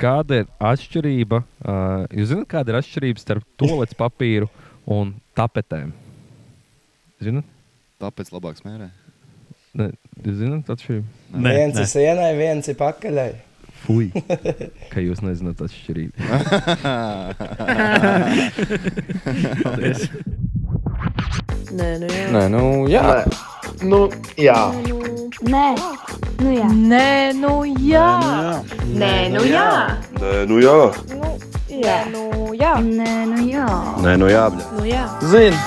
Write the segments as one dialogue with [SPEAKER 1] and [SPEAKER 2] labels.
[SPEAKER 1] kāda ir atšķirība? Uh, jūs zināt, kāda ir atšķirība starp toplets papīru un tapetēm? Zinat,
[SPEAKER 2] Tāpēc labāk smērē.
[SPEAKER 1] Ne, jūs zināt, atšķirība?
[SPEAKER 3] Nē,
[SPEAKER 4] viens
[SPEAKER 3] nē.
[SPEAKER 4] ir sienai, viens ir pakaļai.
[SPEAKER 1] Fui, ka jūs nezināt atšķirību. Paldies.
[SPEAKER 5] Nē, nu jā.
[SPEAKER 6] Nē, nu jā.
[SPEAKER 7] Nu, jā.
[SPEAKER 8] Nē, nu jā.
[SPEAKER 5] Nē, nu jā.
[SPEAKER 9] Nē, nu jā.
[SPEAKER 7] Nu, jā.
[SPEAKER 5] Nē, nu jā.
[SPEAKER 8] Nē, nu jā.
[SPEAKER 7] Nē, nu, jā.
[SPEAKER 5] Nu jā.
[SPEAKER 6] Zini.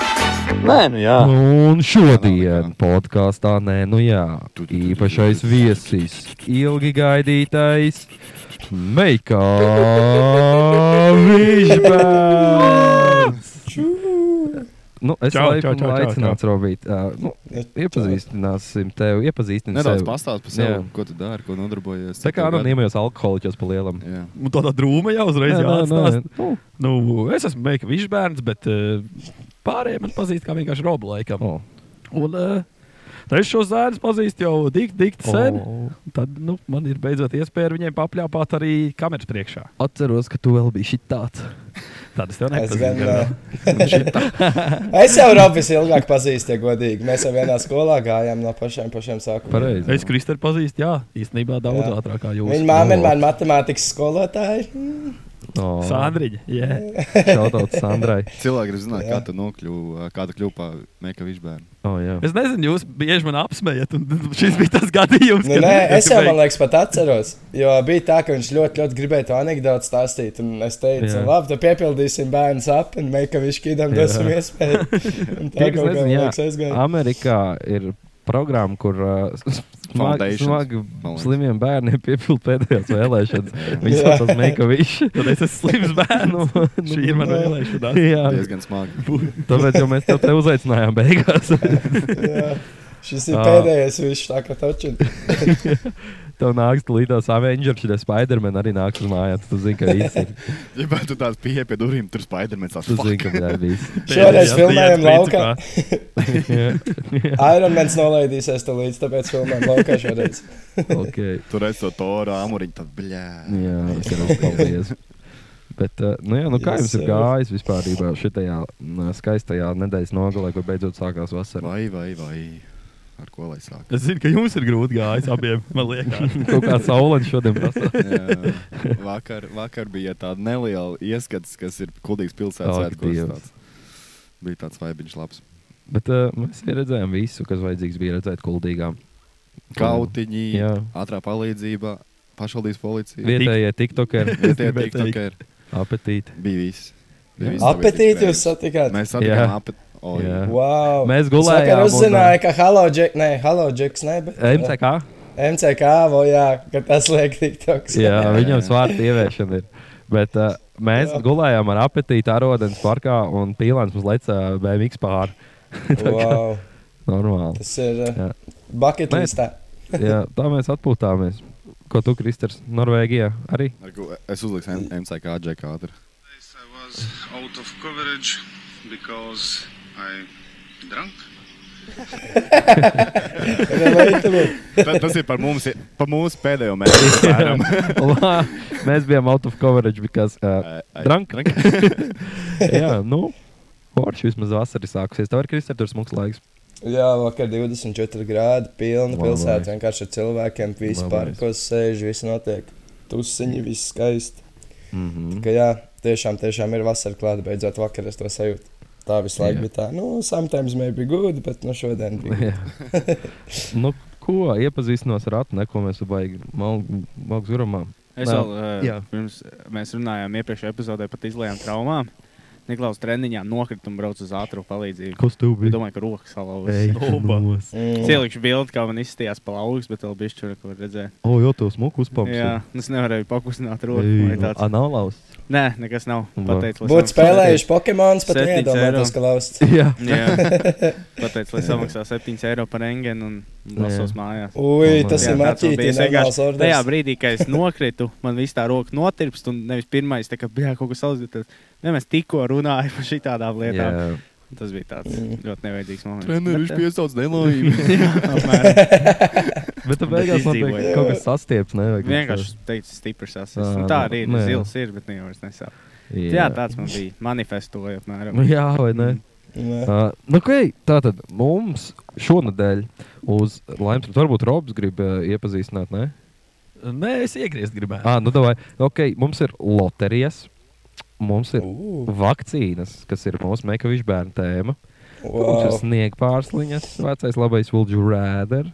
[SPEAKER 6] Nē, nu jā.
[SPEAKER 1] Un šodien podkāstā nē, nu jā, īpašais viesis, ilgi gaidītais Meikā Višbērns. Nu, es
[SPEAKER 3] Čau,
[SPEAKER 1] jau
[SPEAKER 3] čau,
[SPEAKER 1] tādu
[SPEAKER 3] čau, čau,
[SPEAKER 1] aicinātu, Robīt. Uh, nu, iepazīstināsim tevi. Iepazīstināsim
[SPEAKER 2] Nedaudz pastāst par sevi,
[SPEAKER 1] Jā.
[SPEAKER 2] ko tu dari, ko nodarbojies.
[SPEAKER 1] Tā kā
[SPEAKER 2] Cik tev gadu?
[SPEAKER 1] anonīmajos alkoholiķos pa lielam.
[SPEAKER 2] Jā.
[SPEAKER 3] Un tādā drūmā jau uzreiz
[SPEAKER 1] Nē, nē, nē.
[SPEAKER 3] jāatstās.
[SPEAKER 1] Nu,
[SPEAKER 3] Nu, es esmu Meika Višbērns, bet uh, pārējie man pazīst kā vienkārši Robu laikam.
[SPEAKER 1] o,
[SPEAKER 3] Un uh, es šo zēnu pazīstu jau tik, tik
[SPEAKER 1] Oh.
[SPEAKER 3] sen.
[SPEAKER 1] o.
[SPEAKER 3] Tad nu, man ir beidzot iespēja ar viņiem papļāpāt arī kameras priekšā.
[SPEAKER 1] Atceros, ka tu vēl biji šī tāds.
[SPEAKER 3] Tad es tev
[SPEAKER 4] Es, gan,
[SPEAKER 3] nepazīstu.
[SPEAKER 4] eh, es jau Robis ilgāk pazīstu, ja godīgi. Mēs jau vienā skolā gājām no pašiem, pašiem sākumiem.
[SPEAKER 1] Pareizi.
[SPEAKER 3] Es Kristēnu pazīstu, jā, īstenībā daudz jā.
[SPEAKER 4] Jā.
[SPEAKER 3] ātrāk kā jūs.
[SPEAKER 4] Viņa māte
[SPEAKER 1] Oh.
[SPEAKER 4] ir mana matemātikas skolotāja.
[SPEAKER 1] O,
[SPEAKER 3] Sandriņa, jā.
[SPEAKER 1] Šautauts Sandrai.
[SPEAKER 2] Cilvēki grib zināt,
[SPEAKER 4] Jā.
[SPEAKER 2] kā tu nokļuvi, kāda kļuva par Meika Višbērnu.
[SPEAKER 1] Oh, jā.
[SPEAKER 3] Es nezinu, jūs bieži man apsmējat, un šis bija tas gadījums,
[SPEAKER 4] Nu, nē, es jau, man liekas, pat atceros. Jo bija tā, ka viņš ļoti, ļoti gribēja to anekdoti stāstīt. Un es teicu,
[SPEAKER 1] Jā.
[SPEAKER 4] labi, tad piepildīsim bērnu sapni, un meklēsim, viņš kādam
[SPEAKER 1] Jā.
[SPEAKER 4] dosim iespēju. Un
[SPEAKER 1] Tie,
[SPEAKER 4] Tā
[SPEAKER 1] kas
[SPEAKER 4] kaut kā
[SPEAKER 1] nezina, jā,
[SPEAKER 4] liekas aizgāja.
[SPEAKER 1] Amerikā ir programma, kur uh, s- smagi,
[SPEAKER 2] Foundations,
[SPEAKER 1] smagi
[SPEAKER 2] man liekas.
[SPEAKER 1] slimiem bērniem piepildīja pēdējās vēlēšanas. Viņi
[SPEAKER 4] Jā.
[SPEAKER 1] sauc par Meikoviču.
[SPEAKER 3] Tad es esmu slims bērns.
[SPEAKER 1] Nu,
[SPEAKER 3] nu,
[SPEAKER 1] nu,
[SPEAKER 3] Šī ir mana
[SPEAKER 4] nu.
[SPEAKER 3] vēlēšanās.
[SPEAKER 1] Jā,
[SPEAKER 2] Diezgan smagi.
[SPEAKER 1] tāpēc jau mēs tev te uzaicinājām beigās.
[SPEAKER 4] Jā. Šis ir
[SPEAKER 1] Ā.
[SPEAKER 4] pēdējais, viņš tā kā točina.
[SPEAKER 1] Tev nāks līdās Avengers, šī Spiderman arī nāks uz mājām. Tu zini, ka viss ir.
[SPEAKER 2] Ja bērnu tu tāds pieeja pie durvīm, tur Spidermans tāds
[SPEAKER 1] Tu zini, ka
[SPEAKER 2] fuck.
[SPEAKER 1] tā ir viss.
[SPEAKER 4] Šoreiz
[SPEAKER 3] Pēdējās
[SPEAKER 4] filmējam
[SPEAKER 3] dienas
[SPEAKER 4] laukā.
[SPEAKER 1] Jā, jā.
[SPEAKER 4] Ironmans nolaidīsies te līdz, tāpēc filmējam laukā šoreiz.
[SPEAKER 1] Okay.
[SPEAKER 2] Tur redz to toru āmuriņu, tad bļā.
[SPEAKER 1] Jā, tas ir paldies. Bet, eh, nu, jā, nu kā
[SPEAKER 4] Yes,
[SPEAKER 1] jums ir
[SPEAKER 4] sir.
[SPEAKER 1] gājis vispār šajā skaistajā nedēļas nogalē, kur beidzot sākās vasara?
[SPEAKER 2] Vai, vai, vai. Ar ko lai sāk?
[SPEAKER 3] Es zinu, ka jums ir grūti gājis abiem. Man liekas,
[SPEAKER 1] Kaut kā saulaini šodien prasa.
[SPEAKER 2] Jā, vakar, vakar bija tāda neliela ieskats, kas ir kuldīgs pilsētas
[SPEAKER 1] Ak,
[SPEAKER 2] svētkos.
[SPEAKER 1] Dievs.
[SPEAKER 2] tāds. Bija tāds vaibiņš labs.
[SPEAKER 1] Bet eh, mēs arī redzējām visu, kas vajadzīgs bija redzēt kuldīgām.
[SPEAKER 2] Kautiņi,
[SPEAKER 1] Jā.
[SPEAKER 2] ātrā palīdzība, pašvaldības policija.
[SPEAKER 1] Vietējie tiktokeri,
[SPEAKER 2] Vietējie
[SPEAKER 3] Bet-
[SPEAKER 2] tiktokeri.
[SPEAKER 1] apetīti.
[SPEAKER 2] Bija viss.
[SPEAKER 1] Jā.
[SPEAKER 2] Bija viss, tāpēc
[SPEAKER 4] Apetīti
[SPEAKER 2] tik
[SPEAKER 4] jūs satikāt.
[SPEAKER 2] Mēs
[SPEAKER 1] Jā.
[SPEAKER 2] satikām apetīti.
[SPEAKER 1] Jā.
[SPEAKER 4] Wow.
[SPEAKER 1] Mēs
[SPEAKER 4] Es
[SPEAKER 1] gulējām
[SPEAKER 4] vakar
[SPEAKER 1] un, uh,
[SPEAKER 4] uzzināju, ka Hello Jack, nē, Hello Jacks, nē, bet uh,
[SPEAKER 1] MCK?
[SPEAKER 4] MCK, vo, jā, ka tas liek tiktoks.
[SPEAKER 1] Jā,
[SPEAKER 2] Jā,
[SPEAKER 1] viņam
[SPEAKER 2] jā.
[SPEAKER 1] svārta ieviešana ir. Bet, eh, mēs
[SPEAKER 4] Jā.
[SPEAKER 1] gulējām ar apetīti Arodenes parkā un pīlāns mums leca BMX pāri.
[SPEAKER 4] wow,
[SPEAKER 1] Normāli.
[SPEAKER 4] tas ir uh,
[SPEAKER 1] Jā.
[SPEAKER 4] bucket
[SPEAKER 1] Nē.
[SPEAKER 4] listā.
[SPEAKER 1] Jā, tā mēs atpūtāmies. Ko tu, Kristers, Norvēģijā arī?
[SPEAKER 2] Ar ko- Es uzliku M- MCK džekā ātri.
[SPEAKER 10] I was out of coverage because I drunk.
[SPEAKER 2] Ta- Tas ir par mums, par mūsu pēdējo mēnesi. apmēram.
[SPEAKER 1] Lā, mēs bijām out of coverage, because, uh,
[SPEAKER 2] Ai, ai,
[SPEAKER 1] Drunk.
[SPEAKER 2] drunk.
[SPEAKER 1] jā, nu, forši vismaz vasarī sākusies. Tev ir Kristers, tur smūgs laiks.
[SPEAKER 4] Jā, vakar 24 grādi, pilna
[SPEAKER 1] Labais.
[SPEAKER 4] pilsēta. Vienkārši ar cilvēkiem, visi
[SPEAKER 1] Labais.
[SPEAKER 4] parkos sēž, viss notiek. Tusiņi, viss skaisti.
[SPEAKER 1] Mm
[SPEAKER 4] Ka jā, tiešām, tiešām ir vasara klāta, beidzot vakar es to sajūtu. Tā visu laiku
[SPEAKER 1] Jā.
[SPEAKER 4] bija tā, nu, sometimes maybe good, bet nu šodien bija.
[SPEAKER 1] nu, ko iepazīstinos ar Atu, neko mēs baigi Malgzurumā.
[SPEAKER 9] Es
[SPEAKER 1] Nē.
[SPEAKER 9] vēl,
[SPEAKER 1] Jā.
[SPEAKER 9] uh, pirms eh, mēs runājām iepriekšējā epizodē par izlējām traumām. Niklaus treniņā nokrita un brauca uz ātrumu palīdzību.
[SPEAKER 1] Kas tev
[SPEAKER 9] Es
[SPEAKER 1] bija?
[SPEAKER 9] domāju, ka rokas salauzas.
[SPEAKER 1] Ej, nomos.
[SPEAKER 4] Mm.
[SPEAKER 9] Cielikšu bildi, kā man izstījās pa laukas, bet vēl bija šķura, ko redzēju.
[SPEAKER 1] O, jo tev smūgs uzpams.
[SPEAKER 9] Jā, es nevarēju pakustināt roku. vai tāds.
[SPEAKER 1] Anālaus.
[SPEAKER 9] Nē, nekas nav.
[SPEAKER 1] Va.
[SPEAKER 9] Pateicu, lai
[SPEAKER 4] Būtu
[SPEAKER 9] samaksā-
[SPEAKER 4] spēlējuši Pokemons, pat
[SPEAKER 9] Septiņas
[SPEAKER 4] neiedomājos,
[SPEAKER 9] eiro.
[SPEAKER 4] ka lausts.
[SPEAKER 1] Jā.
[SPEAKER 9] Jā, pateicu, lai samaksā 7 eiro par engenu un lasos mājās.
[SPEAKER 4] Ui,
[SPEAKER 1] Domāju. Jā,
[SPEAKER 4] tas ir
[SPEAKER 9] tāds vēl bija.
[SPEAKER 4] maķītis,
[SPEAKER 9] Es
[SPEAKER 4] nenormāls
[SPEAKER 9] vienkārši Tajā
[SPEAKER 4] orders.
[SPEAKER 9] brīdī, kad es nokritu, man viss tā roka notirpst, un nevis pirmais, tā kā bija kaut kas salīdzināms. Ne, mēs tikko runājām par šitām lietām.
[SPEAKER 1] jā.
[SPEAKER 9] Yeah. Tas bija tāds
[SPEAKER 4] Mm.
[SPEAKER 9] ļoti nevajadzīgs moments.
[SPEAKER 2] Treneris
[SPEAKER 9] Bet,
[SPEAKER 2] piesauc nelojumi.
[SPEAKER 9] eh, apmēram.
[SPEAKER 1] Bet tu beigās man bija
[SPEAKER 9] izdzīvoju.
[SPEAKER 1] kaut kas sastieps, ne? vai kaut kas
[SPEAKER 9] Vienkārši teicu, stiprs asins.
[SPEAKER 1] Ā,
[SPEAKER 9] Un Tā arī ir.
[SPEAKER 1] nē.
[SPEAKER 9] Zils ir, bet ne jau es nesāku.
[SPEAKER 1] Jā.
[SPEAKER 9] Jā, tāds man bija. Manifestoja apmēram.
[SPEAKER 1] Nu, Jā, vai ne?
[SPEAKER 4] Nē.
[SPEAKER 1] Uh, nu, okay, tā tad mums šonadēļ uz laimes, varbūt Robs grib uh, iepazīstināt, ne?
[SPEAKER 3] Nē, es iegriezt gribēju.
[SPEAKER 1] Ah, nu, davai. okay, mums ir loterijas, mums ir
[SPEAKER 4] Ū.
[SPEAKER 1] vakcīnas, kas ir mūsu Mekaviča bērna tēma. Mums ir
[SPEAKER 4] Wow.
[SPEAKER 1] sniega pārsliņas, vecais labais Vulģu rēder,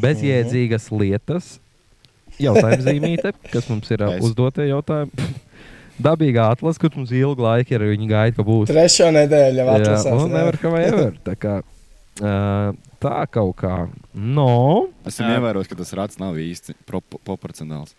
[SPEAKER 1] bezjēdzīgas lietas, jautājuma zīmīte, kas mums ir uh,
[SPEAKER 2] Es.
[SPEAKER 1] uzdotie jautājumi. Dabīga atlas, kur mums ilgu laiku ir viņa gaida, ka būs.
[SPEAKER 4] Trešo nedēļu jau
[SPEAKER 1] Jā,
[SPEAKER 4] atlasās.
[SPEAKER 1] nu, never have ever. Tā, kā, uh, tā kaut kā. No.
[SPEAKER 2] Esam
[SPEAKER 9] Jā.
[SPEAKER 2] ievērojuši, ka tas rats nav īsti propo- proporcionāls.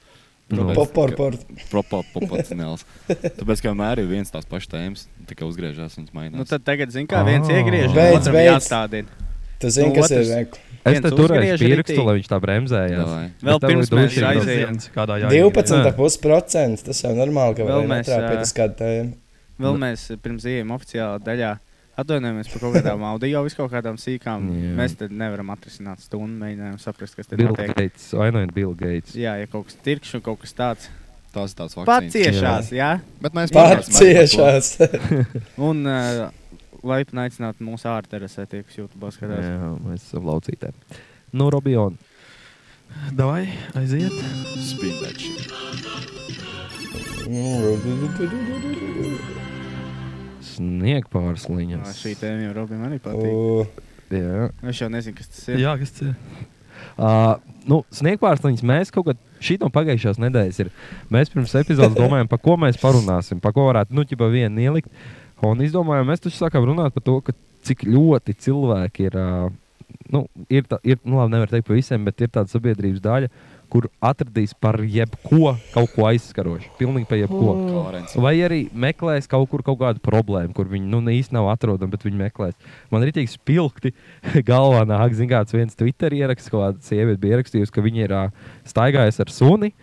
[SPEAKER 4] Nu,
[SPEAKER 9] Nu,
[SPEAKER 1] no.
[SPEAKER 2] Tāpēc,
[SPEAKER 4] Popor,
[SPEAKER 2] ka-
[SPEAKER 4] por.
[SPEAKER 2] propo- Proporcionāls. Tāpēc, ka vienmēr ir viens tās pašas tēmas, tikai uzgriežās un mainās.
[SPEAKER 9] Nu, tad tagad, zini, kā viens
[SPEAKER 1] Ā.
[SPEAKER 9] iegriež,
[SPEAKER 4] Beidz,
[SPEAKER 9] otram
[SPEAKER 4] beidz.
[SPEAKER 9] jāstādina.
[SPEAKER 4] Tu zini,
[SPEAKER 9] Nu,
[SPEAKER 4] kas ir
[SPEAKER 9] otrs.
[SPEAKER 4] veikli.
[SPEAKER 1] Es
[SPEAKER 9] viens
[SPEAKER 1] te turēju
[SPEAKER 9] uzgriež
[SPEAKER 1] pirkstu,
[SPEAKER 9] ritīgi.
[SPEAKER 1] lai viņš tā bremzējās.
[SPEAKER 2] Davai.
[SPEAKER 1] Bet
[SPEAKER 9] Vēl
[SPEAKER 1] tev
[SPEAKER 9] pirms
[SPEAKER 1] ir
[SPEAKER 9] mēs
[SPEAKER 1] duši
[SPEAKER 9] aizējām.
[SPEAKER 3] kādā jāiet.
[SPEAKER 4] 12,5% tas jau normāli, ka
[SPEAKER 9] Vēl
[SPEAKER 4] vēl
[SPEAKER 9] mēs,
[SPEAKER 4] netrāpīt
[SPEAKER 9] ā,
[SPEAKER 4] uz kādu tēmu.
[SPEAKER 9] Vēl mēs eh, pirms ejam oficiālā daļā. Atvainojamies par kaut kādām audio, vis kaut kādām sīkām.
[SPEAKER 1] Jā.
[SPEAKER 9] Mēs te nevaram atrisināt stundu, mēģinājām saprast, kas te
[SPEAKER 1] Bill
[SPEAKER 9] notiek.
[SPEAKER 1] Gates, vainojiet Bill Gates.
[SPEAKER 9] Jā, ja kaut kas tirkšs un kaut kas tāds
[SPEAKER 2] Tās ir tās
[SPEAKER 9] -
[SPEAKER 2] vakcīnas.
[SPEAKER 9] paciešās, jā.
[SPEAKER 2] Bet mēs
[SPEAKER 4] Pārciešās.
[SPEAKER 9] Un uh, laipni aicināt mūsu ārterasē, tie, kas YouTube skatās.
[SPEAKER 1] Jā, mēs esam laucītē. Nu, Robion,
[SPEAKER 3] Davai, aiziet.
[SPEAKER 2] Spīdēši.
[SPEAKER 1] sniega
[SPEAKER 9] Jā,
[SPEAKER 1] pārsliņas.
[SPEAKER 9] šī tēma jau Robim arī patīk.
[SPEAKER 4] Ū,
[SPEAKER 1] Jā.
[SPEAKER 9] Es jau nezinu, kas tas ir.
[SPEAKER 3] Jā, kas tas ir?
[SPEAKER 1] Uh, nu, sniegpārsliņas mēs kaut kad šī no pagājušās nedēļas ir. Mēs pirms epizodes domājām, par ko mēs parunāsim, par ko varētu nu ķipa vienu ielikt. Un izdomājām, mēs taču sākām runāt par to, ka cik ļoti cilvēki ir. Uh, Nu, ir tā, ir, nu, labi, nevar teikt par visiem, bet ir tāda sabiedrības daļa, kur atradīs par jebko kaut ko aizskarošu. Pilnīgi par jebko. Mm. Vai arī meklēs kaut kur kaut kādu problēmu, kur viņi nu, īstenībā nav atrodama, bet viņi meklēs. Man ir tik spilgti galvā nāk, zināms, kāds viens Twitter ieraksts, ko kāda sieviete bija ierakstījusi, ka viņa ir ā, staigājusi ar suni.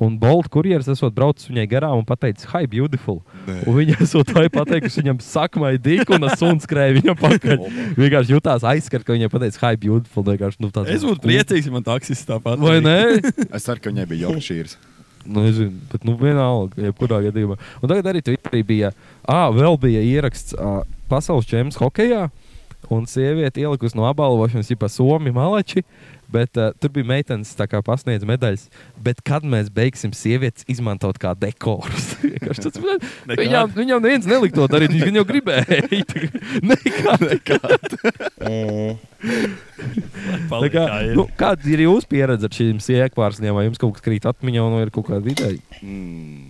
[SPEAKER 1] Un Bolts kurjeris esot braucis viņai garām un teicis, hi, beautiful. Un viņa esot vai pateikusi viņam, sakmai, dīk, un suns skrēja viņam pakaļ. Vienkārši jutās aizskart, ka viņai pateica, hi, beautiful. Vienkārši, nu, tāds,
[SPEAKER 3] Es būtu priecīgs, ja man taksists tāpat.
[SPEAKER 1] Vai ne?
[SPEAKER 2] Es ceru, ka viņai bija Yorkshire.
[SPEAKER 1] Nu, nezinu, bet nu, vienalga, jebkurā gadījumā. Un tagad arī Twitterī bija, ah, vēl bija ieraksts ah, pasaules čempions hokeja. Un sieviete ielikusi no apbalvošanas, jau par somu malači, bet uh, tur bija meitenes, tā kā pasniedz medaļas. Bet kad mēs beigsim sievietes izmantot kā dekorus? Vienkārši tas- viņām, viņām neviens nelikt to darīt, viņš gan jau gribēja. Nekā.
[SPEAKER 4] mm.
[SPEAKER 1] Tā Kā, nu, kāda ir jūsu pieredze ar šīm sēkpārsnēm? Vai jums kaut kas krīt atmiņā, vai ir kaut kāda ideja?
[SPEAKER 4] Un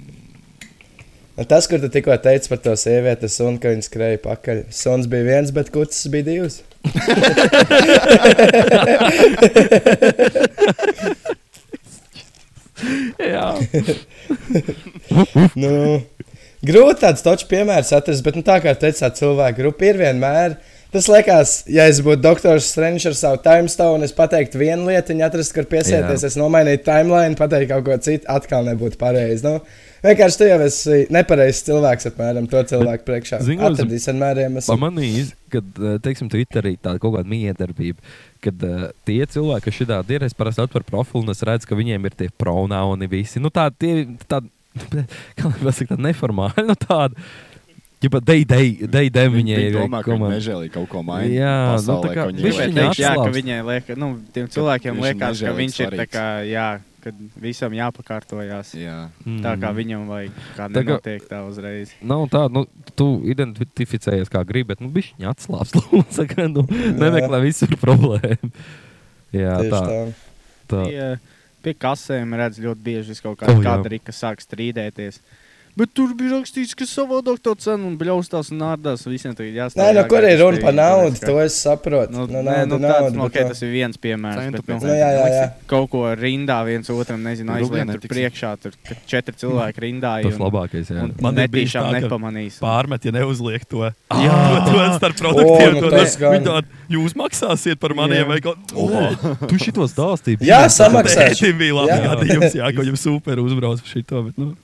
[SPEAKER 4] Tas, kur tu tikko teici par to sievieti, un ka viņa skrēja pakaļ. Suns bija viens, bet kucis bija divs.
[SPEAKER 1] Jā,
[SPEAKER 4] Nu, grūti tāds točs piemērs atrast, bet nu, tā kā teicāt, cilvēku grupa ir vienmēr. Tas liekas, ja es būtu doktors Strunčs ar savu timestāvu un es pateiktu vienu lietu, viņa atrastu, kur piesieties,
[SPEAKER 1] Jā.
[SPEAKER 4] es nomainītu timeline, pateiktu kaut ko citu, atkal nebūtu pareizi. Nu, vienkārši tu jau esi nepareizs cilvēks, apmēram to cilvēku priekšā.
[SPEAKER 1] zini, ko es-
[SPEAKER 4] Atradīs vienmēr iemeslu.
[SPEAKER 1] pamanījis, ka, eh, teiksim, Twitterī tāda kaut kāda miedarbība, kad uh, tie cilvēki, kas šitā ir, es parasti atveru profilu un es redzu, ka viņiem ir tie pronauni visi. Nu, tādi, tie, tādi, kā lai pasaka, tādi neformāli, nu, tādi, ja pat dei, dei, dei, dei viņai ir.
[SPEAKER 2] domā, ka
[SPEAKER 1] komanda.
[SPEAKER 2] viņa nežēlīja kaut ko mainīt.
[SPEAKER 1] Jā, nu, tā kā
[SPEAKER 9] Es
[SPEAKER 1] Viņš
[SPEAKER 9] teikšu, jā, ka
[SPEAKER 1] atslābst.
[SPEAKER 9] viņai liekas, nu, tiem cilvēkiem
[SPEAKER 2] viņš ir
[SPEAKER 9] liekas, ka
[SPEAKER 2] nežēlīgs
[SPEAKER 9] viņš ir tā
[SPEAKER 2] varīgs.
[SPEAKER 9] kā, jā, ka visam jāpakārtojās.
[SPEAKER 2] Jā,
[SPEAKER 1] Mm.
[SPEAKER 9] Tā kā viņam vajag, kā
[SPEAKER 1] Tā kā-
[SPEAKER 9] nenotiek tā uzreiz.
[SPEAKER 1] Nav tā, nu, tu identificējies kā gribi, bet, nu, bišķi atslābst, lūdzu, saka, nu, nemeklē visur problēmu. Jā,
[SPEAKER 4] Tieši
[SPEAKER 1] tā,
[SPEAKER 4] tā.
[SPEAKER 1] tā.
[SPEAKER 9] Pie, pie kasēm redz ļoti bieži vis kaut
[SPEAKER 1] O,
[SPEAKER 9] kāda
[SPEAKER 1] jā.
[SPEAKER 9] oh, rīka, kas sāk strīdēties. Bet tur bija rakstīts, ka savādāk to cenu un bļaustās un ārdās. Visiem tagad jāstāv.
[SPEAKER 4] Nē, nu, kur ir runa par naudu?
[SPEAKER 9] tāpēc, ka-
[SPEAKER 4] To es saprotu. Nu,
[SPEAKER 9] Nu,
[SPEAKER 4] nu,
[SPEAKER 9] nu, nē,
[SPEAKER 4] nauda,
[SPEAKER 9] nu, tāds,
[SPEAKER 4] nauda,
[SPEAKER 9] nu,
[SPEAKER 4] bet
[SPEAKER 9] okay,
[SPEAKER 4] to-
[SPEAKER 9] tas ir viens piemērs.
[SPEAKER 2] Centu
[SPEAKER 9] Bet, nu,
[SPEAKER 4] Nu, jā, jā, jā.
[SPEAKER 9] kaut ko rindā viens otram, nezinu,
[SPEAKER 2] Rublī
[SPEAKER 9] aizliet tur
[SPEAKER 2] netiksi.
[SPEAKER 9] priekšā. Tur ka četri cilvēki rindā.
[SPEAKER 1] Tas
[SPEAKER 9] un-
[SPEAKER 1] labākais, jā.
[SPEAKER 9] Un
[SPEAKER 3] Nu, Man
[SPEAKER 9] man
[SPEAKER 3] ir bijis
[SPEAKER 9] netīšām
[SPEAKER 3] tā, ka
[SPEAKER 9] nepamanīs.
[SPEAKER 3] Pārmet, ja neuzliek to. Jā,
[SPEAKER 1] Ah.
[SPEAKER 3] to starp
[SPEAKER 4] O, nu
[SPEAKER 3] produktiem. to
[SPEAKER 4] tas
[SPEAKER 3] tas-
[SPEAKER 4] gan.
[SPEAKER 3] viņi tādi, Jūs maksāsiet par maniem
[SPEAKER 9] Jā.
[SPEAKER 3] vai kaut ko.
[SPEAKER 1] Tu šito stāstīji.
[SPEAKER 4] Jā, samaksāšu.
[SPEAKER 3] Tētim bija labi
[SPEAKER 4] Jā.
[SPEAKER 3] gadījums, jā, ka jums super uzbrauc par šito, bet, nu,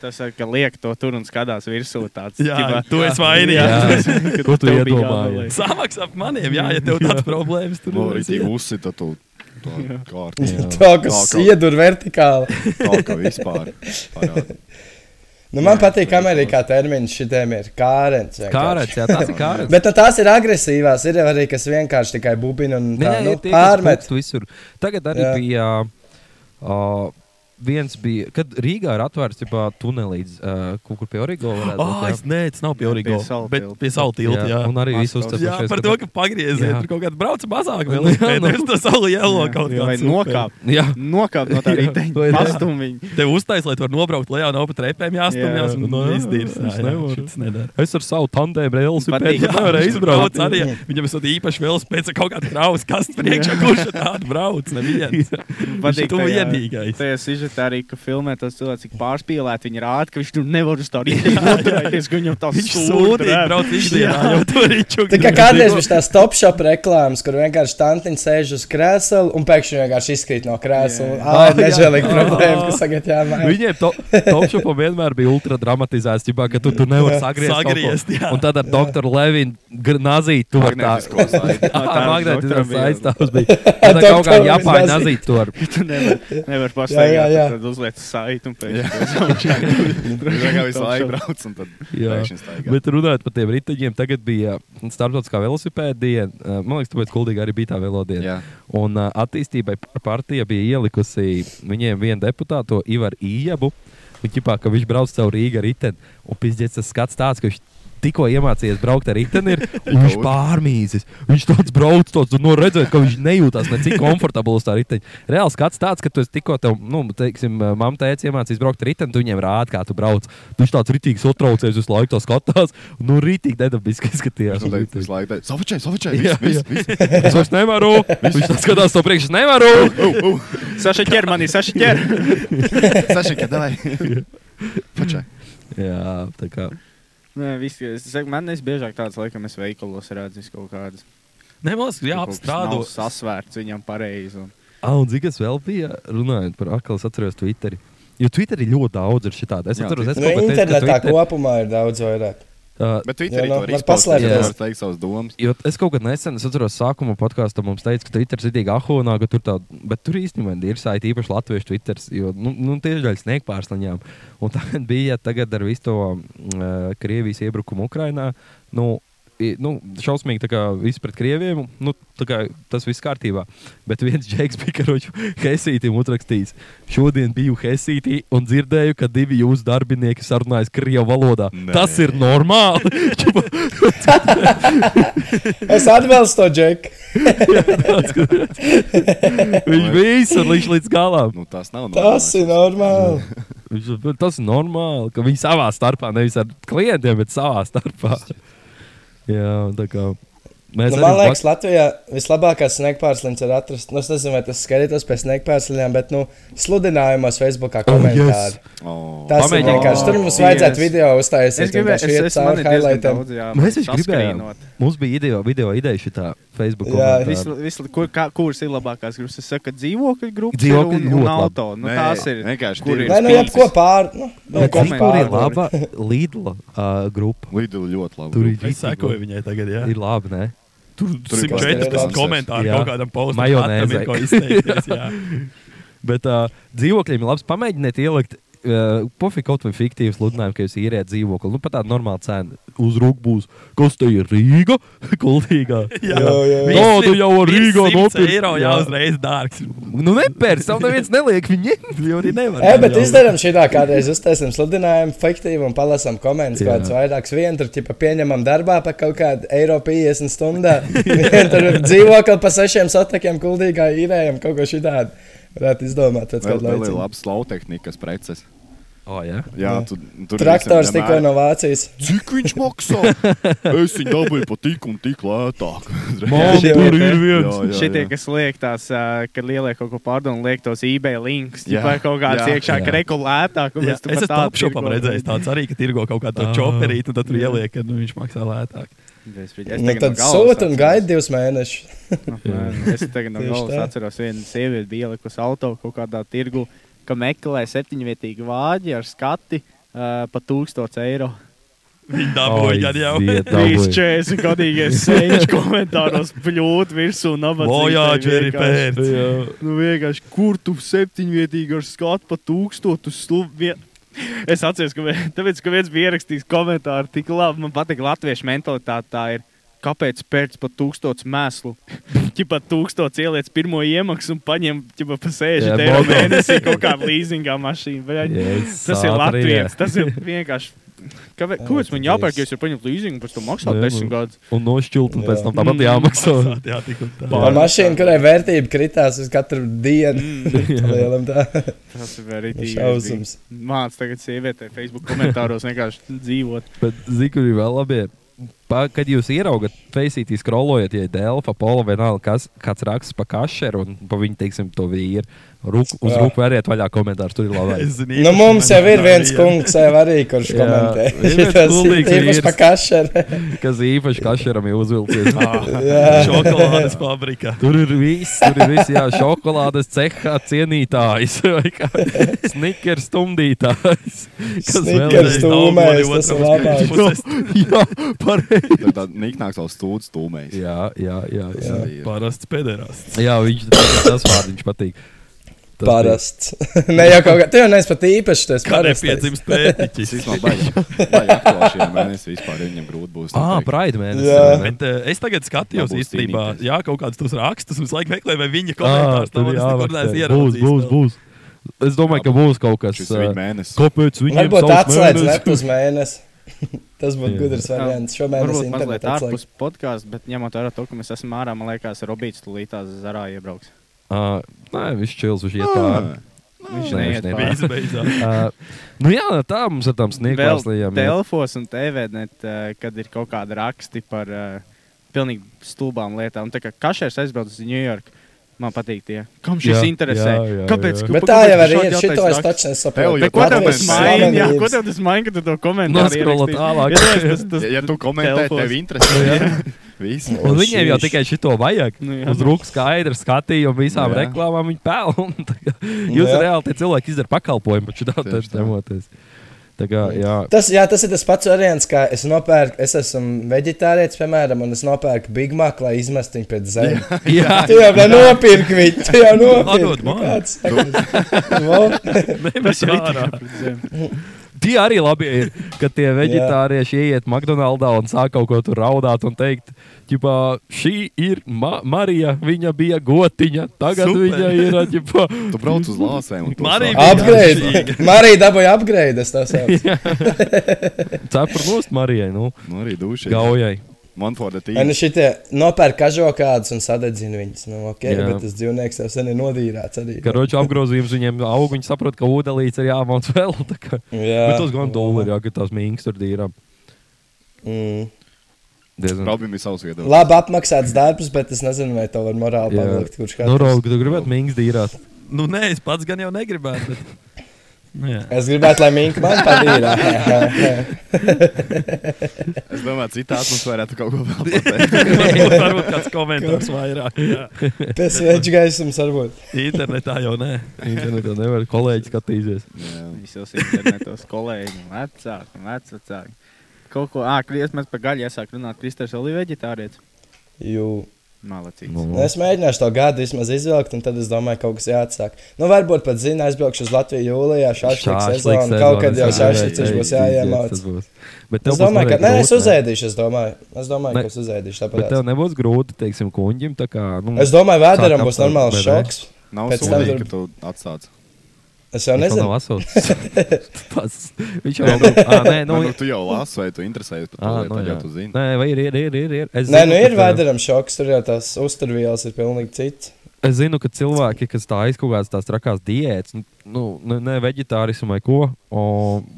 [SPEAKER 9] Tas ir, ka liek to tur un skatās virsū. Tāds,
[SPEAKER 3] jā,
[SPEAKER 9] ķipā,
[SPEAKER 3] tu esi vainīgs.
[SPEAKER 1] Jā,
[SPEAKER 9] ka
[SPEAKER 1] ko tu
[SPEAKER 9] tev bija
[SPEAKER 1] iedomājies?
[SPEAKER 9] jānoliek.
[SPEAKER 3] Samaksā par maniem, jā, ja tev tādas problēmas tur
[SPEAKER 2] nu,
[SPEAKER 3] ir.
[SPEAKER 2] rītīgi uzsita tu Tā kā
[SPEAKER 4] Tā kā siedur vertikāli.
[SPEAKER 2] Tā kā vispār. parādi.
[SPEAKER 4] Nu, man patīk, kā Amerikā termins šitiem ir kārens. vienkārši.
[SPEAKER 1] Kārens, jā, tās ir kārens.
[SPEAKER 4] Bet nu, tās ir agresīvās. Ir jau arī kas vienkārši tikai bubina un
[SPEAKER 1] Nē,
[SPEAKER 4] tā,
[SPEAKER 1] nē,
[SPEAKER 4] nu,
[SPEAKER 1] ir tie, kas
[SPEAKER 4] pārmet.
[SPEAKER 1] pūkst visur. Tagad arī jā.
[SPEAKER 4] Jā.
[SPEAKER 1] bija. Uh, viens bija, kad Rīgā ir atvērts tipā, tunelīds uh, kaut kur pie Origo. varētu būt,
[SPEAKER 3] Ah,
[SPEAKER 1] jā.
[SPEAKER 3] es nē, tas nav pie Origo.
[SPEAKER 9] Pie Salu
[SPEAKER 3] Bet
[SPEAKER 9] tilta.
[SPEAKER 3] pie salu tilta. Jā,
[SPEAKER 1] Jā, un arī visus
[SPEAKER 3] tas bija.
[SPEAKER 1] uztapušies,
[SPEAKER 3] Par
[SPEAKER 1] ka
[SPEAKER 3] to,
[SPEAKER 1] tā-
[SPEAKER 3] ka pagrieziet,
[SPEAKER 1] Jā.
[SPEAKER 3] tur kaut kādā brauc mazāk vēl.
[SPEAKER 1] Nu, jā,
[SPEAKER 3] Jā,
[SPEAKER 1] nu.
[SPEAKER 3] nu. tas salu jēlo kaut kā.
[SPEAKER 9] Vai nokāp?
[SPEAKER 1] Jā.
[SPEAKER 9] Nokāp no tā
[SPEAKER 1] Jā, vai
[SPEAKER 9] riteņa.
[SPEAKER 1] ne?
[SPEAKER 9] Pastum viņu.
[SPEAKER 3] Tev uztais, lai tu varētu nobraukt lejā, nav pa trepēm jāstumjas.
[SPEAKER 9] Jā,
[SPEAKER 3] un
[SPEAKER 1] nu, jā,
[SPEAKER 3] izdīrs.
[SPEAKER 1] es
[SPEAKER 3] Jā, jā,
[SPEAKER 1] nevaru.
[SPEAKER 3] šitas nedara.
[SPEAKER 1] Es ar savu tandēmu brīvību
[SPEAKER 9] Patīk,
[SPEAKER 1] spēju,
[SPEAKER 9] jā,
[SPEAKER 1] ka nevarēju
[SPEAKER 3] viņš
[SPEAKER 1] izbraukt.
[SPEAKER 3] brauc Arī, viņam ir īpaši vēl spēcīga kaut kāda kraus, kas priekšā kurš ar tādu brauc. Neviens. Viņš ir tu vienīgais.
[SPEAKER 9] Tajā sižetā arī, ka filmē tas cilvēks, cik pārspīlēti viņi rāda, ka viņš tur nevar uz tā riteņa noturēties, ka viņam tas
[SPEAKER 3] Viņš sūdīgi brauc ikdienā, jau tur ir čukā.
[SPEAKER 4] Tā kā kādreiz bija tās top shop reklāmas, kur vienkārši tantiņa sēž uz krēsla un pēkšņi vienkārši izkrīt no krēsla. Tā
[SPEAKER 9] Jā.
[SPEAKER 4] ir
[SPEAKER 1] Ā, jā.
[SPEAKER 4] nežēlīga problēma, kas tagad jāmaina.
[SPEAKER 1] Viņiem to, topšopam vienmēr bija ultra dramatizēts, ģibā, ka tu, tu nevari sagriezt. kaut ko.
[SPEAKER 3] Sagriezt, jā.
[SPEAKER 1] un tad ar doktoru Levinu gr- nazīti to ar tādu.
[SPEAKER 2] Magnetisko saiti.
[SPEAKER 1] Tā magnetiskā saistāvs bija.
[SPEAKER 4] Ar
[SPEAKER 1] Tad kaut kā
[SPEAKER 4] doktoru
[SPEAKER 1] Japāņu
[SPEAKER 4] Levinu
[SPEAKER 1] nazīt to ar.
[SPEAKER 9] Tu nevar, nevar
[SPEAKER 4] jā,
[SPEAKER 9] pastaigāt,
[SPEAKER 4] jā.
[SPEAKER 9] tad uzliec saiti un pēc
[SPEAKER 2] Tā kā visu laiku
[SPEAKER 9] tam.
[SPEAKER 2] brauc un tad
[SPEAKER 1] Jā.
[SPEAKER 2] pēkšņi staigā.
[SPEAKER 1] Bet runājot par tiem riteņiem, tagad bija starptautiskā velosipēda diena. Uh, Man liekas, tāpēc Kuldīga arī bija tā velodiena.
[SPEAKER 2] Jā.
[SPEAKER 1] Un uh, attīstībai par- partija bija ielikusi viņiem vienu deputātu, Ivaru Ijabu. Viņš ķipā, ka viņš brauc caur Rīgā ar riteni. Un pizdzies tas skats tāds, ka viņš tikko iemācījies braukt ar riteni. ir, un Viņš pārmīzis. Viņš tāds brauc, tāds, un no redzēt, ka viņš nejūtās necik komfortabls ar riteni. Reāls skats tāds, ka tu esi tikko tev, nu, teiksim, mamma teica, iemācījies braukt ar riteni, tu viņiem rādi, kā tu brauc. Viņš tāds ritīgs otraucējs visu laiku to skatās. un, Nu, ritīgi nedabiski skatījās. uz
[SPEAKER 2] Es domāju,
[SPEAKER 1] riteni.
[SPEAKER 2] visu laiku tādu savačēju,
[SPEAKER 1] Jā, jā.
[SPEAKER 2] savačēju.
[SPEAKER 1] Es vairs nevaru. Viņš tā skatās to priekšā. Es nevaru.
[SPEAKER 9] Saša ķer manī, Saša ķer.
[SPEAKER 2] Sašķi, ka davai. Pačai.
[SPEAKER 1] Jā, tā kā.
[SPEAKER 9] Nē, viss, es saku, man visbiežāk tāds, laikam, es veikalos redzu visu kaut kādas.
[SPEAKER 3] Nē, man liekas,
[SPEAKER 9] Kaut kas nav
[SPEAKER 3] jāapstrādā.
[SPEAKER 9] Sasvērts viņam pareizi. Un...
[SPEAKER 1] Ah, un zini, kas vēl bija runājot par akli, es atceros Twitteri. Jo Twitterī ļoti daudz ir šitādi. Es
[SPEAKER 2] Jā,
[SPEAKER 1] atceros, es
[SPEAKER 4] Nu,
[SPEAKER 1] kaut ko teicu, ka
[SPEAKER 4] internetā
[SPEAKER 1] Twitter,
[SPEAKER 4] kopumā ir daudz vairāk.
[SPEAKER 1] uh,
[SPEAKER 2] Bet Twitterī
[SPEAKER 4] Jā, nu,
[SPEAKER 2] to arī
[SPEAKER 4] var
[SPEAKER 2] izpausties,
[SPEAKER 1] paslēpties.
[SPEAKER 2] tu vari teikt savas domas.
[SPEAKER 1] Jo es kaut kad nesen, es atceros, sākumā podkāstā mums teica, ka Twitteris ir tik ahūnā, ka tur tā, bet tur īstenībā ir saiti īpaši latviešu Twitteris, jo nu, nu, tieši daļai sniegt pārsliņām. Un tagad bija tagad ar visu to uh, Krievijas iebrukumu Ukrainā. Nu, i- Nu, šausmīgi, tā kā viss pret krieviem. Nu, tā kā tas viss kārtībā. Bet viens džeks bija karoči Helsītam uzrakstījis. Šodien biju Helsītī un dzirdēju, ka divi jūsu darbinieki sarunājas krievu valodā.
[SPEAKER 2] Nē.
[SPEAKER 1] Nē. Tas ir normāli. Čipa,
[SPEAKER 4] Es atbalstu to, Džek.
[SPEAKER 1] Viņš bija īsi līdz galam.
[SPEAKER 2] Nu, tas nav
[SPEAKER 4] Tas ir normāli.
[SPEAKER 1] Viņš, bet tas ir normāli, ka viņi savā starpā nevis ar klientiem, bet savā starpā. Jā, un tā kā. Mēs
[SPEAKER 4] Nu,
[SPEAKER 1] arī
[SPEAKER 4] man liekas,
[SPEAKER 1] vak-
[SPEAKER 4] Latvijā vislabākās snegpārslēdzes ir atrast. Nu, es nezinu, vai tas skatītos pēc snegpārslēdzēm, bet nu, sludinājumos Facebookā
[SPEAKER 1] Oh,
[SPEAKER 4] komentāri. Oh, yes.
[SPEAKER 2] normāli.
[SPEAKER 1] Pamēģini.
[SPEAKER 4] Tas Pamēģin, ir vienkārši. Tur mums
[SPEAKER 9] Oh,
[SPEAKER 4] vajadzētu
[SPEAKER 9] yes.
[SPEAKER 4] yes. video uztaisīt.
[SPEAKER 9] Es gribēju,
[SPEAKER 4] vienkārši
[SPEAKER 9] es,
[SPEAKER 4] iet
[SPEAKER 9] es
[SPEAKER 4] cauri
[SPEAKER 9] man ir diezgan
[SPEAKER 4] highlightiem.
[SPEAKER 9] daudz, jā.
[SPEAKER 1] Mēs viņš gribējām.
[SPEAKER 9] saskrīnot.
[SPEAKER 1] Mums bija ideja, video ideja šitā Facebook.
[SPEAKER 4] Jā,
[SPEAKER 1] komentāra.
[SPEAKER 9] Visu, visu, kur, kā, kuras ir labākās grupas? Es saku, ka dzīvokļu grupas
[SPEAKER 1] Dzīvokļi
[SPEAKER 9] ir un,
[SPEAKER 1] ļoti
[SPEAKER 9] un
[SPEAKER 1] labi.
[SPEAKER 9] auto. Nu,
[SPEAKER 2] Nē,
[SPEAKER 9] tās ir.
[SPEAKER 2] vienkārši
[SPEAKER 9] kur
[SPEAKER 2] divi.
[SPEAKER 9] ir
[SPEAKER 4] Nē, nu,
[SPEAKER 9] spīdis.
[SPEAKER 4] jebko pār. Nu,
[SPEAKER 9] Nu,
[SPEAKER 4] jebko
[SPEAKER 1] Zini, kur ir
[SPEAKER 4] pār.
[SPEAKER 1] laba Lidla uh, grupa?
[SPEAKER 2] Lidu ļoti labi.
[SPEAKER 1] Tur ir
[SPEAKER 3] Es
[SPEAKER 1] rītīgi.
[SPEAKER 3] sekoju viņai tagad, jā.
[SPEAKER 1] Ir labi, ne?
[SPEAKER 3] Tur
[SPEAKER 2] Tur ir
[SPEAKER 3] 140
[SPEAKER 4] kaut
[SPEAKER 3] komentāri
[SPEAKER 1] Jā.
[SPEAKER 3] kaut kādam posmam.
[SPEAKER 1] Majonēzei.
[SPEAKER 3] Ko izteikties, jā.
[SPEAKER 1] Bet uh, dzīvokļiem ir labs. Pamēģiniet ielikt. Uh, Pofīgi kaut vai fiktīvs sludinājums, ka jūs īrējat dzīvokli. Nu, pat tāda normāla cena. Uzrūk būs, kas te ir Rīga? Kultīgā.
[SPEAKER 3] Jā.
[SPEAKER 4] Jā, jā, jā.
[SPEAKER 1] Naudu jau var
[SPEAKER 3] Viss
[SPEAKER 1] Rīgā
[SPEAKER 3] 100
[SPEAKER 1] nopirkt.
[SPEAKER 3] Eiro jau
[SPEAKER 1] Jā.
[SPEAKER 3] uzreiz dārgs.
[SPEAKER 1] Nu, nepērts, tev neviens neliek viņiem.
[SPEAKER 3] Jau arī nevar.
[SPEAKER 4] E, bet izdarām šitā kādreiz uztaisām sludinājumu, fiktīvu un palasām komentus,
[SPEAKER 1] Jā.
[SPEAKER 4] kāds vairāks vienu tur, tipā, pieņemam darbā pa kaut kādu eiro 50 stundā. Vienu tur dzīvokli pa sešiem satakiem kuldīgā īrējam kaut ko šitādu. Varētu izdomāt pēc kāda
[SPEAKER 2] Vēl ir
[SPEAKER 4] laika.
[SPEAKER 2] labs slautehnikas preces.
[SPEAKER 1] Oh, jā.
[SPEAKER 2] Jā, tu, tur
[SPEAKER 4] Traktors
[SPEAKER 2] visiem
[SPEAKER 4] tikko
[SPEAKER 2] vienmēr-
[SPEAKER 4] no Vācijas.
[SPEAKER 2] Cik viņš maksā? es viņu dabūju pat tik un tik lētāk.
[SPEAKER 1] Man
[SPEAKER 4] Jā,
[SPEAKER 1] tur
[SPEAKER 4] jā,
[SPEAKER 1] ir viens.
[SPEAKER 2] Oh, Jā, jā,
[SPEAKER 9] Šitie,
[SPEAKER 2] jā.
[SPEAKER 9] kas liek tās, ā, kad lielie kaut ko pārdod, liek tos eBay links,
[SPEAKER 2] Jā,
[SPEAKER 9] vai kaut kādas
[SPEAKER 2] jā,
[SPEAKER 9] iekšā
[SPEAKER 1] jā.
[SPEAKER 9] krekulētāk.
[SPEAKER 3] Jā, es esmu apšopam redzējis tāds arī, ka tirgo kaut kādu
[SPEAKER 1] Ah.
[SPEAKER 3] čoperītu, un tad tur ieliek, ka nu, viņš maksā lētāk.
[SPEAKER 9] Es
[SPEAKER 4] Nu,
[SPEAKER 9] tagad no
[SPEAKER 4] tad
[SPEAKER 9] galvas
[SPEAKER 4] sūta un
[SPEAKER 9] atceros.
[SPEAKER 4] gaida divus mēnešus.
[SPEAKER 9] Apmēram. Es tagad no
[SPEAKER 4] Tieši
[SPEAKER 9] galvas
[SPEAKER 4] tā.
[SPEAKER 9] atceros, ka viena sieviete bija ielikusi auto kaut kādā tirgu, ka meklē septiņvietīgu vāģi ar skati uh, pa 1000 eiro.
[SPEAKER 3] Viņi dabūja gan jau.
[SPEAKER 9] Trīs četri gadīgie sēņķi komentāros bļūt virsū nabadzīgi.
[SPEAKER 3] Voyageri
[SPEAKER 9] vienkārši.
[SPEAKER 3] pēc. Jā.
[SPEAKER 9] Nu vienkārši, kur tu septiņvietīgi ar skatu pa tūkstotu sluvu. Es atceros, ka, vien- tāpēc, ka viens bija ierakstījis komentāru, tik labi. Man patīk latviešu mentalitāte. tā ir, Kāpēc pērts pa tūkstošu mēslu? Čipa tūkstoš ieliec pirmo iemaksu un paņem ķipa, pa 60
[SPEAKER 3] Jā,
[SPEAKER 9] eiro
[SPEAKER 3] bogo.
[SPEAKER 9] mēnesī kaut kādā līzingā mašīnā. bļaļ.
[SPEAKER 1] Jēzus,
[SPEAKER 9] Tas ir
[SPEAKER 1] ātri, jā.
[SPEAKER 9] Latvijas. Tas ir vienkārši. Kāpēc kāpēc man jāpērk, ja es jau paņemu līzingu, pēc tam maksā
[SPEAKER 1] Jā,
[SPEAKER 9] 10
[SPEAKER 1] nu.
[SPEAKER 9] gadus?
[SPEAKER 1] Un nošķilt, un pēc tam tāpat jāmaksā.
[SPEAKER 3] Maksāt, Mm. jā, tik un tā.
[SPEAKER 4] Par mašīnu, kurai vērtība kritās uz katru
[SPEAKER 9] Mm.
[SPEAKER 4] dienu. Lielam tā.
[SPEAKER 9] Tas ir arī
[SPEAKER 4] Šausmas.
[SPEAKER 9] Mācis tagad sievietē Facebook komentāros vienkārši dzīvot.
[SPEAKER 1] Bet zinu, kur ir vēl labi. Pa, kad jūs ieraugat, feisītī skrolojat, ja ir Delfa, Pola, vienalga, kas, kāds raksts pa kašeru un pa viņu, teiksim, to vīru, ruk, uz
[SPEAKER 4] Jā.
[SPEAKER 1] rūku veriet vaļā komentārs, tur ir labāk.
[SPEAKER 3] Es zinu,
[SPEAKER 4] Nu, mums jau ir
[SPEAKER 3] man
[SPEAKER 4] viens
[SPEAKER 3] arī, jā.
[SPEAKER 4] kungs, jau arī, kurš
[SPEAKER 1] Jā,
[SPEAKER 4] komentē.
[SPEAKER 1] ir viens
[SPEAKER 4] Tas ir
[SPEAKER 1] kuldīgs
[SPEAKER 4] tīpaši
[SPEAKER 1] vīrs.
[SPEAKER 4] pa kašeru.
[SPEAKER 1] Kas īpaši kašeram ir uzvilcies.
[SPEAKER 3] Šokolādes fabrika.
[SPEAKER 1] Tur ir viss, tur ir viss, jā, šokolādes cehā cienītājs, vai kā snikers stumdītājs. vēlreiz-
[SPEAKER 4] Snickers
[SPEAKER 3] tu-
[SPEAKER 4] tūmēs, tas
[SPEAKER 3] daudz
[SPEAKER 4] ir labāk.
[SPEAKER 3] mani otrs puses.
[SPEAKER 1] Jā, pareizi.
[SPEAKER 2] Tā ir tāda niknāka savs stūds, tūmējs.
[SPEAKER 1] Jā, jā, jā.
[SPEAKER 2] Tas
[SPEAKER 1] jā.
[SPEAKER 2] arī ir.
[SPEAKER 3] Parasts pederasts.
[SPEAKER 1] jā viņš, tas vārds viņš patīk. Tas
[SPEAKER 4] Parasts. ne jau kaut kā, tu jau neesi pat īpaši, tu esi
[SPEAKER 3] Kā
[SPEAKER 4] parasts.
[SPEAKER 3] nepiedzimst
[SPEAKER 2] Tas
[SPEAKER 3] pētiķis.
[SPEAKER 2] īstenībā baigi- baigi aktuāli šajā mēnesī vispār viņam grūti būs.
[SPEAKER 1] Ah,
[SPEAKER 2] noteikti.
[SPEAKER 1] Pride mēnesis.
[SPEAKER 4] Jā.
[SPEAKER 1] vai ne?
[SPEAKER 3] Bet, eh, es tagad skatījos
[SPEAKER 2] Nebūs
[SPEAKER 3] īstenībā,
[SPEAKER 2] cīnīties.
[SPEAKER 3] jā, kaut kādus tos rakstus, un es laikam meklēju, vai viņa
[SPEAKER 1] Ah,
[SPEAKER 3] komentārs
[SPEAKER 1] tur
[SPEAKER 3] tam ir
[SPEAKER 1] jāvakcē. Būs,
[SPEAKER 3] jāatzīst.
[SPEAKER 1] būs, būs. Es domāju, ka būs kaut kas.
[SPEAKER 2] Šis ir
[SPEAKER 1] eh,
[SPEAKER 2] viņa mēnesis.
[SPEAKER 1] Kāpēc viņiem
[SPEAKER 4] Varbūt
[SPEAKER 1] savs
[SPEAKER 4] atslēdz
[SPEAKER 1] mēnesis?
[SPEAKER 4] rep uz mēnesi. Tas būtu
[SPEAKER 1] Jā.
[SPEAKER 4] gudrs variants. Šomēnes
[SPEAKER 9] Varbūt mazliet
[SPEAKER 4] internetā atslēdz.
[SPEAKER 9] ārpus podkāstā, bet ņemot vērā to, ka mēs esam ārā, man liekas, Robīts tūlītās zarā iebrauks.
[SPEAKER 1] Ah, Nē, viņš čils, viņš iet tā.
[SPEAKER 9] Viņš
[SPEAKER 1] Nē, viņš
[SPEAKER 9] neiet pāri.
[SPEAKER 1] neiet.
[SPEAKER 3] Beidzot.
[SPEAKER 1] Ah, Nu jā, tā mums ir tām
[SPEAKER 9] Vēl
[SPEAKER 1] sniegvārslījām. jā.
[SPEAKER 9] telefos un TVNet, eh, kad ir kaut kādi raksti par eh, pilnīgi stulbām lietām. Un Tā kā kašers aizbrauc uz New York. Man patīk tie. Kam šis
[SPEAKER 1] Jā,
[SPEAKER 9] interesē?
[SPEAKER 1] jā, jā,
[SPEAKER 9] Kāpēc?
[SPEAKER 1] jā.
[SPEAKER 9] ka-
[SPEAKER 4] Bet
[SPEAKER 9] pa-
[SPEAKER 4] tā
[SPEAKER 9] kāpēc
[SPEAKER 4] jau
[SPEAKER 9] tu
[SPEAKER 4] arī
[SPEAKER 9] šādi
[SPEAKER 4] ir. Šito
[SPEAKER 9] jautājumus
[SPEAKER 4] es
[SPEAKER 9] raksti?
[SPEAKER 4] taču nesaprotu.
[SPEAKER 2] Bet
[SPEAKER 9] Ko tev
[SPEAKER 4] Latvijas
[SPEAKER 9] tas maina? Jā, Ko
[SPEAKER 4] slavenības.
[SPEAKER 9] tev tas maina, ka tu to komentē?
[SPEAKER 1] Noskrolot tālāk.
[SPEAKER 2] Ja, ja tu komentē, tev interesē. Viss.
[SPEAKER 1] Un viņiem jau tikai šito vajag.
[SPEAKER 9] Nu jā.
[SPEAKER 1] Uz rūk skaidru skatījumu visām
[SPEAKER 2] Nu jā.
[SPEAKER 1] reklāmām viņi pelna. Tā kā Jūs
[SPEAKER 4] Jā.
[SPEAKER 1] reāli tie cilvēki izdara pakalpojumu, bet šitā
[SPEAKER 2] Tieši
[SPEAKER 1] taču temoties. Tā kā, jā.
[SPEAKER 4] Tas, jā, tas ir tas pats variants, kā es nopērku, es esmu vegetārietis, piemēram, un es nopērku Big Mac, lai izmestu viņu pēc zemes.
[SPEAKER 1] Jā, Nu,
[SPEAKER 4] Tu jau nopirki viņu, tu jau
[SPEAKER 3] Atdod
[SPEAKER 4] nopirki Nu,
[SPEAKER 3] man.
[SPEAKER 4] viņu.
[SPEAKER 3] Nevis ārā.
[SPEAKER 1] Tie arī labi ir, ka tie vegetārieši ienāk McDonald's un sāk kaut ko tur raudāt un teikt, ka šī ir ma Marija, viņa bija gotiņa, tagad
[SPEAKER 3] Super.
[SPEAKER 1] Super. viņa ir ģipā,
[SPEAKER 2] Tu brauc uz lāsēm un tu
[SPEAKER 3] Marī
[SPEAKER 2] sāc-
[SPEAKER 3] bija-
[SPEAKER 4] Upgrade! Marija dabūja upgrade, es tā saucu.
[SPEAKER 1] cepur nost Marijai, nu,
[SPEAKER 2] Nu arī duši.
[SPEAKER 1] gaujai.
[SPEAKER 2] Man for the
[SPEAKER 4] Un
[SPEAKER 2] team.
[SPEAKER 4] šitie nopērk kažokādus un sadedzina viņus. Nu, ok,
[SPEAKER 1] Jā.
[SPEAKER 4] jā. bet tas dzīvnieks jau sen ir nodīrāts arī.
[SPEAKER 1] Karoči apgrozījums viņiem aug, viņi saprot, ka ūdelīts ir jāmāc vēl. tā kā.
[SPEAKER 4] Jā.
[SPEAKER 1] Bet tas gan dolari, jā, ka tās mīngas tur dīrām.
[SPEAKER 4] Mm.
[SPEAKER 1] Diezgan.
[SPEAKER 2] Robim ir savs viedoklis.
[SPEAKER 4] Labi apmaksāts darbs, bet es nezinu, vai to var morāli
[SPEAKER 1] Jā.
[SPEAKER 4] paveikt. Kurš kā
[SPEAKER 1] Nu, Rob, tu gribētu mīngas dīrāt.
[SPEAKER 3] Nu, nē, es pats gan jau negribētu. Bet... Nu, jā.
[SPEAKER 4] Es gribētu, lai Minka man padīra.
[SPEAKER 2] Es domāju, citā atmosfērā tu kaut ko vēl pateici.
[SPEAKER 3] Varbūt varbūt kāds komentārs vairāk. Jā.
[SPEAKER 4] Tas veids gaisums varbūt.
[SPEAKER 3] Internetā jau nē.
[SPEAKER 1] Internetā nevar kolēģi skatīties.
[SPEAKER 9] Visos internetos kolēģi, vecāki, vecāki. Kaut ko, ah, krievis mēs par gaļu iesāk runāt, Kristers vēl ir veģetārietis.
[SPEAKER 4] Jū.
[SPEAKER 9] Malacīts.
[SPEAKER 1] Nu,
[SPEAKER 4] Nu, es mēģināšu to gadu vismaz izvilkt, un tad es domāju, ka kaut kas jāatsāk. Nu, varbūt pat zina, aizbraukšu uz Latviju jūlijā, šāda
[SPEAKER 1] Šāšliks
[SPEAKER 4] sezona. Kaut kad jau
[SPEAKER 1] sezona, jā,
[SPEAKER 4] šāšliks
[SPEAKER 1] jā,
[SPEAKER 4] būs
[SPEAKER 1] jā,
[SPEAKER 4] jāiemāc.
[SPEAKER 1] tas būs. Bet tev
[SPEAKER 4] Es
[SPEAKER 1] būs
[SPEAKER 4] domāju, ka
[SPEAKER 1] noteikti
[SPEAKER 4] nē,
[SPEAKER 1] grūti,
[SPEAKER 4] es uzēdīšu. Es domāju, es domāju
[SPEAKER 1] Ne.
[SPEAKER 4] ka es uzēdīšu.
[SPEAKER 1] Bet tev
[SPEAKER 4] Tāpēc.
[SPEAKER 1] nebūs grūti, teiksim, kuņģim. tā Kā, nu,
[SPEAKER 4] Es domāju, vēderam
[SPEAKER 1] Sāk
[SPEAKER 4] būs
[SPEAKER 1] aptver-
[SPEAKER 4] normāls
[SPEAKER 1] bet nē.
[SPEAKER 4] šoks.
[SPEAKER 2] Nav
[SPEAKER 4] Pēc tam
[SPEAKER 2] sūdīgi, ka
[SPEAKER 4] tur-
[SPEAKER 2] tu atsāc.
[SPEAKER 4] Es jau
[SPEAKER 1] viņš vēl nav
[SPEAKER 4] nezinu.
[SPEAKER 1] asociēts. Tas- Viņš jau nav. Ah, nē,
[SPEAKER 2] Nu,
[SPEAKER 1] nu,
[SPEAKER 2] nu, tu jau lasi, vai tu interesējies par to
[SPEAKER 1] ah,
[SPEAKER 2] lietu,
[SPEAKER 1] nu,
[SPEAKER 2] tad jau
[SPEAKER 1] jā.
[SPEAKER 2] tu zini.
[SPEAKER 1] Nē, vai ir, ir, ir, ir, ir. Es
[SPEAKER 4] Nē,
[SPEAKER 1] zinu,
[SPEAKER 4] nu
[SPEAKER 1] ka
[SPEAKER 4] ir
[SPEAKER 1] tev-
[SPEAKER 4] vēderam šoks, tur jau tās uzturvielas ir pilnīgi citas.
[SPEAKER 1] Es zinu, ka cilvēki, kas tā aizkavās tās trakās diētas, nu, nu, ne- ne veģetārismu vai ko, o,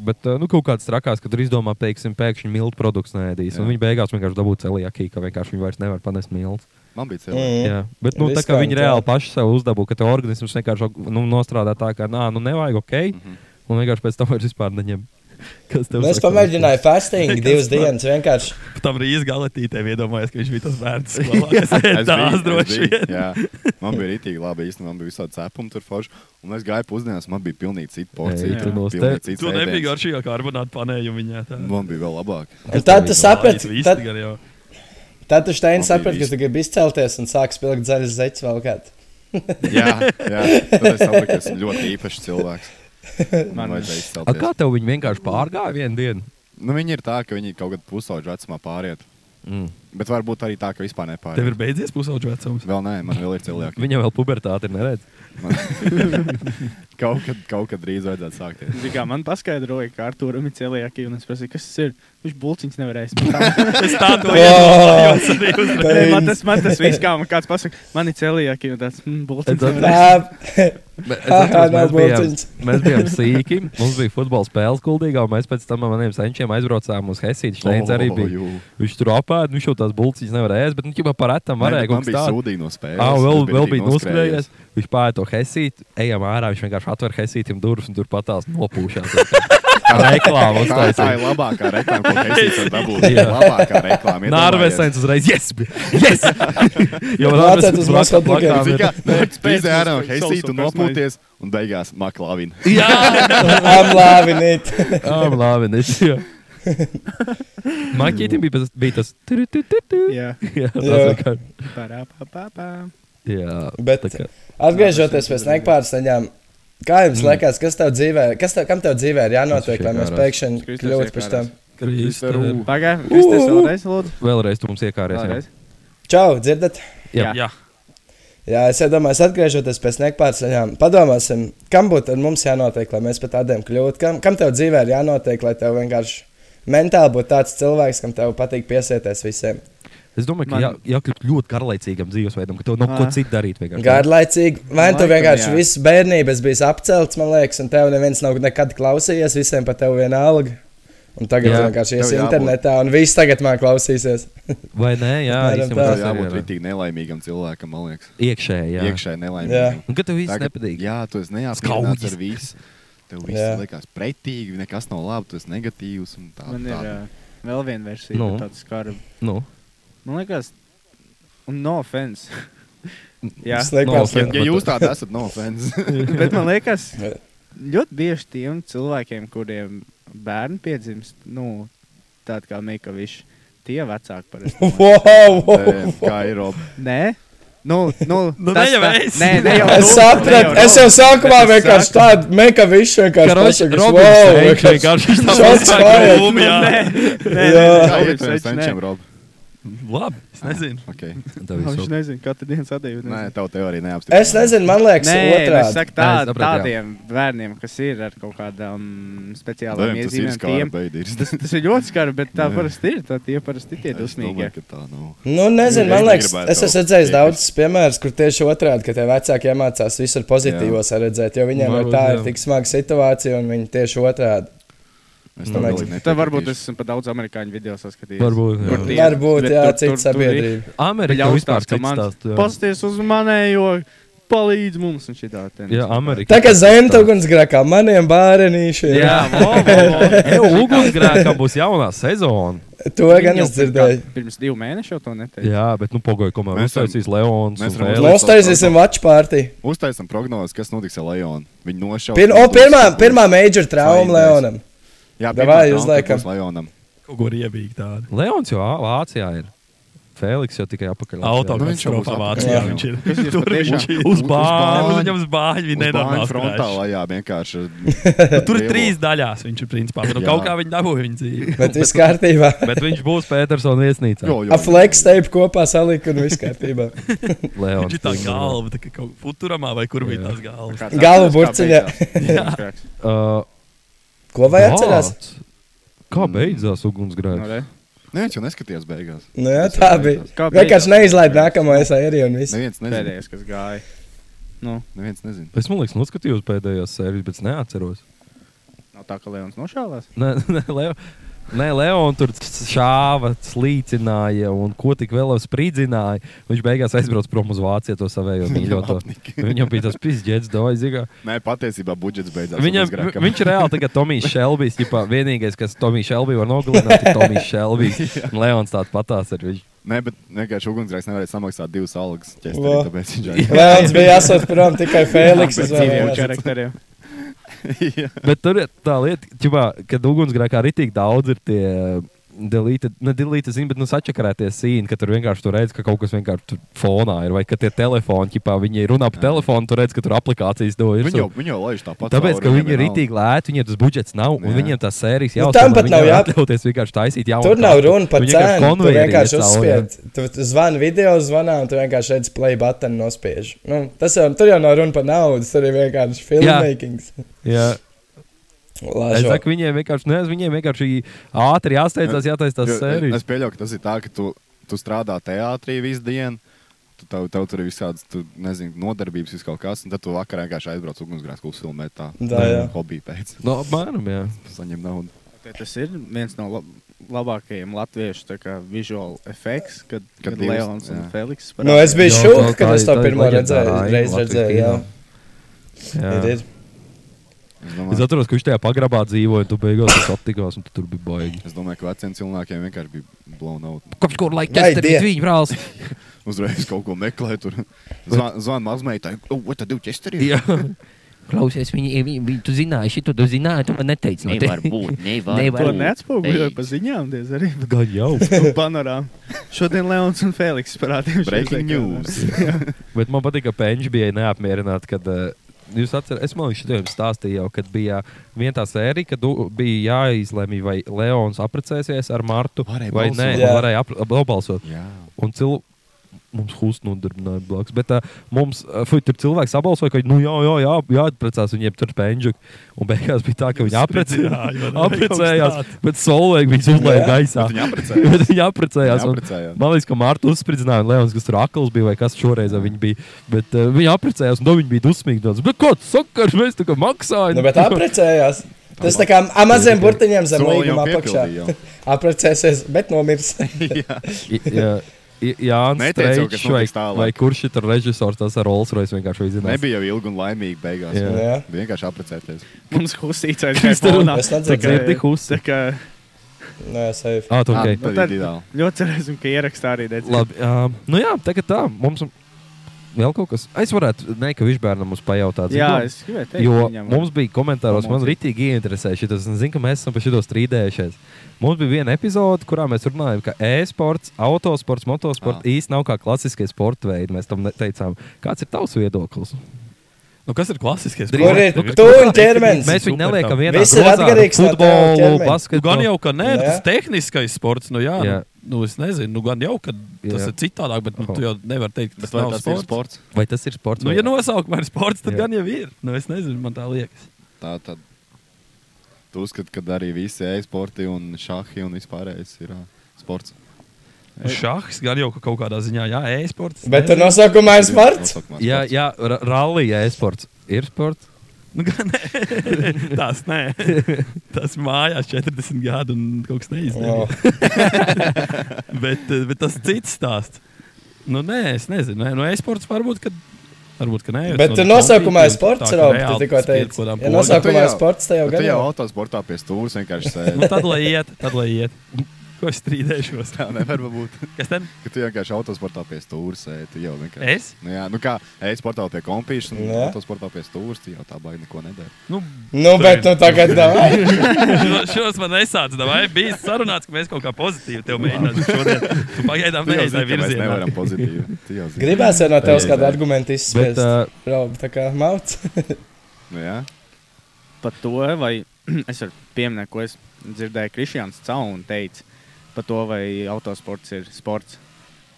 [SPEAKER 1] bet eh, nu, kaut kādas trakās, kad tur izdomā, teiksim, pēkšņi miltu produkts nēdīs. Un
[SPEAKER 2] Jā.
[SPEAKER 1] viņi beigās vienkārši dabū celiakī, ka vienkārši viņi vairs nevar panest miltu.
[SPEAKER 2] Man bija cilvēks.
[SPEAKER 4] Mm.
[SPEAKER 1] Jā, bet nu, tā kā
[SPEAKER 4] Riskanti,
[SPEAKER 1] viņi
[SPEAKER 4] jā.
[SPEAKER 1] reāli paši sev uzdabū, ka tev organisms vienkārši nu, nostrādā tā, ka nā, nu nevajag ok, mm -hmm. un vienkārši pēc tam vairs vispār neņem.
[SPEAKER 3] Kas tev
[SPEAKER 4] Nu, es pamēģināju fasting divas dienas vienkārši.
[SPEAKER 3] Tam brīdim galatītēm iedomājos, ka viņš bija tas vērts. Labākais ēdās droši vien.
[SPEAKER 2] Jā, man bija rītīgi labi. Īstenībā man bija visādi cepumi tur forši. Un es gāju pusdienās, man bija pilnīgi cita porcija.
[SPEAKER 3] Ei,
[SPEAKER 2] tur
[SPEAKER 3] tu no
[SPEAKER 2] pilnīgi
[SPEAKER 3] ste-
[SPEAKER 2] cits
[SPEAKER 3] Tu
[SPEAKER 2] ēdiens.
[SPEAKER 3] nebija garšīgā karbonāta panējuma viņā.
[SPEAKER 1] Nu,
[SPEAKER 3] tā.
[SPEAKER 2] Man bija vēl labāk.
[SPEAKER 4] Un tad tu saprati,
[SPEAKER 3] Visi
[SPEAKER 4] tad,
[SPEAKER 3] gan jau.
[SPEAKER 4] tad tu Steini
[SPEAKER 2] Labi,
[SPEAKER 4] saprati, ka
[SPEAKER 2] viss.
[SPEAKER 4] tu gribi izcelties un sāks pilkt zaļas zeķes vēl kādā.
[SPEAKER 2] Jā, jā. Tad es sapratu, ka esmu ļoti īpašs cilvēks. Man vajadzēja
[SPEAKER 1] A, kā
[SPEAKER 2] izcelties.
[SPEAKER 1] tev viņi vienkārši pārgāja vienu dienu?
[SPEAKER 2] Nu, viņi ir tā, ka viņi kaut kad pusaudžu vecumā pāriet.
[SPEAKER 1] Mm.
[SPEAKER 2] Bet varbūt arī tā, ka vispār nepāriet.
[SPEAKER 3] Tev ir beidzies pusauģis vecums.
[SPEAKER 2] Vēl nē, man vēl ir cilvēki.
[SPEAKER 1] Viņam vēl pubertāte ir neredz.
[SPEAKER 2] Kaut kad, kaut kad drīz vajadzētu sākties.
[SPEAKER 9] Zini Kā, man paskaidroja, ka Arthūram ir celiakija, un es prasīju, kas tas ir. Viņš būciņš nevarēs.
[SPEAKER 3] Es tā to
[SPEAKER 4] Wow!
[SPEAKER 9] Nē, man tas, man tas viss kā man kāds pasaka, man ir celiakija, un tāds mm,
[SPEAKER 1] Es
[SPEAKER 9] būciņš.
[SPEAKER 1] atceros-
[SPEAKER 9] nevarēs."
[SPEAKER 1] Bet es atceros,
[SPEAKER 4] Nav
[SPEAKER 1] mēs bijām-
[SPEAKER 4] bolciņas.
[SPEAKER 1] Mēs bijām sīki, mums bija futbola spēle skuldīgā, un mēs pēc tam ar maniem senčiem aizbraucām uz Helsīdu. Šneidz arī bija.
[SPEAKER 2] Oh, jū.
[SPEAKER 1] Viņš tur apēda, viņš jau tās bulciņas nevarēja ēst, bet nu, viņš jau parētam varēja
[SPEAKER 2] Man
[SPEAKER 1] kaut
[SPEAKER 2] bija
[SPEAKER 1] kā tādu.
[SPEAKER 2] sūdīgi no spēles.
[SPEAKER 1] Ah, vēl,
[SPEAKER 2] Es
[SPEAKER 1] vēl
[SPEAKER 2] biju
[SPEAKER 1] bija
[SPEAKER 2] noskrējies.
[SPEAKER 1] noskrējies. Viņš pārēja to hesītu, ejam ārā. Viņš vienkārši atver hesītam durvis un tur patās nopūšās. Tā reklāma
[SPEAKER 2] Tā, tā ir
[SPEAKER 1] uztaisīja.
[SPEAKER 2] labākā reklāma, ko es esmu
[SPEAKER 1] Jā.
[SPEAKER 2] dabūjis. Labākā reklāma.
[SPEAKER 1] Nārvesens uzreiz, yes! yes! Jā,
[SPEAKER 4] Nācāt uz Maskavas blokiem.
[SPEAKER 2] Pēc tam ārā heisīt un
[SPEAKER 9] Sausu
[SPEAKER 2] nopūties un beigās maklāvina.
[SPEAKER 4] I'm loving it.
[SPEAKER 1] Am lāvinis. Maķītim bija tas. Bija tas tu, tu, tu, tu.
[SPEAKER 9] Jā,
[SPEAKER 1] Jā, tas
[SPEAKER 4] Jā.
[SPEAKER 1] vienkār-
[SPEAKER 9] parā, pa, pa, pa.
[SPEAKER 1] Jā,
[SPEAKER 4] Bet
[SPEAKER 1] tā kā-
[SPEAKER 4] atgriežoties pie snaga pārsteigumiem, kā
[SPEAKER 1] Mm.
[SPEAKER 4] jums liekas, kas tev dzīvē, kas tev, kam tev dzīvē ir jānotiek,
[SPEAKER 1] Viņš
[SPEAKER 4] lai mēs
[SPEAKER 1] iekārās.
[SPEAKER 4] pēkšņi
[SPEAKER 9] Kristus
[SPEAKER 4] kļūtu par tām?
[SPEAKER 1] Kristu.
[SPEAKER 9] Pagaidām, Kristēns vēlreiz lūdzu.
[SPEAKER 1] Vēlreiz tu mums iekārēsi.
[SPEAKER 9] Uh. Vēlreiz.
[SPEAKER 4] Čau, dzirdat?
[SPEAKER 1] Jā.
[SPEAKER 3] Jā,
[SPEAKER 4] Jā, es iedomājos, atgriežoties pie snaga pārsteigumiem, padomāsim, kam būtu tad mums jānotiek, lai mēs par tādiem kļūtu. Kam, kam tev dzīvē ir jānotiek, lai tev vienkārši mentāli būtu tāds cilvēks, kam tev patīk piesieties visiem?
[SPEAKER 1] Es domāju, ka
[SPEAKER 9] Man-
[SPEAKER 1] jā, jākļūt ļoti garlaicīgam dzīvesveidam, ka tev nav ko
[SPEAKER 9] Ā.
[SPEAKER 1] citu darīt. vienkārši.
[SPEAKER 4] Garlaicīgi, vai tu
[SPEAKER 9] Laikam,
[SPEAKER 4] vienkārši
[SPEAKER 9] jā.
[SPEAKER 4] visu bērnību esi bijis apcelts, man liekas, un tev neviens nav nekad klausījies, visiem par tevi vienalga. Un tagad
[SPEAKER 1] Jā,
[SPEAKER 4] jā, vienkārši
[SPEAKER 2] tev
[SPEAKER 4] ies
[SPEAKER 2] jābūt.
[SPEAKER 4] internetā, un viss tagad man klausīsies.
[SPEAKER 1] Vai nē, jā,
[SPEAKER 4] Apmēram
[SPEAKER 1] īstenībā
[SPEAKER 4] tā.
[SPEAKER 1] tas
[SPEAKER 2] Tas
[SPEAKER 1] ir,
[SPEAKER 2] jābūt
[SPEAKER 1] jā.
[SPEAKER 2] rītīgi nelaimīgam cilvēkam, man liekas.
[SPEAKER 1] Iekšēji, jā.
[SPEAKER 2] Iekšēji nelaimīgam.
[SPEAKER 1] Un ka tev viss
[SPEAKER 2] Tagad-
[SPEAKER 1] nepatīk.
[SPEAKER 2] Jā, tu esi neapskaujams
[SPEAKER 1] Skaudis.
[SPEAKER 2] ar visu. Tev
[SPEAKER 4] Jā.
[SPEAKER 2] viss likās pretīgi, nekas nav labi, tu esi negatīvs un tā.
[SPEAKER 9] Man ir
[SPEAKER 2] tā.
[SPEAKER 9] ā, vēl viena versija,
[SPEAKER 1] Nu.
[SPEAKER 9] nu. tāds kā ar.
[SPEAKER 1] Nu,
[SPEAKER 9] Man liekas, un no offense. Jā,
[SPEAKER 4] Tas liekas,
[SPEAKER 1] no,
[SPEAKER 4] tas ir-
[SPEAKER 2] Ja jūs tādi esat, no offense.
[SPEAKER 9] bet man liekas,
[SPEAKER 4] Jā.
[SPEAKER 9] ļoti bieži tiem cilvēkiem, kuriem bērni piedzimst, nu, tādi kā Mikavičs, tie vecāki parasti.
[SPEAKER 4] Wow, wow.
[SPEAKER 2] Nē, Kā ir Rob?
[SPEAKER 9] Nē, nu, nu,
[SPEAKER 3] Nu,
[SPEAKER 9] tas
[SPEAKER 3] ne jau
[SPEAKER 9] tā-
[SPEAKER 3] es.
[SPEAKER 9] Nē, ne
[SPEAKER 4] Es
[SPEAKER 9] jau nu, ne
[SPEAKER 4] sapratu,
[SPEAKER 9] nu.
[SPEAKER 4] es jau sākumā
[SPEAKER 9] Bet es
[SPEAKER 4] vienkārši tādu mekavišu vienkārši
[SPEAKER 1] Karoči,
[SPEAKER 4] pasaku,
[SPEAKER 1] Robins
[SPEAKER 4] wow,
[SPEAKER 1] Veik
[SPEAKER 4] vienkārši-
[SPEAKER 1] vienkārši tā
[SPEAKER 4] Shots
[SPEAKER 1] uzsāk
[SPEAKER 4] fired.
[SPEAKER 1] dūmu, jā.
[SPEAKER 9] Nē, nē,
[SPEAKER 4] Jā.
[SPEAKER 2] Kā ir
[SPEAKER 9] Robins
[SPEAKER 2] tev
[SPEAKER 9] Veiks,
[SPEAKER 2] senčiem,
[SPEAKER 9] nē.
[SPEAKER 2] Rob?
[SPEAKER 3] labi. Es nezinu.
[SPEAKER 2] Okay.
[SPEAKER 1] Tev
[SPEAKER 9] Nu,
[SPEAKER 1] viss
[SPEAKER 9] Viņš
[SPEAKER 1] ok.
[SPEAKER 9] nezina, katru dienu sadēvju.
[SPEAKER 2] Nē, tev teorija neapstiprināta.
[SPEAKER 4] Es nezinu, man liekas,
[SPEAKER 9] Nē, nu, es
[SPEAKER 4] otrādi.
[SPEAKER 9] saku tā,
[SPEAKER 1] Nē, es sapratu, jā.
[SPEAKER 9] tādiem bērniem, kas ir ar kaut kādām speciālām
[SPEAKER 2] Viņam tas ir
[SPEAKER 9] iezīmēm,
[SPEAKER 2] skāra
[SPEAKER 9] tiem,
[SPEAKER 2] beidīrs.
[SPEAKER 9] tas, tas ir ļoti skarbi, bet tā
[SPEAKER 2] Jā.
[SPEAKER 9] parasti ir. Tā tie parasti ir tie
[SPEAKER 2] Es
[SPEAKER 9] dusmīgie.
[SPEAKER 2] domāju, ka tā nav.
[SPEAKER 4] Nu, nezinu,
[SPEAKER 2] Es
[SPEAKER 4] man liekas,
[SPEAKER 2] negribētu
[SPEAKER 4] es
[SPEAKER 2] tev
[SPEAKER 4] esmu redzējis
[SPEAKER 2] piekrist.
[SPEAKER 4] daudzus piemērus, kur tieši otrādi, ka tie vecāki iemācās visur pozitīvos redzēt, jo viņiem jau
[SPEAKER 1] Varbūt,
[SPEAKER 4] tā ir
[SPEAKER 1] jā.
[SPEAKER 4] tik smaga situācija, un viņi tieši otrādi.
[SPEAKER 2] Es
[SPEAKER 4] Man
[SPEAKER 2] tam
[SPEAKER 4] liekas,
[SPEAKER 2] galīgi
[SPEAKER 9] Tā varbūt
[SPEAKER 2] nepiekrītīšu.
[SPEAKER 9] es esmu pa daudz amerikāņu video saskatījis.
[SPEAKER 1] Varbūt.
[SPEAKER 9] Kur
[SPEAKER 1] jā.
[SPEAKER 9] tie-
[SPEAKER 4] Varbūt,
[SPEAKER 9] bet
[SPEAKER 4] jā,
[SPEAKER 9] tur-
[SPEAKER 4] cita
[SPEAKER 9] tur- tur ir-
[SPEAKER 4] sabiedrība.
[SPEAKER 1] Amerikā vispār
[SPEAKER 9] Ļautās, ka
[SPEAKER 1] cits
[SPEAKER 9] man
[SPEAKER 1] stāsts. jā.
[SPEAKER 9] pasties uz manējo, palīdz mums un šitā. ten.
[SPEAKER 1] Jā, Amerikā.
[SPEAKER 4] Tā kā zemtuguns grākā maniem bērnīšiem.
[SPEAKER 3] Jā, vo, vo, vo.
[SPEAKER 1] Evo, ugunsgrēkā būs jaunā sezona.
[SPEAKER 4] To gan es
[SPEAKER 9] Viņi jau
[SPEAKER 4] dzirdēju.
[SPEAKER 9] kā Pirms divu mēnešu jau to neteicu.
[SPEAKER 1] Jā, bet nu pogoj, ko man
[SPEAKER 2] Mēs varam-
[SPEAKER 1] uztaisīs Leons.
[SPEAKER 2] mēs
[SPEAKER 1] un
[SPEAKER 2] varam
[SPEAKER 1] Fēlis.
[SPEAKER 2] uzlikt-
[SPEAKER 4] Nostāsīsim watch party.
[SPEAKER 2] Uztaisam prognozes, kas notiks ar Leonu. Viņu nošauts.
[SPEAKER 4] Pir o, pirmā, pirmā major trauma
[SPEAKER 2] Saitais.
[SPEAKER 4] Leonam.
[SPEAKER 2] Jā,
[SPEAKER 4] Davai,
[SPEAKER 2] pirmā
[SPEAKER 4] uzliekam.
[SPEAKER 2] trauma būs Leonam.
[SPEAKER 3] Kaut kur iebīgi tādi.
[SPEAKER 1] Leons jau Ā- Vācijā ir. Fēliks jau tikai apakaļ.
[SPEAKER 3] Auto
[SPEAKER 2] Nu, viņš jau būs
[SPEAKER 3] katastrofā
[SPEAKER 2] apakaļ.
[SPEAKER 3] Vācijā
[SPEAKER 2] Jā.
[SPEAKER 3] viņš ir.
[SPEAKER 9] Kas jūs
[SPEAKER 3] Tur
[SPEAKER 9] patiešām-
[SPEAKER 3] viņš ir uz
[SPEAKER 2] uz
[SPEAKER 3] bāņu,
[SPEAKER 2] bāņu.
[SPEAKER 3] viņam uz bāņu bija
[SPEAKER 2] Viņa
[SPEAKER 3] nenormāls krāšs.
[SPEAKER 2] frontālā jā, vienkārši.
[SPEAKER 3] Nu, Tur ir
[SPEAKER 2] Lievo.
[SPEAKER 3] trīs daļās viņš ir principā. bet Nu,
[SPEAKER 2] Jā.
[SPEAKER 3] kaut kā viņi dabūja viņa dzīvi.
[SPEAKER 4] Bet viss kārtībā.
[SPEAKER 1] Bet viņš būs Petersona viesnīcā.
[SPEAKER 2] Jo, jo.
[SPEAKER 4] A flex tape kopā salika un viss kārtībā.
[SPEAKER 1] Leons.
[SPEAKER 3] Viņš ir tā galva, tā kā kaut kur futuramā vai kur bija tās galvas.
[SPEAKER 9] Kāds
[SPEAKER 4] Galvu
[SPEAKER 9] atceras,
[SPEAKER 4] burciņā.
[SPEAKER 9] kā beidzās? Kraks.
[SPEAKER 1] Uh,
[SPEAKER 4] Ko vai atcerās?
[SPEAKER 1] vārds. Kā beidzās ugunsgrēks?
[SPEAKER 9] Nu, re.
[SPEAKER 2] Nē, viņš jau neskatījās beigās.
[SPEAKER 4] Nu, jā, tā bija.
[SPEAKER 9] Kā
[SPEAKER 4] Vienkārši
[SPEAKER 9] beidzās?
[SPEAKER 4] neizlaiž nākamo sēriju un
[SPEAKER 1] Nu
[SPEAKER 4] viss.
[SPEAKER 2] Neviens nezina.
[SPEAKER 9] Pēdējais, kas gāja. Nu,
[SPEAKER 2] Neviens nezina.
[SPEAKER 1] Es man liekas, noskatījos pēdējās sērijas, bet es neatceros.
[SPEAKER 9] Nav tā, ka Leons nošāvās.
[SPEAKER 1] Nē, nē, Leo. Nē, Leon tur šāva, slīcināja un ko tik vēl spridzināja. Viņš beigās aizbrauca prom uz Vāciju to savējo mīļoto. Viņam bija tas pizdzēdz, doizīgi.
[SPEAKER 2] Nē, patiesībā budžets beidzās.
[SPEAKER 1] Viņam,
[SPEAKER 2] un uzgrēkam.
[SPEAKER 1] vi- viņš ir reāli tagad Tomijs Šelbijs. Ģipā, vienīgais, kas Tomijs Šelbijs var nogalināt, ir Tomijs Šelbijs. Un Leons tāds patās ar viņu.
[SPEAKER 2] Nē, bet vienkārši ugunsgrēks nevarēja samaksāt divas algas. ķest
[SPEAKER 4] Vā.
[SPEAKER 2] arī, Tāpēc viņš
[SPEAKER 4] Leons bija jāsūt prom, tikai
[SPEAKER 2] Jā,
[SPEAKER 4] Fēliks
[SPEAKER 2] bet
[SPEAKER 4] izvēlējās.
[SPEAKER 2] dzīviem
[SPEAKER 9] karakteriem.
[SPEAKER 1] Bet tur ir tā lieta, ķipā, kad ugunsgrēkā ir tik daudz ir tie. Delīta, ne delīta zina, bet nu sačakarēties sīni, ka tur vienkārši tur redz, ka kaut kas vienkārši tur fonā ir. Vai ka tie telefoni, ķipā, viņi runā pa telefonu, tur redz, ka tur aplikācijas dojas.
[SPEAKER 2] Viņu jau, viņu jau laiž tāpat.
[SPEAKER 1] Tāpēc, ka
[SPEAKER 2] cauri,
[SPEAKER 1] viņi ir
[SPEAKER 2] viņiem
[SPEAKER 1] rītīgi lēti, viņiem tas budžets nav, un
[SPEAKER 2] Jā.
[SPEAKER 1] viņiem tās sērijas
[SPEAKER 4] Nu,
[SPEAKER 1] jau
[SPEAKER 4] tam pat nav jā-
[SPEAKER 1] jāatļauties vienkārši taisīt jaunu.
[SPEAKER 4] Tur nav
[SPEAKER 1] kārtu.
[SPEAKER 4] runa par
[SPEAKER 1] Viņi vienkārši
[SPEAKER 4] cenu. Tu
[SPEAKER 1] konvejerī
[SPEAKER 4] vienkārši
[SPEAKER 1] iet cauri, jā.
[SPEAKER 4] uzspied. Tu tu zvani video zvanā, un tu vienkārši redz play button nospiež. Nu, tas jau, tur jau nav runa par naudu, tur ir vienkārši filmmakings.
[SPEAKER 1] Jā. Es
[SPEAKER 4] Lāžo.
[SPEAKER 1] saku, viņiem vienkārši, ne, viņiem vienkārši ātri jāsteidzas, jātaisa tās
[SPEAKER 2] Jo
[SPEAKER 1] sērijas.
[SPEAKER 2] Es pieļauju, ka tas ir tā, ka tu, tu strādā teātrī visu dienu. tu- Tev, tev tur ir visādas, tu, nezinu, nodarbības, vis kaut kas, un tad tu vakarā vienkārši aizbrauc uz ugunsgrēku filmēt. Tā
[SPEAKER 4] Tā, jā.
[SPEAKER 2] hobija pēc.
[SPEAKER 1] No Nu, apmēram, jā.
[SPEAKER 2] Saņem naudu.
[SPEAKER 9] Te Tas ir viens no lab labākajiem latviešu tā kā, visual effects, kad,
[SPEAKER 2] Kad
[SPEAKER 9] kad, kad
[SPEAKER 2] divas,
[SPEAKER 9] Leons un
[SPEAKER 2] jā.
[SPEAKER 9] Feliks
[SPEAKER 4] Nu, es biju
[SPEAKER 1] Jā,
[SPEAKER 4] šūka,
[SPEAKER 1] tā-
[SPEAKER 4] kad
[SPEAKER 1] tā
[SPEAKER 4] es
[SPEAKER 1] ir-
[SPEAKER 4] to
[SPEAKER 1] tā ir
[SPEAKER 4] pirmo redzēju.
[SPEAKER 1] leģendāra
[SPEAKER 4] Reiz
[SPEAKER 1] aina
[SPEAKER 4] redzēju, jā.
[SPEAKER 1] Latvijas
[SPEAKER 4] Ir,
[SPEAKER 1] jā.
[SPEAKER 4] ir.
[SPEAKER 2] Es
[SPEAKER 1] Es
[SPEAKER 2] domāju,
[SPEAKER 1] atceros, ka viņš tajā pagrabā dzīvoja, un tu beigās tur satikās, un tu tur bija baigi.
[SPEAKER 2] es domāju, ka veciem cilvēkiem vienkārši bija blown out.
[SPEAKER 1] Kopš kur laika
[SPEAKER 4] Vai
[SPEAKER 1] ķesteri
[SPEAKER 4] die?
[SPEAKER 1] bija viņa brālis?
[SPEAKER 2] Uzreiz kaut ko meklē, tur zvan, zvan mazmeitai, oh, ko tad divi ķesteri?
[SPEAKER 1] Jā. Klausies, viņi, viņi, tu zināji, šito tu zināji, tu man neteici. No
[SPEAKER 11] Nevar būt, nevar
[SPEAKER 1] Nevar
[SPEAKER 9] To
[SPEAKER 11] būt.
[SPEAKER 9] neatspoguļoja
[SPEAKER 11] Beidz.
[SPEAKER 9] pa ziņām, diez arī
[SPEAKER 1] Gan jau.
[SPEAKER 9] panorāmā. Šodien Leons un Feliks parādīja
[SPEAKER 2] Breaking news.
[SPEAKER 1] Bet man patīk, ka Pēņš bija neapmierināts. Kad, eh, Jūs atceraties, es domāju, ka jums stāstīju jau, kad bija viena tā sērija, kad u- bija jāizlemj, vai Leons apprecēsies ar Martu
[SPEAKER 2] Varēja
[SPEAKER 1] vai nē. Jā.
[SPEAKER 2] balsot.
[SPEAKER 4] Jā.
[SPEAKER 1] Varēja apr- nobalsot.
[SPEAKER 2] Jā.
[SPEAKER 1] Un cilvēks mums hūst nodarbināja blakus. Bet uh, mums, uh, fui, tur cilvēks apbalsoja, ka nu, jā, jā, jā, jāatprecās viņiem tur Pēņģu. Un beigās bija tā, ka viņi apprecējās,
[SPEAKER 3] Spridzināja, vai ne?
[SPEAKER 1] apprecējās bet solveigi viņus uzlēja gaisā.
[SPEAKER 2] Viņi apprecējās.
[SPEAKER 1] Bet Viņi apprecējās. un-
[SPEAKER 2] Apprecējās.
[SPEAKER 1] Man liekas, ka Mārta uzspridzināja, un Leons, kas tur akls bija, vai kas šoreiz viņa bija. Bet, uh, viņa apprecējās, un tad viņa bija dusmīga. Daudz. Bet kāds saka, ka mēs tā kā maksājam?
[SPEAKER 4] Nu, bet aprecējās. Tas tā kā ar maziem burtiņiem zem
[SPEAKER 2] Soli jau
[SPEAKER 4] līguma apakšā.
[SPEAKER 2] piepildīja. jau.
[SPEAKER 4] Aprecēsies, bet nomirs.
[SPEAKER 1] Jā, jā
[SPEAKER 2] Neteicu,
[SPEAKER 1] Antūns,
[SPEAKER 2] kas
[SPEAKER 1] vai,
[SPEAKER 2] notiks tālāk.
[SPEAKER 1] vai kurš ir tur režisors, tas ar Rolls Royce vienkārši izdarīja.
[SPEAKER 2] Nebija jau ilgi un laimīgi beigās.
[SPEAKER 1] Jā.
[SPEAKER 4] Nu Jā.
[SPEAKER 2] Vienkārši apprecēties.
[SPEAKER 9] Mums husīts
[SPEAKER 1] Es
[SPEAKER 9] aizgāja
[SPEAKER 1] tur-
[SPEAKER 9] fonā.
[SPEAKER 4] es nedzirdu.
[SPEAKER 9] Tā kā-
[SPEAKER 1] Dzirdi husi.
[SPEAKER 9] tā kā-
[SPEAKER 4] Nē, nu safe.
[SPEAKER 1] Ah, tu, okay.
[SPEAKER 2] Tā
[SPEAKER 9] Nu,
[SPEAKER 2] bija
[SPEAKER 9] tad-
[SPEAKER 2] ideāla.
[SPEAKER 9] Nu, cerēsim, ka ierakstā arī dēļ.
[SPEAKER 1] Labi, um, nu jā, tagad tā, mums vēl kaut kas. Es varētu, ne, ka Višbērnam mums pajautāt. zini
[SPEAKER 9] Jā,
[SPEAKER 1] ko?
[SPEAKER 9] es gribēju teikt,
[SPEAKER 1] Jo
[SPEAKER 9] viņam-
[SPEAKER 1] mums bija komentāros, man
[SPEAKER 9] pamocīt.
[SPEAKER 1] rītīgi ieinteresēja šis. Es zinu, ka mēs esam par šo strīdējušies. Mums bija viena epizode, kurā mēs runājām, ka e-sports, autosports, motosports
[SPEAKER 2] Ah.
[SPEAKER 1] īstenībā nav kā klasiskie sporta veidi. Mēs tam ne- teicām, kāds ir tavs viedoklis.
[SPEAKER 3] Nu, kas ir klasiskais?
[SPEAKER 4] Kur ir
[SPEAKER 3] Nu,
[SPEAKER 4] tu un ķermenis?
[SPEAKER 1] Mēs viņu
[SPEAKER 3] Super
[SPEAKER 1] neliekam
[SPEAKER 3] tā.
[SPEAKER 1] vienā
[SPEAKER 4] Viss ir
[SPEAKER 1] grozā ar
[SPEAKER 4] atkarīgs no tava
[SPEAKER 1] futbolu,
[SPEAKER 4] ķermeņa.
[SPEAKER 3] Nu,
[SPEAKER 1] basketbolu.
[SPEAKER 3] gan jau, ka nē,
[SPEAKER 4] Jā.
[SPEAKER 3] tas tehniskais sports, nu jā,
[SPEAKER 1] Jā.
[SPEAKER 3] jā. Nu, es nezinu, nu, gan jau, ka tas
[SPEAKER 1] Jā.
[SPEAKER 3] jā. ir citādāk, bet nu,
[SPEAKER 1] Aha.
[SPEAKER 3] tu jau nevari teikt, ka
[SPEAKER 2] Tas
[SPEAKER 3] tas nav
[SPEAKER 2] tas ir
[SPEAKER 3] sports. sports.
[SPEAKER 2] sports.
[SPEAKER 1] Vai tas ir sports?
[SPEAKER 3] Nu,
[SPEAKER 1] vai
[SPEAKER 3] ja
[SPEAKER 1] nē?
[SPEAKER 3] nosaukumā ir sports, tad
[SPEAKER 1] Jā.
[SPEAKER 3] jā. gan jau ir. Nu, es nezinu, man tā liekas.
[SPEAKER 2] Tā tad tu uzskati, ka arī visi e-sporti un šahi un vispārējais ir ā, sports.
[SPEAKER 3] Nu, Šachs gan jau ka kaut kādā ziņā, jā, e-sports.
[SPEAKER 4] Bet tur
[SPEAKER 3] nezinu.
[SPEAKER 4] nosaukumā ir sports.
[SPEAKER 2] Nosaukumā sports.
[SPEAKER 1] Jā, jā ra- rallija e-sports ir sports.
[SPEAKER 3] Nu, gan, nē. tas nē, tas mājās 40 gadu un kaut kas
[SPEAKER 4] Oh.
[SPEAKER 3] neizdevies. bet, eh, bet tas cits stāsts. Nu, nē, es nezinu, nē, no e-sports varbūt, ka. Varbūt, ka nē,
[SPEAKER 4] Bet
[SPEAKER 3] es
[SPEAKER 4] tu
[SPEAKER 3] no
[SPEAKER 4] nosaukumā ir
[SPEAKER 3] kompītiem,
[SPEAKER 4] sports,
[SPEAKER 3] tā, ka
[SPEAKER 4] Rob,
[SPEAKER 3] reāli
[SPEAKER 4] tu tikko
[SPEAKER 3] spied kaut
[SPEAKER 4] teici. Ja
[SPEAKER 3] kādām pogām.
[SPEAKER 4] nosaukumā
[SPEAKER 2] Bet tu
[SPEAKER 4] ir
[SPEAKER 2] jau-
[SPEAKER 4] sports, tev jau
[SPEAKER 2] Bet Tu
[SPEAKER 4] gan
[SPEAKER 2] jau
[SPEAKER 4] jau.
[SPEAKER 2] autosportā pie stūres vienkārši
[SPEAKER 3] Nu,
[SPEAKER 2] sēdi.
[SPEAKER 3] tad lai iet, tad lai iet. Ko es strīdēšos?
[SPEAKER 2] Tā nevar būt.
[SPEAKER 3] Kas tad?
[SPEAKER 2] Ka tu vienkārši autosportā pie stūres sēdi. tu jau vienkārši-
[SPEAKER 3] Es?
[SPEAKER 2] Nu, jā, nu kā e-sportā pie kompīša un
[SPEAKER 4] Jā.
[SPEAKER 2] autosportā pie stūres, tu jau tā baigi neko nedara.
[SPEAKER 3] Nu,
[SPEAKER 4] Nu, bet nu tagad davai.
[SPEAKER 3] šo- šos man nesāca. Vai bija sarunāts, ka mēs kaut kā pozitīvi tevi mēģinām šodien? Tu pagaidām
[SPEAKER 2] Tu jau zini,
[SPEAKER 3] neizdevies
[SPEAKER 2] ka mēs
[SPEAKER 3] virzienā.
[SPEAKER 2] nevaram pozitīvi. Tu jau zini.
[SPEAKER 4] Gribēs jau no tevis
[SPEAKER 2] Jā,
[SPEAKER 4] kādu
[SPEAKER 2] jā.
[SPEAKER 4] argumentu
[SPEAKER 1] Bet,
[SPEAKER 4] izspiest.
[SPEAKER 1] uh,
[SPEAKER 4] Rob, tā kā mauc.
[SPEAKER 2] Nu, jā.
[SPEAKER 9] par to, vai es varu pieminēt, ko es dzirdēju, Kristians Cauns teica par to, vai autosports ir sports.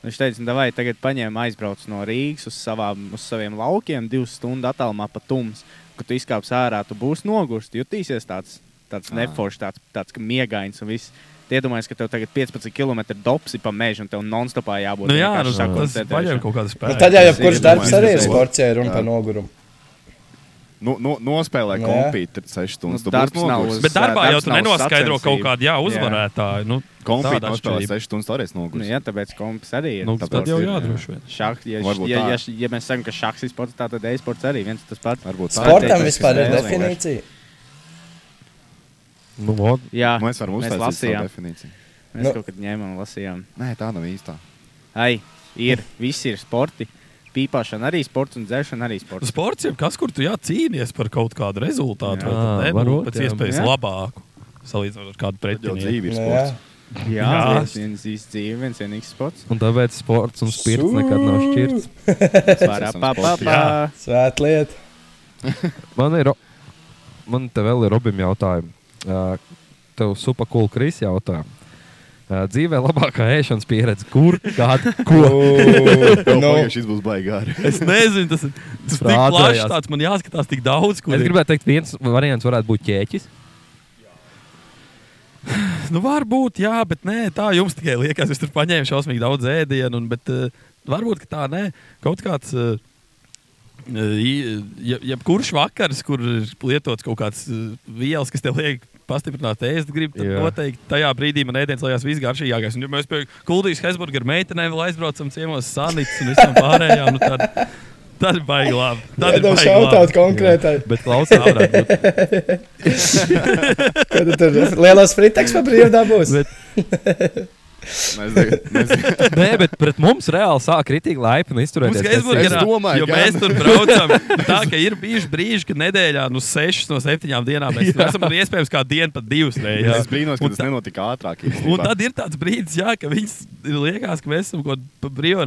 [SPEAKER 9] Viņš teica, nu, vai tagad paņem aizbrauc no Rīgas uz, savām, uz saviem laukiem, divas stundas attālumā pa tums, kad tu izkāps ārā, tu būsi nogurst, jutīsies tāds, tāds
[SPEAKER 2] Ā.
[SPEAKER 9] neforšs, tāds, tāds ka miegains un viss. Iedomājieties, ka tev tagad 15 km dopsi pa mežu un tev non-stopā jābūt.
[SPEAKER 3] Nu, jā, nu, tas
[SPEAKER 9] vienkārši sakoncentrēšanā.
[SPEAKER 3] paņem kaut kādu
[SPEAKER 4] Nu,
[SPEAKER 3] spēku.
[SPEAKER 4] Tad jau
[SPEAKER 2] tas
[SPEAKER 4] jebkurš
[SPEAKER 2] ir
[SPEAKER 4] darbs
[SPEAKER 2] domājums,
[SPEAKER 4] arī ir
[SPEAKER 2] tas ir
[SPEAKER 4] sports, ja ir runa
[SPEAKER 2] Jā.
[SPEAKER 4] par nogurumu.
[SPEAKER 2] No, no, nospēlē
[SPEAKER 3] Nu,
[SPEAKER 2] kompīti 6
[SPEAKER 3] Nu,
[SPEAKER 2] stundas.
[SPEAKER 3] darbs nav uz- Bet darbā jau tu nenoskaidro kaut kādu, jā, uzvarētāju, nu,
[SPEAKER 2] kompīti
[SPEAKER 3] tāda
[SPEAKER 2] nospēlē
[SPEAKER 3] atšķirība.
[SPEAKER 2] 6 stundas arī noguris.
[SPEAKER 9] Nu, jā, tāpēc komps arī ir.
[SPEAKER 2] Nu, tad
[SPEAKER 9] Tāpēc
[SPEAKER 2] jau
[SPEAKER 9] ir,
[SPEAKER 2] jā, droši vien.
[SPEAKER 9] Šah, ja,
[SPEAKER 2] Varbūt
[SPEAKER 9] ja,
[SPEAKER 2] tā.
[SPEAKER 9] ja, ja mēs sakām, ka šachs ir sports, tā tad e-sports arī viens un tas pats. Varbūt
[SPEAKER 4] Sportam vispār ir definīcija.
[SPEAKER 1] Nu, vod.
[SPEAKER 9] Jā,
[SPEAKER 2] Mēs varam
[SPEAKER 9] mēs
[SPEAKER 2] uztaisīt
[SPEAKER 9] lasījām.
[SPEAKER 2] savu definīciju.
[SPEAKER 9] Mēs
[SPEAKER 2] Nu.
[SPEAKER 9] kaut kad ņēmām un lasījām.
[SPEAKER 2] Nē, tā nav īstā.
[SPEAKER 9] Ai, ir, visi ir sporti. Pīpāšana arī sports un dzēršana arī sports.
[SPEAKER 3] Sports ir kas, kur tu jā, cīnies par kaut kādu rezultātu,
[SPEAKER 9] Jā.
[SPEAKER 3] vai tad
[SPEAKER 9] Ā,
[SPEAKER 3] nebūt
[SPEAKER 9] varbūt,
[SPEAKER 3] pēc
[SPEAKER 9] jā.
[SPEAKER 3] iespējas
[SPEAKER 9] Jā.
[SPEAKER 3] labāku. Salīdzinot ar kādu pretinieku.
[SPEAKER 9] Jā,
[SPEAKER 3] Jā.
[SPEAKER 9] viens- viens īsts dzīve, viens vienīgs sports.
[SPEAKER 1] Un tāpēc sports un spirts nekad nav šķirts.
[SPEAKER 9] Parapapapā.
[SPEAKER 4] Svēta lieta.
[SPEAKER 1] Man ir, man te vēl ir Robim jautājumi. Uh, Tev super cool Kris jautā. Uh, dzīvē labākā ēšanas pieredze, kur, kad, ko?
[SPEAKER 2] Nu, šis būs baigi gari.
[SPEAKER 3] Es nezinu, tas ir tas tik
[SPEAKER 1] Frādājās.
[SPEAKER 3] plašs, tāds man jāskatās tik daudz, kur
[SPEAKER 1] Es
[SPEAKER 3] ir.
[SPEAKER 1] gribētu teikt, viens variants varētu būt ķēķis.
[SPEAKER 3] Nu, varbūt, jā, bet nē, tā jums tikai liekas. Es tur paņēmu šausmīgi daudz ēdienu, un, bet uh, varbūt ka tā nē, kaut kāds. Uh, Ja, ja kurš vakars, kur ir lietots kaut kāds uh, vielas, kas tev liek pastiprināt ēst, gribi, tad
[SPEAKER 1] Jā.
[SPEAKER 3] jā. noteikti tajā brīdī man ēdienas liekas visgaršīgākais. Un, ja mēs pie Kultūras Hesburgas meitenēm vēl aizbraucam ciemos sanīts un visām pārējām, nu, tad, tad ir baigi labi. Tad ir
[SPEAKER 4] Iedod
[SPEAKER 3] baigi
[SPEAKER 4] shoutout
[SPEAKER 3] labi.
[SPEAKER 4] konkrētai.
[SPEAKER 1] Bet klausās, kā
[SPEAKER 4] Kad tu tur lielos friteks pa brīvu dabūs?
[SPEAKER 1] Nē, bet pret mums reāli sāk kritīgi laipni
[SPEAKER 3] Mums
[SPEAKER 1] izturēties.
[SPEAKER 3] Gaisburgā, jo mēs tur braucam, tā ka ir bijuši brīži, kad nedēļā no 6 no 7 dienām mēs tur
[SPEAKER 2] Jā.
[SPEAKER 3] esam un iespējams kā dienu pat divas
[SPEAKER 2] Jā. Es
[SPEAKER 3] reizes.
[SPEAKER 2] brīnos, ka
[SPEAKER 3] Un
[SPEAKER 2] tas
[SPEAKER 3] tā-
[SPEAKER 2] nenotika ātrāk.
[SPEAKER 3] Un tad ir tāds brīdis, jā, ka viņas liekas, ka mēs esam kaut kādā brīvā.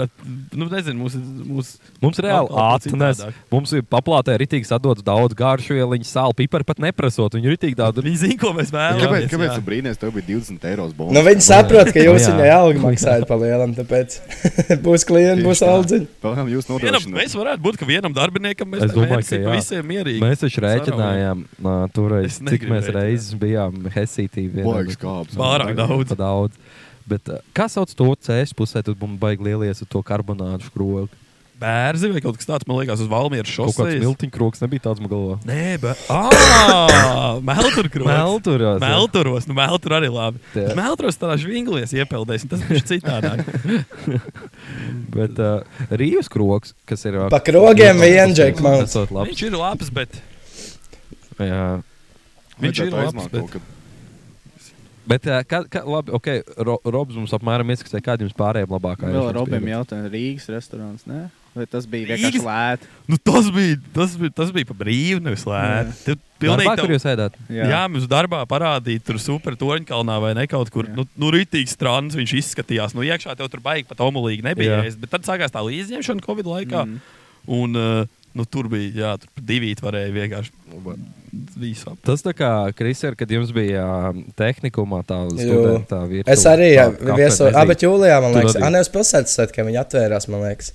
[SPEAKER 3] Nu, nezinu, mums, ir- mums,
[SPEAKER 1] Mums reāli
[SPEAKER 3] alkohola
[SPEAKER 1] atnes,
[SPEAKER 3] citādāk.
[SPEAKER 1] mums ir paplātē ritīgi sadodas daudz garšu vieliņu, sāli, pipari pat neprasot. Viņi ir ritīgi tādi.
[SPEAKER 3] Viņi zina, ko mēs
[SPEAKER 2] Kāpēc, kāpēc tu brīnīties? Tev bija 20 eiro bonus.
[SPEAKER 4] Nu, viņi saprot, ka jūs viņai algu maksājat pa lielam, tāpēc būs klienti, būs aldziņi.
[SPEAKER 2] Pagaidām, jūs
[SPEAKER 3] Vienam, mēs varētu būt, ka vienam darbiniekam mēs
[SPEAKER 1] Es domāju,
[SPEAKER 3] mēnesī
[SPEAKER 1] ka
[SPEAKER 3] pa
[SPEAKER 1] jā.
[SPEAKER 3] visiem mierīgi.
[SPEAKER 1] Mēs taču
[SPEAKER 3] saraujam.
[SPEAKER 1] rēķinājām, nā, toreiz,
[SPEAKER 3] Es negribu
[SPEAKER 1] cik mēs
[SPEAKER 3] rēķināt.
[SPEAKER 1] reizes bijām Helsītī.
[SPEAKER 2] Baigs kāps.
[SPEAKER 3] Pārāk daudz.
[SPEAKER 1] daudz. Bet, uh, kā sauc to ceļu pusē, tad mums baigi lielies ar to karbonātu skroku.
[SPEAKER 3] Bērzi vai kaut kas tāds, man liekas, uz Valmieras
[SPEAKER 1] Kaut kāds
[SPEAKER 3] šosejas.
[SPEAKER 1] miltiņkroks nebija tāds man galvā.
[SPEAKER 3] Nē, bet. Ah! Melturkroks.
[SPEAKER 1] Melturos, jā.
[SPEAKER 3] Melturos. Nu, meltur arī labi.
[SPEAKER 1] Jā.
[SPEAKER 3] Melturos tādā žvinglies iepeldēs, un tas viņš citādāk.
[SPEAKER 1] Bet uh, Rīgas kroks, kas ir.
[SPEAKER 4] Pa krogiem vien, Džek, man.
[SPEAKER 1] Tas ir labi.
[SPEAKER 3] Viņš ir labs, bet.
[SPEAKER 1] Jā.
[SPEAKER 3] Viņš ir labs, bet.
[SPEAKER 2] bet...
[SPEAKER 1] Bet, uh, kā, kā, labi, ok, Ro, Robs mums apmēram ieskatīja, kāda jums pārējiem labākā
[SPEAKER 9] Vēl
[SPEAKER 1] ēšanas
[SPEAKER 9] Robam
[SPEAKER 1] pieredze?
[SPEAKER 9] jautāja, Rīgas restorāns, ne? Vai tas bija
[SPEAKER 3] Rīgas?
[SPEAKER 9] vienkārši lēti?
[SPEAKER 3] Nu, tas bija, tas bija, tas bija pa brīvu, nevis lēti.
[SPEAKER 1] Jā.
[SPEAKER 3] Tev
[SPEAKER 1] Darbā,
[SPEAKER 3] tev-
[SPEAKER 1] kur jūs ēdāt?
[SPEAKER 3] Jā,
[SPEAKER 1] Jā.
[SPEAKER 3] jā mums darbā parādīja, tur supertoņkalnā vai ne kaut kur. Nu, nu rītīgs strāns viņš izskatījās. Nu, iekšā tev tur baigi pat omulīgi nebija.
[SPEAKER 1] Jā.
[SPEAKER 3] Ēst, bet tad sākās tā līdzņemšana Covid laikā. Mm. Un, uh, nu, tur bija, jā, tur divi varēja vienkārši. Visu ap.
[SPEAKER 1] Tas tā kā Krisija, kad jums bija um, tehnikumā tā
[SPEAKER 4] Jū.
[SPEAKER 1] līnija, virtuve,
[SPEAKER 4] Es arī
[SPEAKER 1] tā kafe
[SPEAKER 4] viesoju,
[SPEAKER 1] nezinu.
[SPEAKER 4] abi jūlijā, man
[SPEAKER 1] Tu
[SPEAKER 4] liekas,
[SPEAKER 1] radīji.
[SPEAKER 4] arī uz pilsētas svētkiem viņi atvērās, man liekas.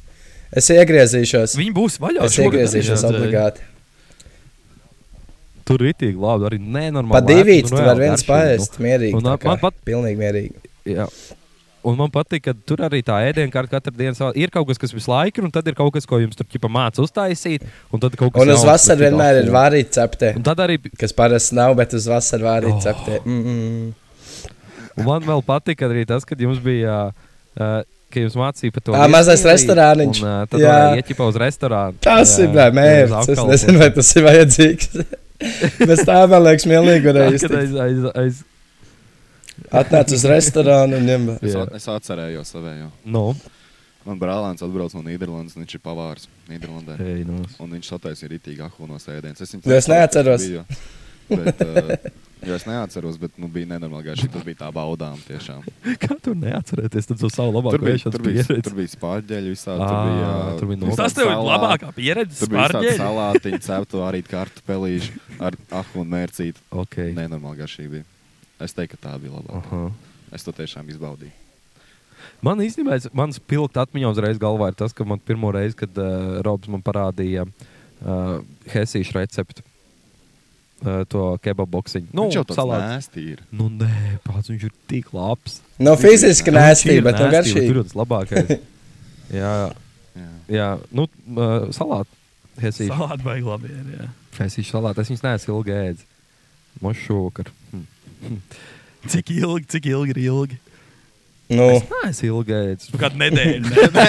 [SPEAKER 4] Es iegriezīšos.
[SPEAKER 3] Viņi būs vaļā
[SPEAKER 4] Es
[SPEAKER 3] šogad,
[SPEAKER 4] iegriezīšos
[SPEAKER 3] jā.
[SPEAKER 4] obligāti.
[SPEAKER 1] Tur ir tik labi, arī nenormāli.
[SPEAKER 4] Pa
[SPEAKER 1] lēti,
[SPEAKER 4] divīt,
[SPEAKER 1] nu,
[SPEAKER 4] tu
[SPEAKER 1] reāli
[SPEAKER 4] vari viens
[SPEAKER 1] garšīgi,
[SPEAKER 4] paēst,
[SPEAKER 1] nu.
[SPEAKER 4] mierīgi.
[SPEAKER 1] Un,
[SPEAKER 4] tā
[SPEAKER 1] man
[SPEAKER 4] kā,
[SPEAKER 1] pat,
[SPEAKER 4] Pilnīgi mierīgi.
[SPEAKER 1] jā. Un man patīk, ka tur arī tā ēdienkarte katru dienu savā- ir kaut kas, kas visu laiku ir, un tad ir kaut kas, ko jums tur ķipa māca uztaisīt. Un, tad kaut kas
[SPEAKER 4] Un uz
[SPEAKER 1] jauns,
[SPEAKER 4] vasaru
[SPEAKER 1] bet tik
[SPEAKER 4] vienmēr ir
[SPEAKER 1] labi.
[SPEAKER 4] vārīt cepte.
[SPEAKER 1] Un tad arī.
[SPEAKER 4] Kas parasti nav, bet uz vasaru vārīt oh. cepte. Mm -mm.
[SPEAKER 1] Un man vēl patīk arī tas, kad jums bija. Uh, Ka jums mācīja par to
[SPEAKER 4] Ā, mazais
[SPEAKER 1] viesmīlī,
[SPEAKER 4] restorāniņš.
[SPEAKER 1] Un, uh, tad
[SPEAKER 4] Jā.
[SPEAKER 1] jā, ieķipa uz restorānu.
[SPEAKER 4] Tas ir
[SPEAKER 1] Jā,
[SPEAKER 4] bļā, mērķis. Es
[SPEAKER 1] apkalpo.
[SPEAKER 4] nezinu, vai tas ir vajadzīgs. Bez tā, man liekas, mielīgi
[SPEAKER 1] Tad,
[SPEAKER 4] varēja
[SPEAKER 1] kad aiz,
[SPEAKER 4] iztikt.
[SPEAKER 1] aiz, aiz,
[SPEAKER 4] Atnāc uz restorānu un ņem.
[SPEAKER 2] Es, at, es atcerējos savējo.
[SPEAKER 1] Nu.
[SPEAKER 2] Man brālēns atbrauc no Nīderlandes, un viņš ir pavārs Nīderlandē.
[SPEAKER 1] Ei, nu.
[SPEAKER 2] Un viņš sataisīja rītīgi ahonos ēdienas. Es, viņu
[SPEAKER 4] Nu, es
[SPEAKER 2] tā
[SPEAKER 4] neatceros.
[SPEAKER 2] video, Bet, uh, jo es neatceros, bet nu, bija nenormāli garšīgi. Tas bija tā baudām tiešām.
[SPEAKER 1] Kā tur neatcerēties to savu labāko
[SPEAKER 2] Tur bija,
[SPEAKER 1] ēšanas
[SPEAKER 2] tur bija,
[SPEAKER 1] pieredzi?
[SPEAKER 2] tur bija spārģeļi visādi.
[SPEAKER 1] Ā,
[SPEAKER 2] Tur bija, ā,
[SPEAKER 1] tur bija
[SPEAKER 2] visādi
[SPEAKER 1] Tas tev ir
[SPEAKER 2] salāti.
[SPEAKER 1] labākā pieredze,
[SPEAKER 2] Tur bija
[SPEAKER 1] spārģeļi?
[SPEAKER 2] visādi salātiņi, ceptu arī kartupelīši ar ahunu mērcīti.
[SPEAKER 1] Okay.
[SPEAKER 2] Nenormāli garšīgi bija. Es teiktu, ka tā bija labākā. Es to tiešām izbaudīju.
[SPEAKER 1] Man īstenībā, es- mans pilns atmiņā uzreiz galvā ir tas, ka man pirmo reizi, kad uh, Robs man parādīja uh, Helsīšu recepti. ā, To kebabu boxiņu.
[SPEAKER 2] Viņš jau
[SPEAKER 1] Nu,
[SPEAKER 2] tāds
[SPEAKER 1] salāts.
[SPEAKER 2] nasty ir.
[SPEAKER 1] Nu, nē, pats viņš ir tik labs.
[SPEAKER 4] Nu, fiziski
[SPEAKER 1] Viņš
[SPEAKER 4] nasty,
[SPEAKER 1] ir
[SPEAKER 4] bet nu
[SPEAKER 1] nasty,
[SPEAKER 4] garšīgi.
[SPEAKER 1] Tur ir tas labākais. jā, jā. jā. Nu, uh, salāti. Helsīšu.
[SPEAKER 3] Salāti baigi labi ir, jā.
[SPEAKER 1] Es viņu salātu, es viņus neesmu ilgi ēdis. Hm. Man šokar.
[SPEAKER 3] Cik ilgi, cik ilgi ir ilgi?
[SPEAKER 4] Nu.
[SPEAKER 1] Es neesmu ilgi ēdis.
[SPEAKER 3] Nu, kādu nedēļu, ne?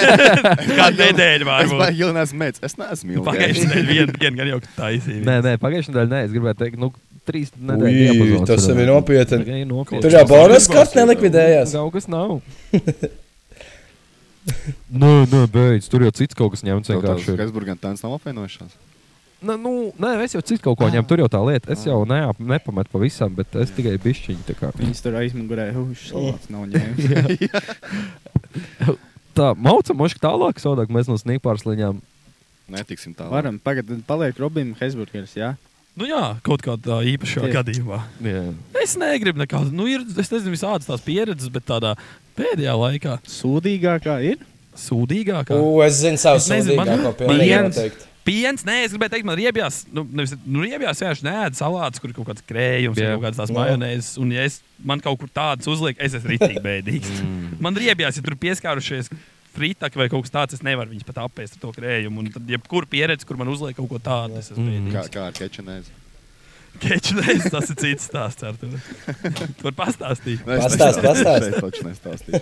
[SPEAKER 3] Kādu nedēļu varbūt.
[SPEAKER 2] Es jau neesmu mēģinājis. Es neesmu ilgi.
[SPEAKER 3] Pagājušajā nedēļā vienu dienu gan jau taisīju.
[SPEAKER 1] Nē, nē, pagājušajā nedēļā nē, es gribēju teikt, nu, trīs
[SPEAKER 4] Ui,
[SPEAKER 1] nedēļas diapazons.
[SPEAKER 4] tas jau ir nopietni.
[SPEAKER 1] Tikai nopietni.
[SPEAKER 4] Tur jau bonus karts nelikvidējās.
[SPEAKER 1] Kaut kas nav. Nē, nē, beidz. Tur jau cits kaut kas ņemts vienkārši. ir.
[SPEAKER 2] Hesburgam tāds nav apvienojušās.
[SPEAKER 1] Nu, nu, nē, es jau citu kaut ko ņemu. Tur jau tā lieta. Es jau neap, nepametu pavisam, bet es tikai bišķiņu. tā kā.
[SPEAKER 9] Viņas tur aizmugurēja. Viņš salāts nav ņēmis.
[SPEAKER 1] Tā, maucam, moški tālāk, sodāk, mēs no sniegpārsliņām.
[SPEAKER 2] Netiksim tālāk.
[SPEAKER 9] Varam, pagad, paliek Robim Hesburgers, jā?
[SPEAKER 3] Nu jā, kaut kādā īpašā
[SPEAKER 9] Tieši.
[SPEAKER 3] gadījumā.
[SPEAKER 1] Jā.
[SPEAKER 3] Es negribu nekādu, nu, ir, es nezinu, visādas tās pieredzes, bet tādā pēdējā laikā
[SPEAKER 9] Sūdīgākā ir?
[SPEAKER 3] sūdīgākā.
[SPEAKER 4] U, es zinu savu
[SPEAKER 3] Es nezinu, man-
[SPEAKER 4] sūdīgāko pilnīgi
[SPEAKER 3] Viens.
[SPEAKER 4] noteikti.
[SPEAKER 3] Piens, nē, es gribēju teikt, man ir riebjās, nu, nevis nu, riebjās, vienkārši nē, salāts, kur ir kaut kāds krējums,
[SPEAKER 1] Jā.
[SPEAKER 3] yeah. kaut kādas tās
[SPEAKER 4] Jā.
[SPEAKER 3] majonēzes, un ja es, man kaut kur tādas uzliek, es esmu rītīgi bēdīgs. man riebjās, ja tur pieskārušies. Fritāka vai kaut kas tāds, es nevaru viņus pat apēst ar to krējumu. Un tad, jebkurā pieredze, kur man uzliek kaut ko tādu, es esmu bēdīgs.
[SPEAKER 2] Kā, kā ar kečenēzi?
[SPEAKER 3] Kečnēs, tas ir cits stāsts. Ar tevi. Tu vari pastāstīt.
[SPEAKER 4] Pastāst, pastāst.
[SPEAKER 2] Es taču nestāstīju.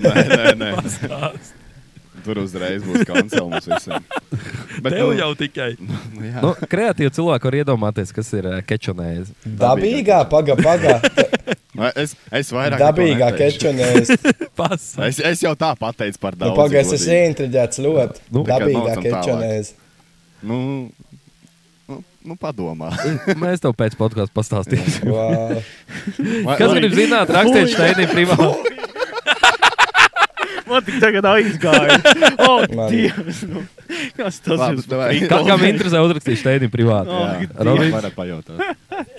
[SPEAKER 2] Nē, nē, nē.
[SPEAKER 3] Pastāst.
[SPEAKER 2] Tur uzreiz būs kancela mums visiem. Bet
[SPEAKER 3] Tev jau tikai.
[SPEAKER 2] Nu, jā.
[SPEAKER 1] Nu, kreatīvi cilvēki var iedomāties, kas ir eh, kečonēs.
[SPEAKER 4] Dabīgā, paga, paga.
[SPEAKER 2] Nu, es, es vairāk. neko
[SPEAKER 4] Dabīgā
[SPEAKER 2] neteikšu.
[SPEAKER 4] kečonēs.
[SPEAKER 3] Pasaka.
[SPEAKER 2] Es, es jau tā pateicu par
[SPEAKER 4] Nu,
[SPEAKER 2] daudz.
[SPEAKER 4] Pagaidā, es esmu
[SPEAKER 2] godīgi.
[SPEAKER 4] ieintriģēts ļoti.
[SPEAKER 1] Nu,
[SPEAKER 2] tikai
[SPEAKER 4] Dabīgā
[SPEAKER 2] nocam tālāk.
[SPEAKER 4] kečonēs.
[SPEAKER 2] Nu, nu, nu padomā.
[SPEAKER 1] Mēs tev pēc podkāstu pastāstīsim.
[SPEAKER 4] Wow.
[SPEAKER 2] Vai-
[SPEAKER 1] Kas
[SPEAKER 2] vai-
[SPEAKER 1] grib zināt, rakstiet Steinī privāti.
[SPEAKER 9] Man tik tagad aizgāja. O,
[SPEAKER 4] Man.
[SPEAKER 9] Dievs! Nu. Kas tas
[SPEAKER 2] Labi,
[SPEAKER 9] ir?
[SPEAKER 2] davai.
[SPEAKER 1] Kā- Kam interesē uzrakstīt Steinī privāti?
[SPEAKER 2] Jā,
[SPEAKER 1] Robins?
[SPEAKER 2] Robins var pajautāt.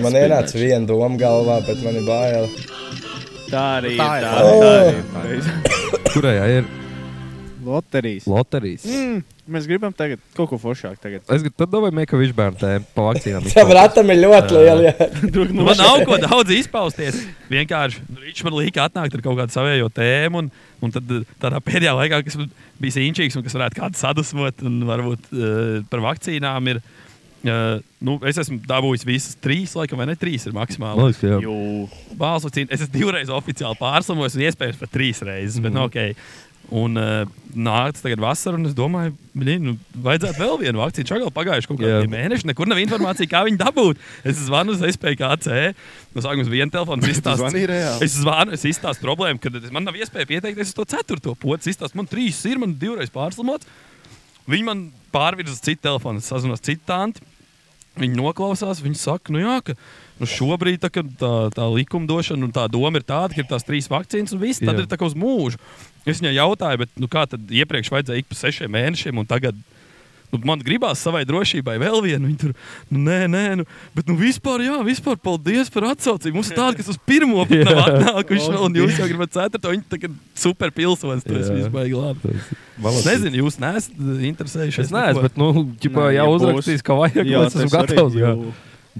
[SPEAKER 4] Man ienāca viena doma galvā, bet man ir bail.
[SPEAKER 9] Tā arī ir. Oh!
[SPEAKER 2] Tā ir. Tā
[SPEAKER 9] Tā, tā ir. Tā
[SPEAKER 2] ir.
[SPEAKER 9] ir.
[SPEAKER 1] Kurējā ir
[SPEAKER 9] Loterijas.
[SPEAKER 1] loterijas?
[SPEAKER 9] Mm, mēs gribam tagad kaut ko foršāku. Tagad.
[SPEAKER 1] Es gribu, tad domāju, ka viņš bērnu tēmu pa vakcīnām.
[SPEAKER 4] Tam ratam ir ļoti liela. jā.
[SPEAKER 9] Druk,
[SPEAKER 3] Nu, man nav ko daudz izpausties. Vienkārši nu, viņš man liekas, atnākt ar kaut kādu savējo tēmu. Un, un tad eh, tādā pēdējā laikā, kas man bija īņķīgs un kas varētu kādu sadusmot, un varbūt uh, par vakcīnām ir. Uh, nu, es esmu dabūjis visas trīs, laikam, vai ne? Trīs ir maksimāli.
[SPEAKER 1] Liekas, jā.
[SPEAKER 9] Jū.
[SPEAKER 3] Bāzes vakcīna. Es esmu divreiz oficiāli pārslimojis, un iespējams pat trīs reizes. Bet, mm. okay. Un uh, nāca tagad vasara, un es domāju, blin, nu, vajadzētu vēl vienu vakcīnu. Čakā pagājuši kaut
[SPEAKER 1] Jā.
[SPEAKER 3] kādi mēneši, nekur nav informācija, kā viņu dabūt. Es zvanu uz SPKC. No sākuma viena telefona
[SPEAKER 2] zvanīji
[SPEAKER 3] izstāstīja.
[SPEAKER 2] reāli?
[SPEAKER 3] Es zvanu, es izstāstīju problēmu, ka man nav iespēja pieteikties uz to ceturto pocu. Izstāst, man trīs ir, man divreiz pārslimots. Viņi man pārvirza uz citu telefonu, es sazinos citu tantu. Viņi noklausās, viņi saka, nu jā, ka nu šobrīd tā, ka tā, tā likumdošana un tā doma ir tāda, ka ir tās trīs vakcīnas un viss,
[SPEAKER 1] Jā.
[SPEAKER 3] tad jā. ir tā kā uz mūžu. Es viņai jautāju, bet nu, kā tad iepriekš vajadzēja ik pa sešiem mēnešiem un tagad. Nu, man gribās savai drošībai vēl vienu. Viņa tur, nu, nē, nē, nu, bet, nu, vispār, jā, vispār, paldies par atsauci. Mums ir tāda, kas uz pirmo pat nav atnākuši, vēl, un jūs jau gribat ceturto. Viņa tagad superpilsonis, tas
[SPEAKER 1] Jā.
[SPEAKER 3] viss baigi labi.
[SPEAKER 1] Valas-
[SPEAKER 3] Es nezinu, jūs neesat interesējušies.
[SPEAKER 1] Es neesmu, bet, nu, ģipā,
[SPEAKER 9] Nē,
[SPEAKER 1] jau
[SPEAKER 9] ja būs.
[SPEAKER 1] uzrakstīs, ka vajag,
[SPEAKER 9] Jā,
[SPEAKER 1] lai es
[SPEAKER 9] tas
[SPEAKER 1] esmu
[SPEAKER 9] arī,
[SPEAKER 1] gatavs. jā.
[SPEAKER 9] jū.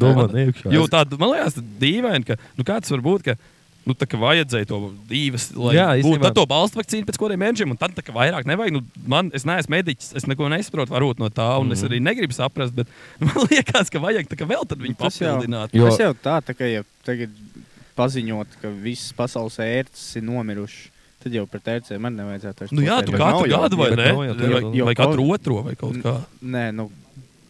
[SPEAKER 1] Domā, ne iekšā.
[SPEAKER 3] Jo tāda, man liekas, tā dīvaini, ka nu, kāds var būt. Ka, Nu, tā kā vajadzēja to divas, lai
[SPEAKER 1] Jā,
[SPEAKER 3] būtu
[SPEAKER 1] īstenībā.
[SPEAKER 3] tad to balstu vakcīnu pēc kādiem mēnešiem, un tad tā kā vairāk nevajag. Nu, man, es neesmu mediķis, es neko nesaprotu varbūt no tā, un mm -hmm. es arī negribu saprast, bet man liekas, ka vajag tā kā vēl tad viņu
[SPEAKER 9] Nu, Tas jau-
[SPEAKER 3] papildināt.
[SPEAKER 1] Jo-
[SPEAKER 9] Jo... Tas jau tā, tā kā jau tagad paziņot, ka visas pasaules ērces ir nomirušas, tad jau par tērcēm man nevajadzētu vairs
[SPEAKER 3] Nu jā,
[SPEAKER 9] klusēt.
[SPEAKER 3] tu
[SPEAKER 2] bet
[SPEAKER 3] katru
[SPEAKER 2] nav jau,
[SPEAKER 3] gadu vai
[SPEAKER 1] bet
[SPEAKER 3] ne?
[SPEAKER 1] nav jau,
[SPEAKER 3] Vai,
[SPEAKER 1] jo-
[SPEAKER 3] vai,
[SPEAKER 9] jo
[SPEAKER 3] vai katru
[SPEAKER 9] Covid-
[SPEAKER 3] otro vai kaut kā.
[SPEAKER 9] Nē, nu,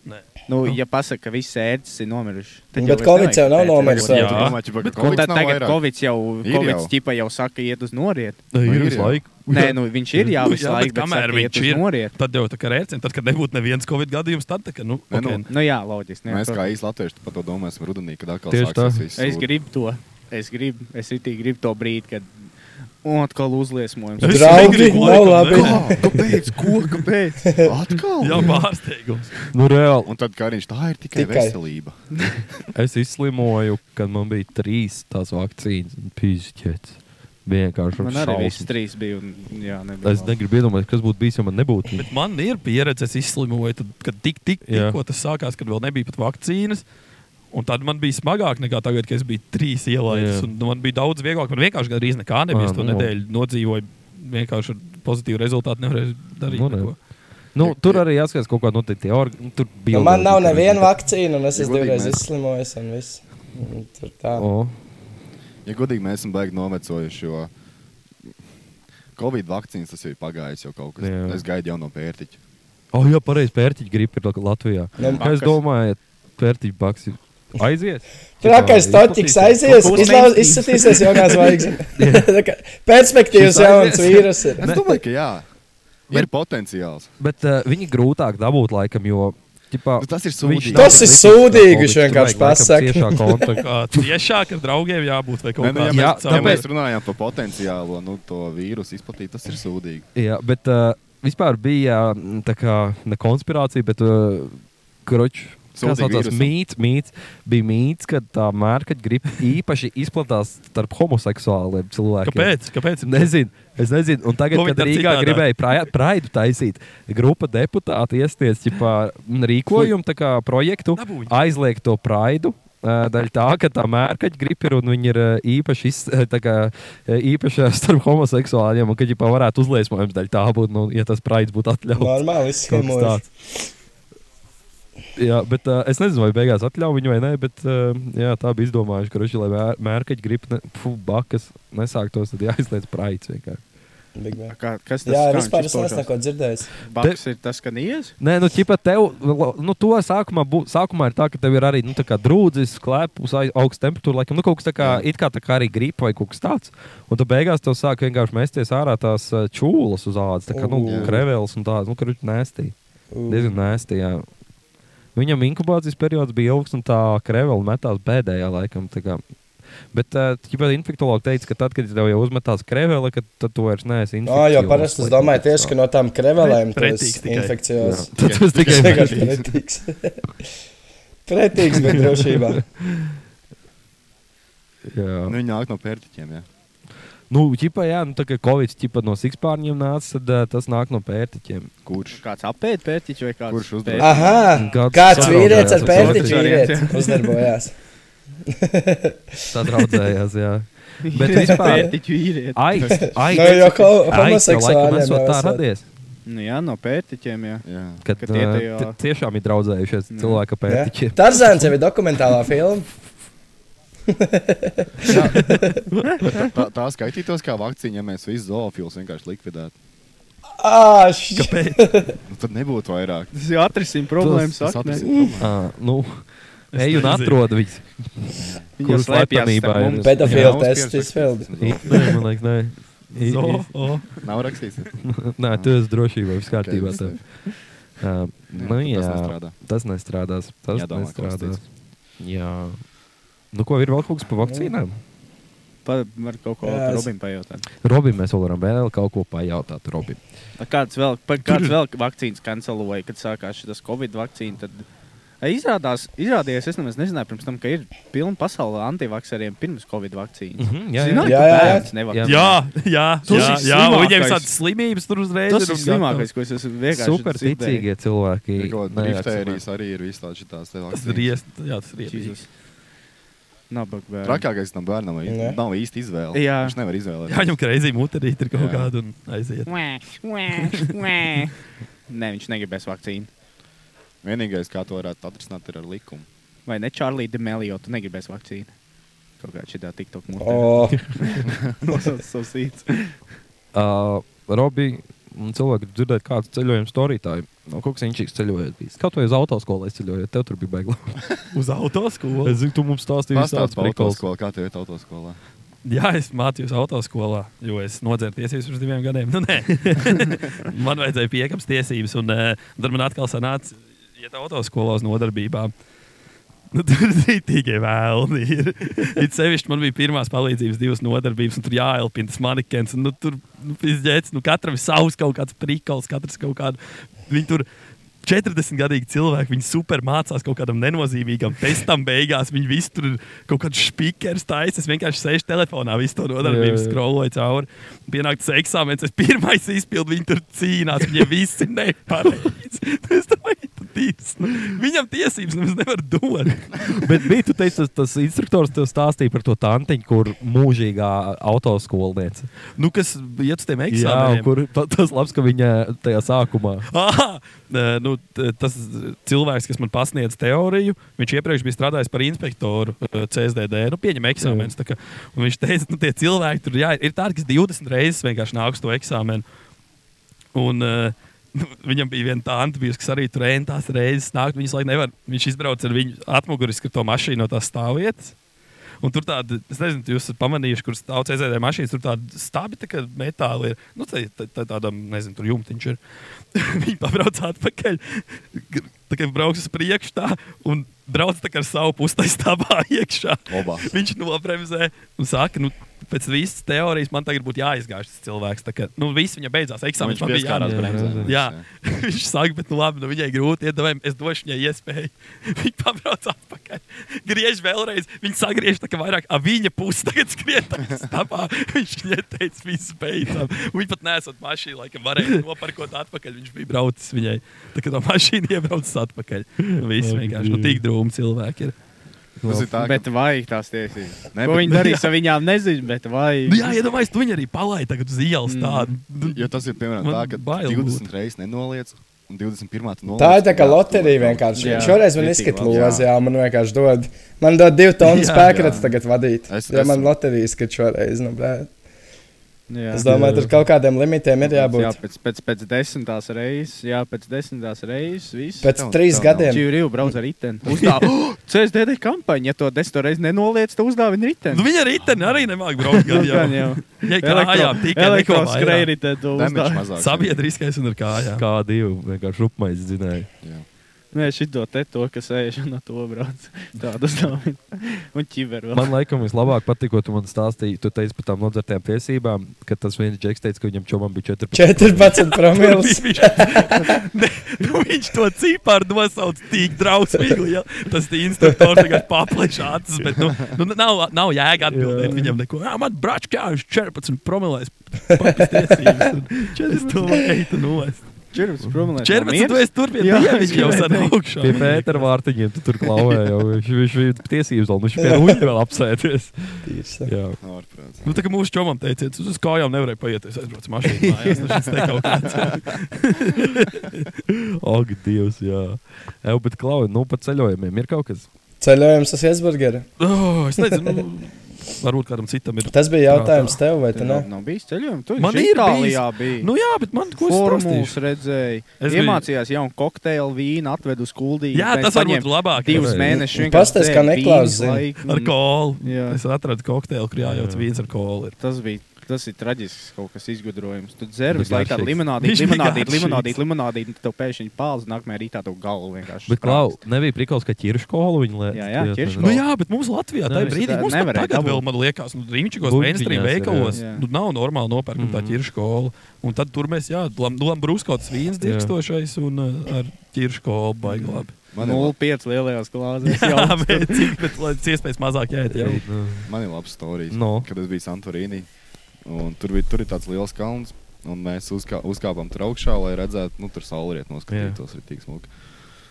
[SPEAKER 3] Nē.
[SPEAKER 9] nu ja pasaka, ka visas ērces ir nomirušas, tad
[SPEAKER 4] Bet
[SPEAKER 9] vairs
[SPEAKER 4] Covid
[SPEAKER 9] nevajag
[SPEAKER 4] jau nav
[SPEAKER 9] tērcēm.
[SPEAKER 4] nomiris.
[SPEAKER 3] Jā.
[SPEAKER 4] vēl.
[SPEAKER 2] Tu domā, ķipa, ka
[SPEAKER 9] Un
[SPEAKER 2] Covid
[SPEAKER 9] tad
[SPEAKER 2] nav
[SPEAKER 9] tagad
[SPEAKER 2] vairāk?
[SPEAKER 9] Covid jau,
[SPEAKER 2] Ir
[SPEAKER 9] Covid
[SPEAKER 2] jau.
[SPEAKER 9] čipa jau saka, iet uz noriet.
[SPEAKER 2] ir
[SPEAKER 1] ir
[SPEAKER 2] visu
[SPEAKER 1] laika.
[SPEAKER 9] Nē, nu, viņš ir jau visu
[SPEAKER 3] Jā, bet
[SPEAKER 9] laiku, bet
[SPEAKER 3] kamēr
[SPEAKER 9] saka, iet
[SPEAKER 3] viņš
[SPEAKER 9] uz
[SPEAKER 3] ir.
[SPEAKER 9] noriet.
[SPEAKER 3] Tad jau tā kā rēcina, tad, kad nebūtu neviens Covid gadījums, tad tā kā, nu,
[SPEAKER 2] Nē, nu,
[SPEAKER 3] okay.
[SPEAKER 9] Nu jā, loģiski.
[SPEAKER 2] Mēs
[SPEAKER 9] protams.
[SPEAKER 2] kā īsti latvieši par to domājam rudenī, kad atkal
[SPEAKER 1] Tieši tā.
[SPEAKER 2] sāksies viss.
[SPEAKER 9] Es
[SPEAKER 2] sūdi.
[SPEAKER 9] gribu to. Es gribu, es itī gribu to brīdi, kad un atkal uzliesmojums.
[SPEAKER 3] Es
[SPEAKER 4] Draugi,
[SPEAKER 3] negribu
[SPEAKER 4] nav labi.
[SPEAKER 3] laikam, ne?
[SPEAKER 2] Kāpēc? Ko? Kāpēc? Atkal?
[SPEAKER 3] Jā, pārsteigums.
[SPEAKER 1] Nu, reāli.
[SPEAKER 2] Un tad Kariņš, tā ir tikai,
[SPEAKER 4] Tikai.
[SPEAKER 2] tikai. veselība.
[SPEAKER 1] Es izslimoju, kad man bija trīs tās vakcīnas. Pīzķets. Vienkārši
[SPEAKER 9] Man
[SPEAKER 1] ar
[SPEAKER 9] arī
[SPEAKER 1] šausmas.
[SPEAKER 9] viss trīs bija. Un, jā, nebija
[SPEAKER 1] Es
[SPEAKER 9] labi.
[SPEAKER 1] negribu iedomāties, kas būtu bijis, ja man nebūtu.
[SPEAKER 3] Bet man ir pieredze, es izslimoju, tad, kad tik, tik,
[SPEAKER 1] Jā.
[SPEAKER 3] tikko tas sākās, kad vēl nebija pat vakcīnas. Un tad man bija smagāk nekā tagad, kad es biju trīs ielaidis.
[SPEAKER 1] Jā.
[SPEAKER 3] un Man bija daudz vieglāk. Man vienkārši gandrīz nekā
[SPEAKER 1] Ā,
[SPEAKER 3] nebija. Es to
[SPEAKER 1] nu.
[SPEAKER 3] nedēļu nodzīvoju vienkārši ar pozitīvu rezultātu. Nevarēju darīt
[SPEAKER 1] Nu,
[SPEAKER 3] nu,
[SPEAKER 1] ne.
[SPEAKER 3] neko.
[SPEAKER 1] Nu, tur arī jāskatās kaut kāda noteikti orga. Tur bija.
[SPEAKER 4] Nu, man nav neviena vakcīna, un es esmu divreiz izslimojis. un viss. Un Tur tā.
[SPEAKER 1] O.
[SPEAKER 2] Ja godīgi, mēs esam baigi novecojuši, jo Covid vakcīnas tas jau ir pagājis jau kaut kas.
[SPEAKER 1] Jā.
[SPEAKER 2] Jā. Es gaidu jau no pērtiķa.
[SPEAKER 1] O, jā, pareizi. Pērtiķa gripa ir Latvijā.
[SPEAKER 2] Ne-
[SPEAKER 4] nu,
[SPEAKER 1] Kā es
[SPEAKER 2] Bakas.
[SPEAKER 1] domāju, pērtiķa baks ir. Aizies!
[SPEAKER 4] Trakais toķis aizies,
[SPEAKER 1] Būs
[SPEAKER 4] izlau,
[SPEAKER 1] mainstream.
[SPEAKER 4] izskatīsies jaunā zvaigzne.
[SPEAKER 1] Jā.
[SPEAKER 4] Tā kā Perspektīvas
[SPEAKER 1] Šis
[SPEAKER 4] jauns
[SPEAKER 1] aizies.
[SPEAKER 4] vīrus ir.
[SPEAKER 2] Es domāju, ka jā. Ir
[SPEAKER 1] Bet-
[SPEAKER 2] potenciāls.
[SPEAKER 1] Bet uh, viņi grūtāk dabūt laikam, jo. Ķipā,
[SPEAKER 2] Nu, tas ir
[SPEAKER 1] viņš
[SPEAKER 2] sūdīgi.
[SPEAKER 1] nav
[SPEAKER 4] Tas ir
[SPEAKER 1] slikts
[SPEAKER 4] sūdīgi,
[SPEAKER 1] alkoholiķis,
[SPEAKER 4] viņš
[SPEAKER 1] tur
[SPEAKER 4] vienkārši
[SPEAKER 1] vajag laikam
[SPEAKER 4] pasaka.
[SPEAKER 1] ciešā kontakta.
[SPEAKER 3] Kā tiešāk ar draugiem jābūt vai kaut
[SPEAKER 2] Nē, nu, ja,
[SPEAKER 3] kā tādā.
[SPEAKER 2] mēs,
[SPEAKER 1] Jā,
[SPEAKER 2] ja
[SPEAKER 1] tāpēc-
[SPEAKER 2] mēs runājam par potenciālo nu, to vīrusu izplatību, tas ir sūdīgi.
[SPEAKER 1] Jā, bet uh, vispār bija mm, tā kā ne konspirācija, bet uh, kroķis. Tas
[SPEAKER 2] Sūdīgi
[SPEAKER 1] saucās
[SPEAKER 2] vīrusam.
[SPEAKER 1] mīts, mīts, bija mīts, ka tā mērķa griba īpaši izplatās starp homoseksuāliem cilvēkiem.
[SPEAKER 3] Kāpēc? Kāpēc?
[SPEAKER 1] Nezinu, es nezinu. Un tagad,
[SPEAKER 3] Ko viņi
[SPEAKER 1] kad
[SPEAKER 3] dara
[SPEAKER 1] Rīgā
[SPEAKER 3] citādā?
[SPEAKER 1] gribēja praja- praidu taisīt, grupa deputāti iesties ķipā, m, rīkojumu tā kā projektu, aizliegt to praidu. ā, Daļa tā, ka tā mērkaķa gripa ir un viņi ir ā, īpaši, iz, tā kā, ā, īpaši ā, starp homoseksuāļiem, un ka viņi varētu uzliesmojums daļa tā būt, nu, ja tas praids būtu atļauts.
[SPEAKER 4] Normāli
[SPEAKER 1] Kaut kas
[SPEAKER 4] izslimojis.
[SPEAKER 1] tāds. Jā, bet uh, es nezinu, vai beigās atļauju viņu vai nē, bet uh, jā, tā bija izdomājuši, ka Rušķi, lai mērķi grib, ne, fu, bakas nesāktos, tad jāizliec praids vienkārši.
[SPEAKER 4] Big Mac.
[SPEAKER 9] Kā, kas tas
[SPEAKER 4] Jā,
[SPEAKER 9] kā viņš
[SPEAKER 4] vispār es neesmu
[SPEAKER 9] izpaužās?
[SPEAKER 4] neko dzirdējis.
[SPEAKER 9] Baks ir tas, ka nies.
[SPEAKER 1] Nē, nu, ķipa, tev, la- nu, to sākumā, bū, sākumā ir tā, ka tev ir arī, nu, tā kā drūdzis, klēpus, ai- augsta temperatūra, laikam, nu, kaut kas tā kā, it kā tā kā arī gripa vai kaut kas tāds, un tu beigās tev sāk vienkārši mēsties ārā tās ā, čūlas uz ādas, tā kā, nu,
[SPEAKER 4] Ū.
[SPEAKER 1] krevēls un tādas, nu, ka viņš nēstī.
[SPEAKER 4] Ū.
[SPEAKER 1] Diezgan nu, nēstī, jā. Viņam inkubācijas periods bija ilgs, un tā krevela metās pēdējā laikam. tā kā. Bet uh, infektuologi teica, ka tad, kad tev jau uzmetās krevela, ka tad tu vairs neesi
[SPEAKER 4] Nā,
[SPEAKER 1] infekcijos.
[SPEAKER 4] jo parasti es domāju tieši, ka no tām krevelēm tas
[SPEAKER 3] Pretīgs tikai.
[SPEAKER 4] infekcijos.
[SPEAKER 1] Jā. Tad tas tikai
[SPEAKER 4] vienkārši
[SPEAKER 1] pretīgs.
[SPEAKER 4] pretīgs. Pretīgs, bet drošībā.
[SPEAKER 1] Jā.
[SPEAKER 2] Nu, viņi nāk no pērtiķiem. Jā.
[SPEAKER 1] Nu, ķipa, jā, nu, tā kā Covid ķipa no sikspārņiem nāca, tad uh, tas nāk no pērtiķiem.
[SPEAKER 2] Kurš?
[SPEAKER 9] Kāds apēd pērtiķi vai kāds?
[SPEAKER 2] Kurš uzdraudz?
[SPEAKER 9] pērtiķi?
[SPEAKER 4] Aha,
[SPEAKER 1] Kāds
[SPEAKER 4] Ah, kāds
[SPEAKER 1] sadraudzējās
[SPEAKER 4] vīrietis
[SPEAKER 1] ar Sadraudzējās, jā. Bet
[SPEAKER 4] ar pērtiķu vīrieti uzdarbojās.
[SPEAKER 9] otru variantu, Jā,
[SPEAKER 1] vispār.
[SPEAKER 9] pērtiķu vīrieti.
[SPEAKER 1] Aiks, aiks,
[SPEAKER 4] Nu, jo
[SPEAKER 1] aiks,
[SPEAKER 4] ko-
[SPEAKER 1] jo laikam
[SPEAKER 4] homoseksuāļiem
[SPEAKER 1] esot
[SPEAKER 4] jau
[SPEAKER 1] tā
[SPEAKER 4] esot.
[SPEAKER 1] radies.
[SPEAKER 9] Nu, jā, no pērtiķiem. Jā.
[SPEAKER 2] Jā.
[SPEAKER 1] Kad,
[SPEAKER 9] Ka
[SPEAKER 1] kad
[SPEAKER 9] tie
[SPEAKER 1] tie
[SPEAKER 9] tajā-
[SPEAKER 1] tiešām ir draudzējušies cilvēka
[SPEAKER 4] Ja?
[SPEAKER 1] pērtiķiem.
[SPEAKER 4] Tarzāns jau ir dokumentālā filma.
[SPEAKER 2] Tā, tā skaitītos kā vakcīna, ja mēs visus zoofilus vienkārši likvidētu.
[SPEAKER 4] Ā, š-
[SPEAKER 2] Nu, tad nebūtu vairāk.
[SPEAKER 9] Tas jau atrisinās problēmas.
[SPEAKER 2] Tas
[SPEAKER 9] saknē.
[SPEAKER 2] atrisinās
[SPEAKER 3] Mm.
[SPEAKER 2] problēmu.
[SPEAKER 1] Ā, Nu,
[SPEAKER 3] Es
[SPEAKER 1] ej un
[SPEAKER 3] nezinu.
[SPEAKER 1] atrod viņus.
[SPEAKER 9] Viņi jau
[SPEAKER 1] Kurus
[SPEAKER 9] slēpjas
[SPEAKER 1] laikamībā
[SPEAKER 9] starp
[SPEAKER 1] ir?
[SPEAKER 9] mums.
[SPEAKER 2] Jā,
[SPEAKER 4] Pedofila
[SPEAKER 2] mums
[SPEAKER 4] tests
[SPEAKER 2] piešķirs.
[SPEAKER 4] izpildi.
[SPEAKER 1] Nē, man liekas, nē. I-
[SPEAKER 3] Zo, o.
[SPEAKER 2] Nav- Nav rakstīts.
[SPEAKER 1] i- Nē, tu esi drošībā, viss kārtībā.
[SPEAKER 2] Ok,
[SPEAKER 1] tev. Ā, Nu,
[SPEAKER 2] tas
[SPEAKER 1] jā,
[SPEAKER 2] nestrādā.
[SPEAKER 1] tas nestrādās. Tas
[SPEAKER 2] Jādomā, ko es
[SPEAKER 1] nestrādās.
[SPEAKER 2] teicu.
[SPEAKER 1] Jā. Nu, ko ir vēl kaut kas par vakcīnām?
[SPEAKER 9] Pa- Var kaut ko
[SPEAKER 4] Jā,
[SPEAKER 9] par
[SPEAKER 4] es-
[SPEAKER 9] Robinu pajautāt.
[SPEAKER 1] Robim mēs vēl varam vēl kaut ko pajautāt. Robim.
[SPEAKER 9] Pa Kāds vēl, pa- kāds vēl vakcīnas kanceloja, kad sākās šis Covid vakcīna? Tad... Ei, Izrādās, izrādījās, es nemaz nezināju, pirms tam, ka ir pilna pasaule antivakcēriem pirms Covid vakcīnas.
[SPEAKER 1] Mhm, jā, jā.
[SPEAKER 9] Zināt,
[SPEAKER 4] Jā, jā,
[SPEAKER 9] ka
[SPEAKER 4] jā.
[SPEAKER 9] bērns nevar.
[SPEAKER 1] Jā.
[SPEAKER 3] Jā, jā,
[SPEAKER 9] Tas
[SPEAKER 3] jā,
[SPEAKER 9] ir
[SPEAKER 3] jā. un viņiem
[SPEAKER 9] slimākais.
[SPEAKER 3] tādas slimības tur uzreiz
[SPEAKER 9] Tas
[SPEAKER 3] un
[SPEAKER 9] ir slimākais, ko es esmu vienkārši dzirdējis.
[SPEAKER 1] Superticīgie cilvēki.
[SPEAKER 2] Griftērijas arī ir visā šitās te
[SPEAKER 3] Tas
[SPEAKER 2] vakcīnas.
[SPEAKER 3] ir riest, jā, tas ir riest.
[SPEAKER 9] Jēzus. Nabaga bērns.
[SPEAKER 2] Trakākais tam bērnam ir,
[SPEAKER 4] Nē.
[SPEAKER 2] nav īsti izvēle.
[SPEAKER 9] Jā.
[SPEAKER 2] Viņš nevar izvēlēties.
[SPEAKER 3] Jā, viņam kreizī muterīt ir kaut
[SPEAKER 2] Jā.
[SPEAKER 3] kāda un aiziet.
[SPEAKER 9] Nē, viņš negribēs vakcīnu.
[SPEAKER 2] Vienīgais, kā to varētu atrisināt, ir ar likumu.
[SPEAKER 9] Vai ne Čārlī Demelio, tu negribēs vakcīnu? Kaut kā šitā TikTok mūžā.
[SPEAKER 4] O,
[SPEAKER 9] Nosauc savus īts.
[SPEAKER 1] Uh, Robi, un cilvēki grib dzirdēt, kāds ceļojums tur bija. No kaut kā inčīgs ceļojot bijis. Kaut vai uz autoskolā es ceļoju, tev tur bija baigla.
[SPEAKER 3] Uz autoskolu.
[SPEAKER 1] es zinu, tu mums stāstīji
[SPEAKER 2] Pastāst
[SPEAKER 1] visādas
[SPEAKER 2] par
[SPEAKER 1] prikolas.
[SPEAKER 2] autoskolā, kā tev iet autoskolā.
[SPEAKER 3] Jā, es mācījos autoskolā, jo es nodzēru tiesības pirms diviem gadiem. Nu, nē. man vajadzēja piekāpst tiesības, un eh, tad man atkal sanāca iet autoskolā uz nodarbībām. Nu, tur bija tikai vēlni. ir. It sevišķi man bija pirmās palīdzības divas nodarbības, un tur jāelpina tas manikens. Un, nu, tur nu, izģēts, nu, katram ir savs kaut kāds prikals, katrs kaut kādu. Viņi tur 40 gadīgi cilvēki, viņi super mācās kaut kādam nenozīmīgam testam beigās. Viņi visi tur ir kaut kāds spīkers taisa. Es vienkārši sēžu telefonā, visu to nodarbību
[SPEAKER 1] Jā, jā.
[SPEAKER 3] skroloju cauri. Pienācis eksāmenis, es pirmais izpildu, viņi tur cīnās. Viņiem viss ir nepareizi. Tas tev ir tīrs. Viņam tiesības nemaz nevar dot.
[SPEAKER 1] Bet bija tu teici, tas, tas instruktors tev stāstīja par to tantiņu, kur mūžīgā autoskolniece.
[SPEAKER 3] Nu, kas iet uz tiem
[SPEAKER 1] Jā,
[SPEAKER 3] eksāmeniem.
[SPEAKER 1] kur ta, tas labs, ka viņa tajā sākumā.
[SPEAKER 3] Ah, nu, t- tas cilvēks, kas man pasniedz teoriju, viņš iepriekš bija strādājis par inspektoru eh, CSDD. Nu, pieņem eksāmenus. tā kā. Un Viņš teica, nu, tie cilvēki tur jā, ir tādi, kas 20 reizes vienkārši nāk uz to eksāmenu. Un, eh, nu, viņam bija viena tā antibijusi, kas arī tur rentās reizes nākt. Viņas laikam nevar. Viņš izbrauca ar viņu atmuguriski ar to mašīnu no tās stāvvietas. Un tur tāda, es nezinu, vai jūs esat pamanījuši, kuras daudz aizēdēju mašīnas, tur tāda stābi, tā kā metāli ir. Nu, tā, tā, tā tādam, nezinu, tur jumtiņš ir. Viņi pabrauc atpakaļ, gr- tā kā brauks uz priekšu tā, un brauc tā kā ar savu pustai stāvā iekšā.
[SPEAKER 2] Obā.
[SPEAKER 3] Viņš nopremzē un saka, nu, pēc visas teorijas man tagad būtu jāizgāž šis cilvēks. Tā kā, nu, viss viņa beidzās eksāmenis,
[SPEAKER 2] Viņš
[SPEAKER 3] man bija
[SPEAKER 2] pieskārās
[SPEAKER 3] jārāda
[SPEAKER 2] bremzēm.
[SPEAKER 3] Jā, viņš saka, bet nu labi, nu viņai grūti iedomājam, es došu viņai iespēju. Viņa pabrauc atpakaļ, griež vēlreiz, viņa sagriež tā kā vairāk, a viņa puse tagad skriet tā kā stabā. Viņš viņai teica, viss beidzām. Viņa pat nesot mašīnu, laikam varēja noparkot atpakaļ, viņš bija braucis viņai. Tā kā tā mašīna iebraucis atpakaļ. Nu, Viss vienkārši, nu tik drūmi cilvēki ir. Nu,
[SPEAKER 2] Tas ir tā, ka-
[SPEAKER 9] Bet vajag tās tiesības.
[SPEAKER 2] Ne,
[SPEAKER 9] Ne, Ko
[SPEAKER 2] bet-
[SPEAKER 9] viņi darīs ar viņām, nezinu, bet vajag.
[SPEAKER 3] Nu, jā, iedomājieties, tu viņu arī palaidi tagad uz
[SPEAKER 1] Mm,
[SPEAKER 3] ielas tādu.
[SPEAKER 2] Jo tas ir piemēram
[SPEAKER 3] Man
[SPEAKER 2] tā, ka
[SPEAKER 3] bail
[SPEAKER 2] 20 reizes nenoliec, un 21. tu noliec.
[SPEAKER 4] Tā ir tā kā loterija vienkārši.
[SPEAKER 2] Jā.
[SPEAKER 4] Jā, Šoreiz man
[SPEAKER 2] Ritīgi
[SPEAKER 4] izskata
[SPEAKER 2] labi, jā.
[SPEAKER 4] lozi, jā, man vienkārši dod. Man dod divu tonu
[SPEAKER 2] Jā,
[SPEAKER 4] spēkratu
[SPEAKER 2] jā.
[SPEAKER 4] tagad vadīt.
[SPEAKER 2] Es-
[SPEAKER 4] Es, ja
[SPEAKER 2] es-
[SPEAKER 4] man loterija izskata šoreiz, nu, blē.
[SPEAKER 9] Nu Jā.
[SPEAKER 4] Es domāju, tur kaut kādiem limitiem ir
[SPEAKER 9] Jā,
[SPEAKER 4] jābūt.
[SPEAKER 9] pēc, pēc, pēc desmitās reizes, jā, pēc desmitās reizes, viss.
[SPEAKER 4] Pēc Tev- trīs tev nav. gadiem.
[SPEAKER 9] Čīri jau brauc ar riteni. Uzdāvi, CSDD kampaņa, ja to desmit reizes nenoliec, tad uzdāvi riteni.
[SPEAKER 3] Nu, viņa arī tam arī nemāķi braukt.
[SPEAKER 9] Nu, gan jau.
[SPEAKER 3] Viņai kājām tikai neko vairāk.
[SPEAKER 9] elektroskrējēji te to
[SPEAKER 2] Damage
[SPEAKER 9] uzdāvi.
[SPEAKER 2] mazāk.
[SPEAKER 3] Sabiedriskais un ar kājām.
[SPEAKER 1] Kā divi vienkārši rupmais zināja.
[SPEAKER 9] Nē, šī to te to, kas ēž un ar to brauc. Tādas nav. Un ķiveru.
[SPEAKER 1] Man laikam vislabāk patika, ko tu man stāstīji. Tu teici par tām nodzertajām tiesībām, ka tas viens džeks teica, ka viņam čomam bija 14.
[SPEAKER 4] 14 promils.
[SPEAKER 3] Viņš, ne, nu viņš to cipāru nosauc tik drausmīgi. Ja? Tas ir instruktors, kas paplēš acis. Bet, nu, nu, nav, nav jēga atbildēt jā. viņam neko. Jā, man brāčs kā viņš 14 promilēs. Es to eitu nost.
[SPEAKER 9] Čirvis, promilē.
[SPEAKER 3] 14 tu esi tur pie
[SPEAKER 9] Jā,
[SPEAKER 3] dievi,
[SPEAKER 9] es
[SPEAKER 3] viņš jau
[SPEAKER 9] gribēju
[SPEAKER 3] sen
[SPEAKER 9] teikt.
[SPEAKER 1] Pie
[SPEAKER 3] augšā.
[SPEAKER 1] Pētera vārtiņiem tu tur klauvēja. jau. Viņš viņš bija tiesības, un viņš pie ruņa vēl apsēties.
[SPEAKER 4] Tīrs.
[SPEAKER 1] Jā.
[SPEAKER 2] Nav ar prātu.
[SPEAKER 3] Nu, tā kā mūsu čomam teiciet, uz uz kājām nevarēja paiet, es aizbraucu mašīnā. mājās, nu, šis te kaut kāds.
[SPEAKER 1] Ak, Dievs, jā. Evo, bet klauvēja, nu pa ceļojumiem ir kaut kas.
[SPEAKER 4] Ceļojums uz Iesburgeru.
[SPEAKER 3] Oh, es nezinu, nu, varbūt kādam citam ir.
[SPEAKER 4] Tas bija jautājums tev, vai tu ne?
[SPEAKER 9] Nav, nav bijis ceļojums. Tu
[SPEAKER 3] Man
[SPEAKER 9] man
[SPEAKER 3] ir
[SPEAKER 9] ir Itālijā bija.
[SPEAKER 3] Nu jā, bet man ko es prastīšu?
[SPEAKER 9] Formulas redzēju.
[SPEAKER 3] Es
[SPEAKER 9] Es
[SPEAKER 3] biju-
[SPEAKER 9] iemācījās jaunu kokteili, vīnu, atvedu uz kuldīju.
[SPEAKER 3] Jā, tas varbūt labāk.
[SPEAKER 9] Divus
[SPEAKER 1] Jā.
[SPEAKER 9] mēnešus
[SPEAKER 4] Un
[SPEAKER 9] vienkārši
[SPEAKER 4] pastāsti,
[SPEAKER 9] dzēru
[SPEAKER 4] kā
[SPEAKER 9] vīnu
[SPEAKER 4] Niklaus zina.
[SPEAKER 9] laiku.
[SPEAKER 3] Ar kolu.
[SPEAKER 9] Jā.
[SPEAKER 3] Es atradu kokteili, kur jājauc vīns ar kolu. ir.
[SPEAKER 9] Tas bija. Tas ir traģisks kaut kas izgudrojums. Tu dzer
[SPEAKER 1] Bet
[SPEAKER 9] visu laiku tādu
[SPEAKER 1] garšīgs.
[SPEAKER 9] limonādīti,
[SPEAKER 3] Viņš bija
[SPEAKER 9] limonādīti,
[SPEAKER 3] garšīgs.
[SPEAKER 9] limonādīti, limonādīti, un tev pēkšņi pāles nākamajā rītā tev galvu vienkārši.
[SPEAKER 1] Bet klau, nebija prikals, ka ķiršu kolu viņi liek.
[SPEAKER 9] Jā, jā, ķiršu
[SPEAKER 3] Nu jā, bet mums Latvijā tajā
[SPEAKER 1] Nevis
[SPEAKER 3] brīdī
[SPEAKER 9] tā
[SPEAKER 3] mums pat
[SPEAKER 9] nevarēja
[SPEAKER 3] tagad
[SPEAKER 9] dabūt.
[SPEAKER 3] vēl, man liekas, nu, rīņķīgos
[SPEAKER 1] Buļķiņās
[SPEAKER 3] mainstream
[SPEAKER 1] ir, jā.
[SPEAKER 3] veikalos
[SPEAKER 9] Jā.
[SPEAKER 3] nu, nav normāli nopērkam tā ķiršu kolu. Un tad tur mēs, jā, Lambrūskots vīns
[SPEAKER 1] Jā.
[SPEAKER 3] dirkstošais un uh, ar ķiršu kolu baigi labi.
[SPEAKER 2] Man ir,
[SPEAKER 9] 0,5 lielajās glāzēs.
[SPEAKER 3] Jā,
[SPEAKER 9] jau
[SPEAKER 3] bet cik, bet lai iespējas mazāk jāiet. Jā.
[SPEAKER 1] nu,
[SPEAKER 2] lab- man ir labs stāsts.
[SPEAKER 1] No.
[SPEAKER 2] Kad es biju Santorīnī, un tur, bija, tur ir tāds liels kalns, un mēs uzkā, uzkāpām tur augšā, lai redzētu, nu, tur saulriet noskatītos arī tik smuki.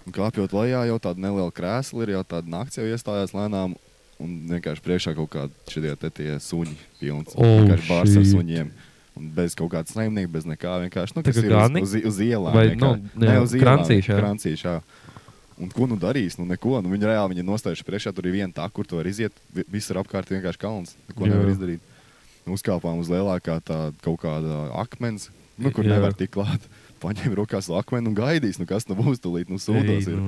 [SPEAKER 2] Un kāpjot lejā, jau tāda neliela krēsla ir, jau tāda nakts jau iestājās lēnām, un vienkārši priekšā kaut kādi šie te tie suņi pilns.
[SPEAKER 1] Oh,
[SPEAKER 2] vienkārši bārs ar
[SPEAKER 1] shit.
[SPEAKER 2] suņiem. Un bez kaut kāda saimnieka, bez nekā vienkārši. Nu,
[SPEAKER 1] Tā
[SPEAKER 2] kas
[SPEAKER 1] kā
[SPEAKER 2] ir
[SPEAKER 1] gani?
[SPEAKER 2] uz, uz, uz ielām.
[SPEAKER 1] Vai,
[SPEAKER 2] vienkārši.
[SPEAKER 1] nu, jā,
[SPEAKER 2] ne, uz ielām,
[SPEAKER 1] krancīši, jā.
[SPEAKER 2] krancīši, jā. Un ko nu darīs? Nu, neko. Nu, viņa reāli viņa nostājuši priekšā. Tur ir viena tā, kur to var iziet. Vi- Viss ir apkārt vienkārši kalns. Neko
[SPEAKER 1] Jā.
[SPEAKER 2] jā. nevar izdarīt. Nu, Uzkāpām uz lielākā tā, kaut kāda akmens, nu, kur
[SPEAKER 1] Jā.
[SPEAKER 2] jā. nevar tikt klāt. Paņēma rokās to akmeni un gaidīs. Nu, kas nu būs tūlīt? Nu, sūdos ir.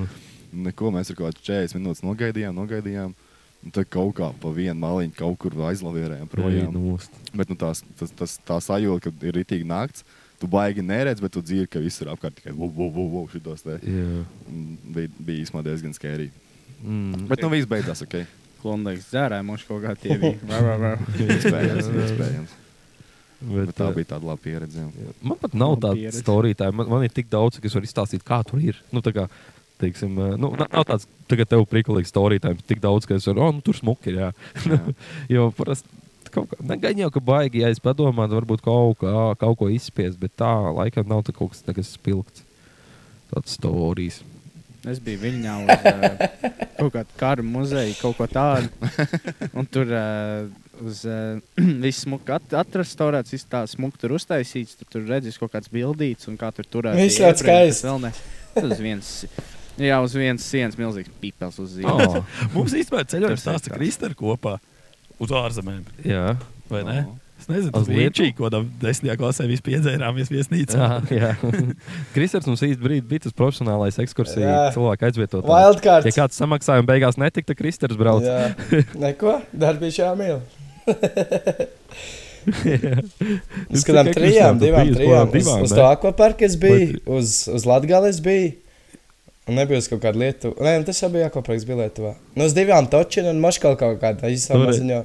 [SPEAKER 2] Neko mēs ar kaut kādā 40 minūtes nogaidījām, nogaidījām. Un tad kaut kā pa vienu maliņu kaut kur aizlavierējām projām. Bet nu, tās, tas, tas, tā sajūta, ka ir rītīgi naktis, tu baigi neredz, bet tu dzirdi, ka viss ir apkārt tikai wow, šitos te.
[SPEAKER 1] Jā.
[SPEAKER 2] Un Bija, bija īstenībā diezgan skērīgi.
[SPEAKER 1] Mm.
[SPEAKER 2] Bet nu viss beidzās, ok.
[SPEAKER 9] Klondaiks dzērāja mums kaut kā tie bija.
[SPEAKER 2] Iespējams, iespējams.
[SPEAKER 1] Bet,
[SPEAKER 2] Bet tā
[SPEAKER 1] eh,
[SPEAKER 2] bija tāda laba pieredze. jā.
[SPEAKER 1] Man pat nav
[SPEAKER 9] Nav
[SPEAKER 1] tāda
[SPEAKER 9] pieredze.
[SPEAKER 1] stāstītāja. Man, man ir tik daudz, kas var izstāstīt, kā tur ir. Nu, tā kā, teiksim, eh, nu, nav nav tāds, tagad tev prikolīgs stāstītājs, tik daudz, ka es varu, oh, nu, tur smuki ir. Jā.
[SPEAKER 2] Jā.
[SPEAKER 1] jo parasti kaut kā, ne gan jau, ka baigi, ja es padomāju, varbūt kaut, kā, kaut ko izspiest, bet tā laikam nav tā kaut kas, tā, kas spilgts. Tāds stāstījis.
[SPEAKER 9] Es biju Viņņā uz uh, kaut kāda kara muzeja, kaut ko tādu. Un tur uh, uz uh, viss smuki at atrestaurēts, viss tā smuki tur uztaisīts. Tur, tur redzēs kaut kāds bildīts un kā tur turēt.
[SPEAKER 4] Viss ļoti skaisti.
[SPEAKER 9] Uz viens, jā, uz vienas sienas milzīgs pipels uz zīmes.
[SPEAKER 2] Ah.
[SPEAKER 3] Oh. Mums īstenībā ceļojums stāsta Kristēna kopā uz ārzemēm.
[SPEAKER 1] Jā.
[SPEAKER 3] Vai ne?
[SPEAKER 1] Oh.
[SPEAKER 3] Es nezinu,
[SPEAKER 1] Uz
[SPEAKER 3] tas bija
[SPEAKER 1] Lietuvu?
[SPEAKER 3] Čīk, ko tam desmitajā klasē vispār piedzērāmies viesnīcā.
[SPEAKER 1] Jā, jā. Kristers mums īsti brīdi bija tas profesionālais ekskursija
[SPEAKER 4] Jā.
[SPEAKER 1] cilvēku aizvietotājs.
[SPEAKER 4] Wildcards.
[SPEAKER 1] Ja kāds samaksāja un beigās netika, tad Kristers brauc.
[SPEAKER 4] Jā. Neko, darbīši jāmīl.
[SPEAKER 1] Jūs
[SPEAKER 4] Uz kādām
[SPEAKER 1] tikai
[SPEAKER 4] trijām,
[SPEAKER 1] Kristēm tur
[SPEAKER 4] divām,
[SPEAKER 1] biji, uz
[SPEAKER 4] trijām.
[SPEAKER 1] kādām
[SPEAKER 4] Uz,
[SPEAKER 1] divām,
[SPEAKER 4] uz
[SPEAKER 1] ne?
[SPEAKER 4] to akvaparku es biju, uz, uz Latvijas biju. Un nebija uz kaut kāda lietu. Nē, nu tas jau bija akvaparks, bija Lietuvā. Nu, uz divām točiem un maškal kaut kāda īsā
[SPEAKER 1] Tur-
[SPEAKER 4] maziņā.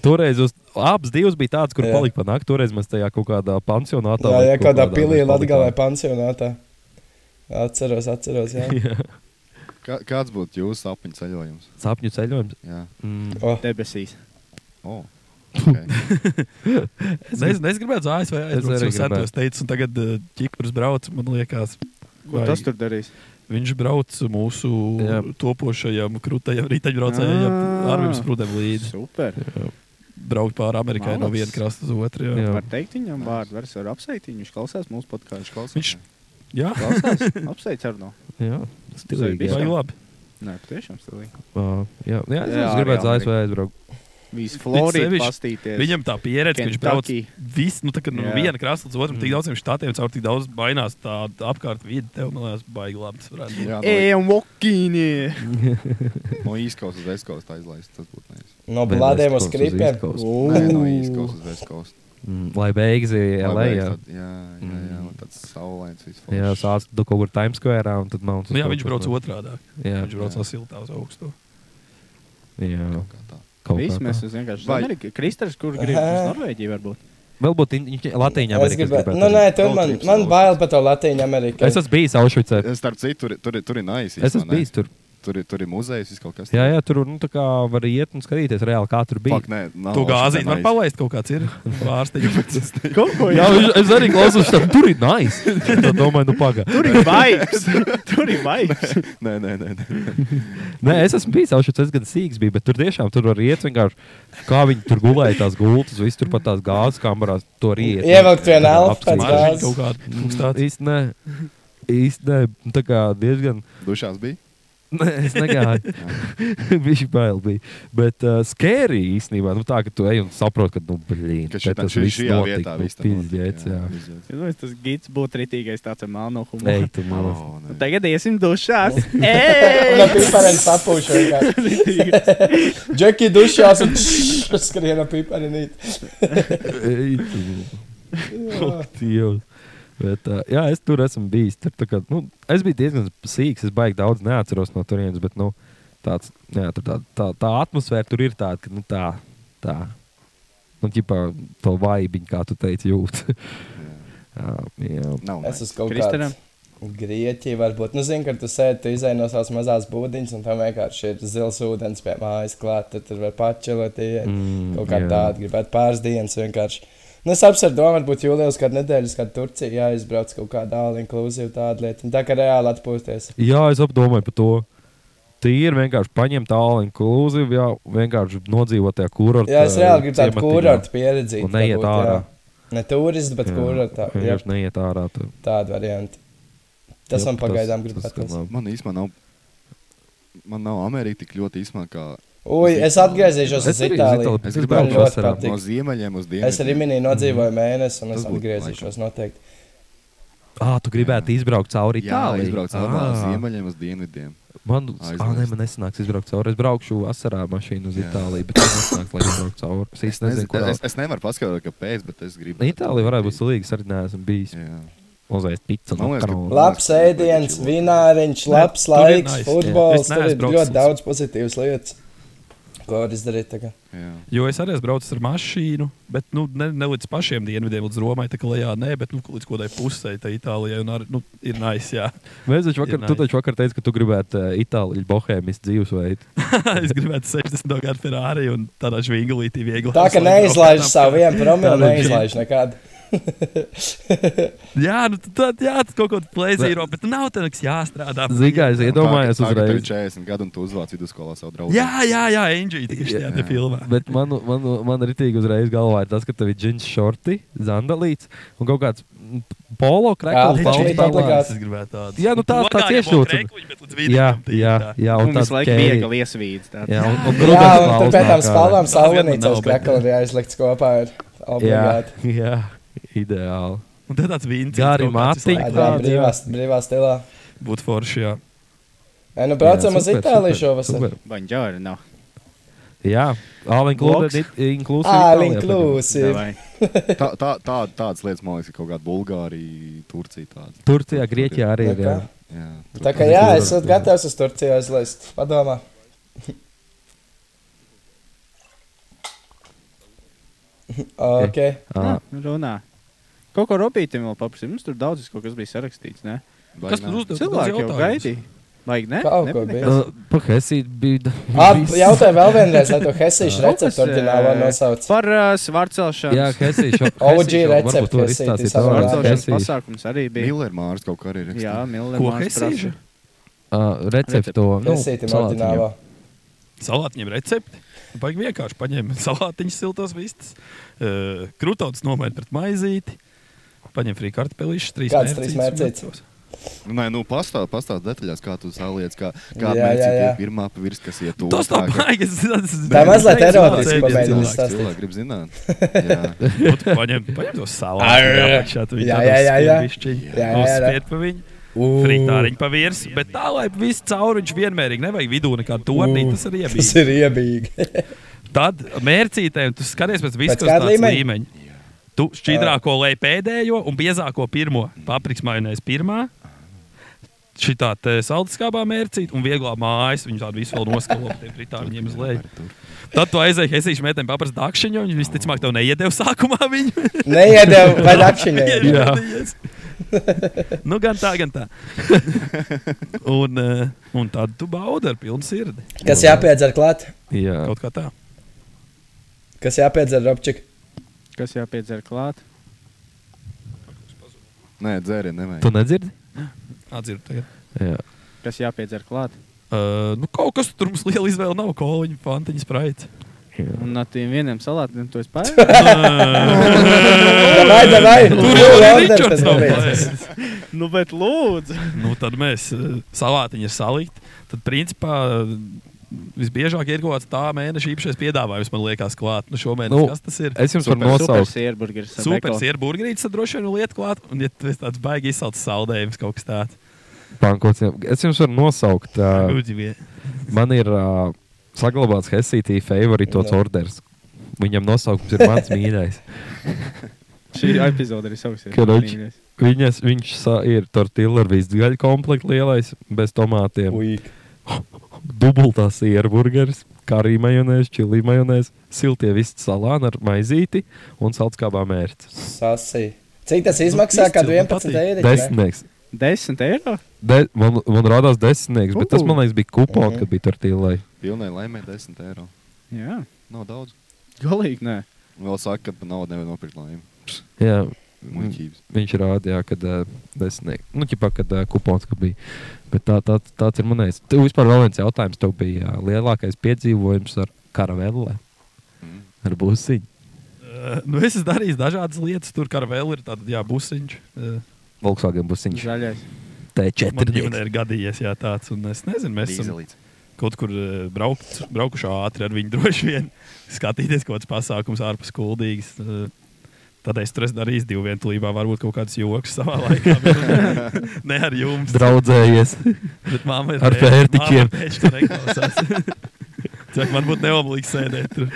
[SPEAKER 1] Toreiz uz abas divas bija tādas, kur
[SPEAKER 4] Jā.
[SPEAKER 1] palika pa nakti. Toreiz mēs tajā kaut kādā pansionātā.
[SPEAKER 4] Jā,
[SPEAKER 1] vai
[SPEAKER 4] jā,
[SPEAKER 1] kaut
[SPEAKER 4] kādā
[SPEAKER 1] mēs
[SPEAKER 4] pilī
[SPEAKER 1] palikām.
[SPEAKER 4] Latvijā pansionātā. Atceros, atceros, jā.
[SPEAKER 1] Jā.
[SPEAKER 2] Kā, kāds būtu jūsu sapņu ceļojums?
[SPEAKER 1] Sapņu ceļojums.
[SPEAKER 2] Jā.
[SPEAKER 1] Mm.
[SPEAKER 4] Oh,
[SPEAKER 9] Debesīs.
[SPEAKER 2] Oh. Okay.
[SPEAKER 3] Es nezinu, es gribētu uz ASV aizbraukt
[SPEAKER 1] arī gribētu.
[SPEAKER 3] uz Santos teicu, un tagad uh, Ķipras brauc, man liekas.
[SPEAKER 9] Ko
[SPEAKER 3] vai-
[SPEAKER 9] tas tur darīs?
[SPEAKER 3] Viņš brauc mūsu
[SPEAKER 1] Jā.
[SPEAKER 3] Jā. topošajam, krūtajam riteņbraucējam,
[SPEAKER 9] Ā.
[SPEAKER 3] ar viņu sprūdēm līdzi.
[SPEAKER 9] Super.
[SPEAKER 3] Braukt pāri Amerikai no
[SPEAKER 9] Malacis.
[SPEAKER 3] viena krasta uz otru. Jā.
[SPEAKER 1] Jā.
[SPEAKER 3] Jā.
[SPEAKER 9] Var teikt viņam vārdu, var, var apsveikt viņu. Viņš klausās mūsu podkāstu.
[SPEAKER 3] Viņš- Jā.
[SPEAKER 9] klausās. Apsveic ar no.
[SPEAKER 1] Jā, stilīgi.
[SPEAKER 9] Stilīgi, jā.
[SPEAKER 1] Jā,
[SPEAKER 3] Vai labi?
[SPEAKER 9] Nē, tiešām stilīgi.
[SPEAKER 1] Ā, jā, jā, es
[SPEAKER 9] Jā,
[SPEAKER 1] jā gribētu uz
[SPEAKER 9] jā,
[SPEAKER 1] ASV aizbraukt.
[SPEAKER 9] Viss Florida
[SPEAKER 3] sevišķi-
[SPEAKER 9] pastīties.
[SPEAKER 3] Viņam tā pieredze, ka viņš brauc
[SPEAKER 9] Kentucky.
[SPEAKER 3] visu, nu, tā, kā no
[SPEAKER 9] Jā.
[SPEAKER 3] viena krasta līdz otram, tik daudziem štatiem, caur tik daudz mainās tā apkārt vidi. Tev, man liekas, baigi labi. Tas varētu
[SPEAKER 1] Eh,
[SPEAKER 3] būt.
[SPEAKER 2] Jā,
[SPEAKER 9] Ej, un vokīni!
[SPEAKER 2] no, no īskaus uz aizkaustu aizlaist. Tas būtu neizsmeļams.
[SPEAKER 4] No blādiem uz
[SPEAKER 1] East Coast,
[SPEAKER 4] skripiem.
[SPEAKER 1] East Coast.
[SPEAKER 2] Nē, no īskaus uz aizkaustu.
[SPEAKER 1] Mm, Lai beigas LA. Mm.
[SPEAKER 2] Jā,
[SPEAKER 1] Jā,
[SPEAKER 2] jā, jā, jā lai tāds saulains vispār.
[SPEAKER 1] jā sāc tu kaut kur Times Square un tad Mount.
[SPEAKER 3] Nu, jā, viņš brauc otrādi.
[SPEAKER 1] Jā,
[SPEAKER 3] Viņš brauc no siltā uz augstu.
[SPEAKER 1] jā.
[SPEAKER 2] Kā tā.
[SPEAKER 1] Kaut
[SPEAKER 9] Viss
[SPEAKER 1] kā
[SPEAKER 9] mēs
[SPEAKER 1] tā.
[SPEAKER 9] uz vienkārši
[SPEAKER 2] Vai-
[SPEAKER 9] Ameriku. Kristers, kur grib uz
[SPEAKER 4] Aha.
[SPEAKER 9] Norvēģiju varbūt?
[SPEAKER 1] Varbūt Latvijā
[SPEAKER 4] Es gribētu. Nu, nē, tur
[SPEAKER 2] Road
[SPEAKER 4] man,
[SPEAKER 2] trips
[SPEAKER 4] man
[SPEAKER 2] daudz.
[SPEAKER 4] bail par to Latviju Ameriku.
[SPEAKER 1] Es esmu bijis Aušvicē.
[SPEAKER 2] Starp citu, tur, tur, tur ir naisi.
[SPEAKER 1] Es esmu bijis tur.
[SPEAKER 2] Tur, ir- tur ir muzejs, viss kaut kas.
[SPEAKER 1] Jā, jā, tur nu, tā kā var iet un skatīties reāli, kā tur bija.
[SPEAKER 2] Pak, nē, nav
[SPEAKER 3] To gāzīt
[SPEAKER 2] šitā
[SPEAKER 3] var
[SPEAKER 2] nice.
[SPEAKER 3] palaist kaut kāds ir. Pārsteigts.
[SPEAKER 9] Kaut ko
[SPEAKER 1] Jā, es- es arī klausos, tam tur ir nais. Tad domāju, nu pagaidi.
[SPEAKER 9] Tur ir vibes! Tur ir vibes!
[SPEAKER 2] Nē, nē, nē. nē.
[SPEAKER 1] Nē, es esmu bijis Aušvicē, es gan sīgs biju, bet tur tiešām tur var iet vienkārši, kā viņi tur gulēja tās gultas, viss tur pat tās gāzes kamerās, to riet.
[SPEAKER 4] Ievelkt vienu elpu pēc
[SPEAKER 1] Apskatīties.
[SPEAKER 3] Maržīgi
[SPEAKER 4] gāzes.
[SPEAKER 3] kaut kāda.
[SPEAKER 1] Mm,
[SPEAKER 3] Mums tāds.
[SPEAKER 1] Īsti nē, īsti nē, Nu, tā kā diezgan.
[SPEAKER 2] Dušās bija.
[SPEAKER 1] Nē, es negāju. Viņš bail bija. Bet uh, skēri īstenībā, nu tā, ka tu ej un saproti, ka, nu, blīn, te
[SPEAKER 2] Ka šitā-
[SPEAKER 1] tas
[SPEAKER 2] šī-
[SPEAKER 1] viss
[SPEAKER 2] šajā
[SPEAKER 1] notika.
[SPEAKER 2] vietā
[SPEAKER 1] Nu,
[SPEAKER 2] viss tā notika,
[SPEAKER 1] pizdiec, jā.
[SPEAKER 2] pizdiec.
[SPEAKER 9] Es domāju, tas gids būtu ritīgais tāds ar melno
[SPEAKER 1] Ej,
[SPEAKER 9] humoru.
[SPEAKER 2] Oh.
[SPEAKER 1] tu malas.
[SPEAKER 2] O, nē.
[SPEAKER 9] Tagad iesim dušās!
[SPEAKER 4] No
[SPEAKER 9] Ej!
[SPEAKER 4] pipariem sapūšu. Džeki dušās un skrien no pipariem.
[SPEAKER 1] Ej, tu Ak, Dievs. Bet, uh, jā, es tur esmu bijis. Tur, tā kā, nu, es biju diezgan sīgs, es baigi daudz neatceros no turienes, bet nu, tāds, jā, tur tā, tā, tā atmosfēra tur ir tāda, ka nu, tā, tā. Nu, ķipā, to vaibiņu, kā tu teici, jūt. jā, jā.
[SPEAKER 2] Nav.
[SPEAKER 4] Es
[SPEAKER 2] nice.
[SPEAKER 4] esmu kaut
[SPEAKER 9] Kristaram?
[SPEAKER 4] kāds. Grieķija varbūt. Nu, zini, ka tu sēdi, tu izai no savas mazās būdiņas, un tam vienkārši ir zils ūdens pie mājas klāt, tad tur var pačelot, iet
[SPEAKER 1] Mm,
[SPEAKER 4] kaut kā
[SPEAKER 1] jā.
[SPEAKER 4] tāda. Gribētu pāris dienas vienkārši. Nu, es apsveru domu, varbūt jūlijā, kad nedēļas, kad Turcija jāizbrauc kaut kādā all inclusive tāda lieta. Un Tā kā reāli atpūsties.
[SPEAKER 1] Jā, es apdomāju par to. Tīri vienkārši paņemt tālu inkluzīvu, jā, vienkārši nodzīvot tajā kurortā.
[SPEAKER 4] Jā, es reāli gribu tādu kurortu pieredzi.
[SPEAKER 1] eh, Un neiet ārā.
[SPEAKER 4] Ne turists, bet kurortā. Jā,
[SPEAKER 1] Vienkārši neiet ārā. Tu.
[SPEAKER 4] tāda varianta. Tas
[SPEAKER 1] Jā,
[SPEAKER 4] man pagaidām grib
[SPEAKER 1] tas gan
[SPEAKER 4] patīk.
[SPEAKER 1] labi.
[SPEAKER 2] Man īstenībā nav. Man nav Amerika tik ļoti īsumā, kā
[SPEAKER 4] Ui, es atgriezīšos
[SPEAKER 1] Es
[SPEAKER 4] uz
[SPEAKER 1] arī uz
[SPEAKER 4] Itāliju.
[SPEAKER 1] Itāliju.
[SPEAKER 2] es
[SPEAKER 1] Man
[SPEAKER 2] gribēju
[SPEAKER 1] ļoti
[SPEAKER 2] vasarā
[SPEAKER 4] patīk.
[SPEAKER 2] no ziemeļiem uz dienvidiem.
[SPEAKER 4] Es arī minēju, nodzīvoju mēnesi, un es
[SPEAKER 2] Tas būtu
[SPEAKER 4] atgriezīšos noteikti.
[SPEAKER 1] Ah, tu gribētu izbraukt cauri
[SPEAKER 2] Jā,
[SPEAKER 1] Itālijai. Ah,
[SPEAKER 2] izbraucu no ziemeļiem uz dienvidiem.
[SPEAKER 1] Man,
[SPEAKER 2] Aizmirst.
[SPEAKER 1] ah, nē, man nesanāks izbraukt cauri. Es braukšu vasarā ar mašīnu uz
[SPEAKER 2] Jā.
[SPEAKER 1] Itāliju, bet man nesanāks, lai izbrauktu cauri. Es
[SPEAKER 2] Es,
[SPEAKER 1] īsti nezinu,
[SPEAKER 2] nezinu,
[SPEAKER 1] kur.
[SPEAKER 2] es, es nevaru paskaidrot, kāpēc, bet es gribu.
[SPEAKER 1] Itālija varētu būt slīga, es arī neesmu bijis.
[SPEAKER 2] Jā.
[SPEAKER 1] Uzēst pizzu
[SPEAKER 2] Man
[SPEAKER 1] no
[SPEAKER 2] liekas, ka-
[SPEAKER 1] kanāla.
[SPEAKER 4] Labs ēdiens, vināriņš,
[SPEAKER 3] Nē,
[SPEAKER 4] labs
[SPEAKER 3] tur ir
[SPEAKER 4] laiks,
[SPEAKER 3] nice, jā.
[SPEAKER 4] futbols.
[SPEAKER 3] Es
[SPEAKER 4] Tur ir
[SPEAKER 3] neesmu
[SPEAKER 4] ļoti
[SPEAKER 3] braucis.
[SPEAKER 4] daudz pozitīvas lietas, ko var izdarīt. tagad.
[SPEAKER 2] jā.
[SPEAKER 3] Jo es arī esmu braucis ar mašīnu, bet nu, ne, ne līdz pašiem dienvidiem, līdz Romai, tā kā lejā, nē, bet nu, līdz kaut kādai pusē, tā Itālijai. un Arī, nu, ir nice, jā.
[SPEAKER 1] Mēs taču vakar,
[SPEAKER 3] Ir
[SPEAKER 1] tu
[SPEAKER 3] nice.
[SPEAKER 1] taču vakar teici, ka tu gribētu uh, Itālijas bohēmijas dzīvesveidu.
[SPEAKER 3] es gribētu 60 gadu Ferrari un tādā žvinglītī viegli.
[SPEAKER 4] Tā ka neizlaiž savu vienu promilu, neizlaiž nekādu.
[SPEAKER 3] jā, nu, tu- tad, jā, tas kaut kāds plēzīro, bet nav tā nekas jāstrādā.
[SPEAKER 1] Zigājas, iedomājos
[SPEAKER 2] Tā, ka tev ir
[SPEAKER 1] uzreiz.
[SPEAKER 2] 40 gadu un tu uzvāc vidusskolā savu draugu.
[SPEAKER 3] Jā, jā, jā, Angel, tieši tajā te filmā.
[SPEAKER 1] Bet man, man, man ritīgi uzreiz galvā ir tas, ka tev ir džins šorti, zandalīts un kaut kāds mm, polo krekls.
[SPEAKER 3] Jā,
[SPEAKER 1] balts
[SPEAKER 3] čili obligāti.
[SPEAKER 1] pelēns.
[SPEAKER 3] Es gribētu tādu.
[SPEAKER 1] Jā, nu tāds, tāds
[SPEAKER 3] Vagājamo
[SPEAKER 1] iešūts.
[SPEAKER 3] krekliņu, bet līdz
[SPEAKER 1] Jā,
[SPEAKER 3] vīdītam tīri
[SPEAKER 1] jā,
[SPEAKER 3] tā.
[SPEAKER 1] jā,
[SPEAKER 9] Un
[SPEAKER 1] un tāds
[SPEAKER 9] Nu, visu laiku
[SPEAKER 1] ķēri.
[SPEAKER 9] viegli iesvīts tāds.
[SPEAKER 1] Jā, un,
[SPEAKER 4] Jā,
[SPEAKER 1] un,
[SPEAKER 4] un
[SPEAKER 1] grūdens valsts
[SPEAKER 4] turpēc tam
[SPEAKER 1] nāk ārā.
[SPEAKER 4] spalvām
[SPEAKER 3] nav,
[SPEAKER 4] salonīcās
[SPEAKER 3] bet-
[SPEAKER 4] krekli ir jāizlikts kopā. Ir
[SPEAKER 1] Jā,
[SPEAKER 4] obligāti.
[SPEAKER 1] jā, ideāli.
[SPEAKER 3] Un tad tāds vīns.
[SPEAKER 1] Gari
[SPEAKER 4] Jā,
[SPEAKER 1] mātiņi.
[SPEAKER 4] tā brīvā, brīvā stilā.
[SPEAKER 3] Būtu forši, jā.
[SPEAKER 4] Jā, nu braucam uz
[SPEAKER 1] super,
[SPEAKER 4] Itāliju
[SPEAKER 1] super,
[SPEAKER 4] šovasar.
[SPEAKER 1] super.
[SPEAKER 9] Banģāri nav.
[SPEAKER 1] Jā, all
[SPEAKER 9] Bloks.
[SPEAKER 1] included, inclusive. Itālijā
[SPEAKER 4] All
[SPEAKER 1] tagad.
[SPEAKER 4] inclusive.
[SPEAKER 9] Davai.
[SPEAKER 2] Tā, tā, tā, tādas lietas, man liekas, ir kaut kāda Bulgārija, Turcija. Tāda.
[SPEAKER 1] Turcijā, Grieķijā arī ir. Jā.
[SPEAKER 4] Nekā.
[SPEAKER 2] Jā, tur-
[SPEAKER 4] Tā kā jā, esat gatavs uz Turciju aizlaist. Padomā. ok.
[SPEAKER 1] Ā,
[SPEAKER 9] Nu, Runā. Kaut ko ropītam vēl paprasīt. Mums tur daudz kaut kas bija sarakstīts. Ne?
[SPEAKER 2] vai
[SPEAKER 3] Kas
[SPEAKER 2] nē?
[SPEAKER 3] tur uzdev?
[SPEAKER 9] Cilvēki jau gaidīja. Vajag, ne?
[SPEAKER 4] Kaut ko
[SPEAKER 9] Nepatika?
[SPEAKER 4] bija.
[SPEAKER 1] ā, nu, Pa Hesīt bija.
[SPEAKER 4] Ap- Jautāju vēl vienreiz, lai to Hesīšu
[SPEAKER 9] Kaut kas,
[SPEAKER 4] receptu orģinālā
[SPEAKER 9] eh,
[SPEAKER 4] nosauc.
[SPEAKER 9] Par uh, svārcelšanu.
[SPEAKER 1] Jā, Hesīša.
[SPEAKER 4] OG recepti Hesītis,
[SPEAKER 9] svārcelšanas pasākums arī bija.
[SPEAKER 2] Miller Mārs kaut kā arī ir.
[SPEAKER 9] Jā, Miller.
[SPEAKER 3] Ko
[SPEAKER 9] Mars
[SPEAKER 3] Hesīša?
[SPEAKER 9] prasa.
[SPEAKER 1] Recepto.
[SPEAKER 3] nu,
[SPEAKER 4] Hesītim orģinālā.
[SPEAKER 3] Salātiņiem recepti. Nu, Baigi vienkārši paņem salātiņas, siltos vistas, uh, krūtauts nomainīt pret maizīti, paņem frī kartupelīšus, trīs
[SPEAKER 4] Kāds trīs mērcītes?
[SPEAKER 3] mērcītes.
[SPEAKER 2] Nu, Nē, nu pastāst pastāst detaļās, kā tu saliec, kā, kā
[SPEAKER 4] Jā, jā, jā.
[SPEAKER 2] mērķi pirmā pa virs, kas iet
[SPEAKER 3] Tas
[SPEAKER 2] tā,
[SPEAKER 3] nav
[SPEAKER 2] ka
[SPEAKER 3] baigi. es- tas-
[SPEAKER 4] Tā mazliet
[SPEAKER 3] es-
[SPEAKER 4] erotiski
[SPEAKER 3] es-
[SPEAKER 4] pamēģini
[SPEAKER 3] cilvēks.
[SPEAKER 4] stāstīt.
[SPEAKER 2] Cilvēki grib zināt. Jā,
[SPEAKER 3] Nu, tu Paņem paņem to
[SPEAKER 4] Arr!
[SPEAKER 3] salātiņu.
[SPEAKER 4] Jā, jā, jā, jā. Jā, jā, jā.
[SPEAKER 3] Uzspied pa viņu. Fritāriņš pa virsmu, bet tā, lai viss cauriņš vienmērīgi nevajag vidū nekādu tornīti. Tas arī
[SPEAKER 4] Tas
[SPEAKER 3] bija.
[SPEAKER 4] ir iebīgi.
[SPEAKER 3] Tad mērcītēm tu skaties pēc viskas
[SPEAKER 4] kāda
[SPEAKER 3] tādas
[SPEAKER 4] līmeņa?
[SPEAKER 3] līmeņa. Tu šķidrāko lej pēdējo un biezāko pirmo. Papriks majonēs pirmā. Šī tā saldskābā mērcīte un vieglā mājas. Viņu tādu visu vēl noskalo pie fritāriņiem uz leju. Tad tu aizēji Hesīšu metēm paprast dakšiņu, un viņš visticamāk tev neiedeva sākumā viņu.
[SPEAKER 4] Neiedev vai dakšiņai.
[SPEAKER 3] Jā. nu, gan tā, gan tā. un, eh, un tad tu baudi ar pilnu sirdi.
[SPEAKER 4] Kas jāpiedzer klāt?
[SPEAKER 1] Jā,
[SPEAKER 3] Kaut kā tā.
[SPEAKER 4] Kas jāpiedzer robčik?
[SPEAKER 9] Kas jāpiedzer klāt?
[SPEAKER 2] nē, dzērienu
[SPEAKER 1] tu
[SPEAKER 2] nevajag.
[SPEAKER 1] nedzirdi?
[SPEAKER 3] Atzirdu tagad.
[SPEAKER 1] Jā.
[SPEAKER 9] Kas jāpiedzer klāt?
[SPEAKER 3] Uh, nu, kaut kas tur mums liela izvēle nav. Koliņa, fantiņa, spraita.
[SPEAKER 9] Un ar tiem vieniem salātiem to es pārēju.
[SPEAKER 4] Vai, vai,
[SPEAKER 3] Tur jau ir
[SPEAKER 4] tas
[SPEAKER 3] Ričards nav
[SPEAKER 4] bija.
[SPEAKER 3] plēsis.
[SPEAKER 9] nu, bet lūdzu.
[SPEAKER 3] Nu, tad mēs eh, salātiņu ir salikt. Tad, principā, eh, visbiežāk ir kaut kāds tā mēneša īpašais piedāvājums, man liekas, klāt. Nu, šomēnes, nu,
[SPEAKER 1] Nu,
[SPEAKER 3] kas tas ir?
[SPEAKER 1] Es jums varu
[SPEAKER 9] Super
[SPEAKER 1] nosaukt.
[SPEAKER 9] sierburgeris. ar
[SPEAKER 3] Super,
[SPEAKER 9] beko.
[SPEAKER 3] ir burgerītis, tad droši vien ir lieta klāt. Un, ja tas tāds baigi izsaucas saldējums, kaut kas tāds
[SPEAKER 1] Pankociem. Es jums varu nosaukt.
[SPEAKER 3] -
[SPEAKER 1] ā,
[SPEAKER 3] gudīgi.
[SPEAKER 1] Man ir ā, saglabāts Hesītī favorītos
[SPEAKER 4] Jā.
[SPEAKER 1] orders. Viņam nosaukums ir mans mīļākais.
[SPEAKER 9] Šī epizode arī savs. ir
[SPEAKER 1] Karoči.
[SPEAKER 9] mīļais.
[SPEAKER 1] Viņas, viņš sa, ir tortilla ar visu gaļu komplektu lielais, bez tomātiem.
[SPEAKER 4] Uik.
[SPEAKER 1] Dubultā sieru burgeris, karī majonēs, čili majonēs, siltie visti salāni ar maizīti un salskābā mērķis.
[SPEAKER 4] Sasī. Cik tas izmaksā?
[SPEAKER 3] izcili,
[SPEAKER 4] Kad
[SPEAKER 3] Nu, man
[SPEAKER 4] 11
[SPEAKER 3] patīk.
[SPEAKER 4] eiro?
[SPEAKER 1] Desmitnieks.
[SPEAKER 9] Desmit eiro?
[SPEAKER 1] De, man, man radās desmitnieks, bet tas, man liekas, bija kupons,
[SPEAKER 4] Mhm.
[SPEAKER 1] kad bija tortilla.
[SPEAKER 2] Pilnai laimē 10 eiro.
[SPEAKER 9] Jā,
[SPEAKER 2] Nav daudz.
[SPEAKER 9] galīgi nē.
[SPEAKER 2] Vēl saka, ka pa naudu nevar nopirkt laimi.
[SPEAKER 1] Jā,
[SPEAKER 2] Muļķības.
[SPEAKER 1] Viņš rādīja, ka desmitnieks, eh, nu, ķipā, kad ā, kupons kad bija. Bet tā, tā, tāds ir manējs. Tev vispār vēl viens jautājums. Tev bija ā, lielākais piedzīvojums ar karavelle,
[SPEAKER 3] Mm.
[SPEAKER 1] ar busiņu.
[SPEAKER 3] Nu, es esmu darījis dažādas lietas, tur kā vēl ir tāds - busiņš. eh,
[SPEAKER 1] Volkswagen busiņš.
[SPEAKER 9] Zaļais.
[SPEAKER 3] Man
[SPEAKER 1] T4.
[SPEAKER 3] ģimenē ir gadījies jā, tāds, un es nezinu, mēs esam
[SPEAKER 2] Dīzelīts.
[SPEAKER 3] kaut kur eh, braukt, braukuši ātri ar viņu droši vien. Skatīties kaut kāds pasākums ārpus kuldīgas. eh, Tad es tur esmu darījis divu vientulībā, varbūt kaut kādas joks savā laikā. bet Ne ar jums.
[SPEAKER 1] Draudzējies.
[SPEAKER 3] Bet mamma ir
[SPEAKER 1] Ar pērtiķiem.
[SPEAKER 3] Pērtiķiem. Cik man būtu neobligāti sēdēt tur.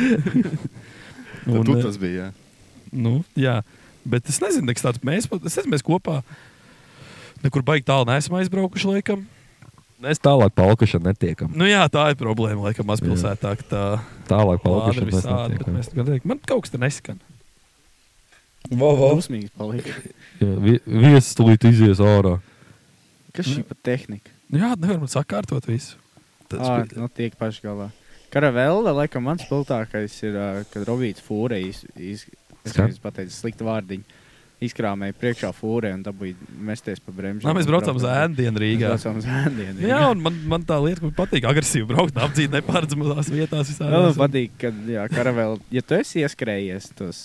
[SPEAKER 2] Tad
[SPEAKER 3] Un,
[SPEAKER 2] tu
[SPEAKER 3] eh,
[SPEAKER 2] tas bija, jā.
[SPEAKER 3] Nu, jā, bet es nezinu, kas tāds mēs, pat- es nezinu, mēs kopā nekur baigi tālu neesam aizbraukuši. Laikam.
[SPEAKER 1] Mēs Nu, tālāk palkušanu netiekam.
[SPEAKER 3] Nu, jā, tā ir problēma. Laikam, mazpilsētā ka tā
[SPEAKER 1] Tālāk
[SPEAKER 3] lāde ir
[SPEAKER 1] palkušanu mēs
[SPEAKER 3] visādi. bet
[SPEAKER 1] netiekam.
[SPEAKER 3] Mēs gan teikam, man kaut kas tur neskan.
[SPEAKER 4] Vo, vo.
[SPEAKER 1] Nu,
[SPEAKER 9] Dusmīgs paliek.
[SPEAKER 1] Jā, vi- Viesis tulīt izies ārā.
[SPEAKER 9] Kas šī pa tehnika?
[SPEAKER 3] Nu, jā, nevaram sakārtot visu.
[SPEAKER 9] Ā,
[SPEAKER 3] Tas bija
[SPEAKER 9] nu tiek paši galvā. Karavelle, laikam, mans spilgtākais ir, ā, kad Robīts Fūre iz, iz, es
[SPEAKER 1] Kā?
[SPEAKER 9] pateicu sliktu vārdiņu. izkrāmēja priekšā fūrē un dabūja mesties pa bremžu.
[SPEAKER 3] Nā, mēs braucām uz ēdienu Rīgā.
[SPEAKER 9] Mēs braucām uz ēdienu.
[SPEAKER 3] Jā, un man, man tā lieta, ko patīk, agresīvi braukt, apdzīt nepārdzamās vietās. visā.
[SPEAKER 9] Man patīk, ka karavēlis, ja tu esi ieskrējies, tos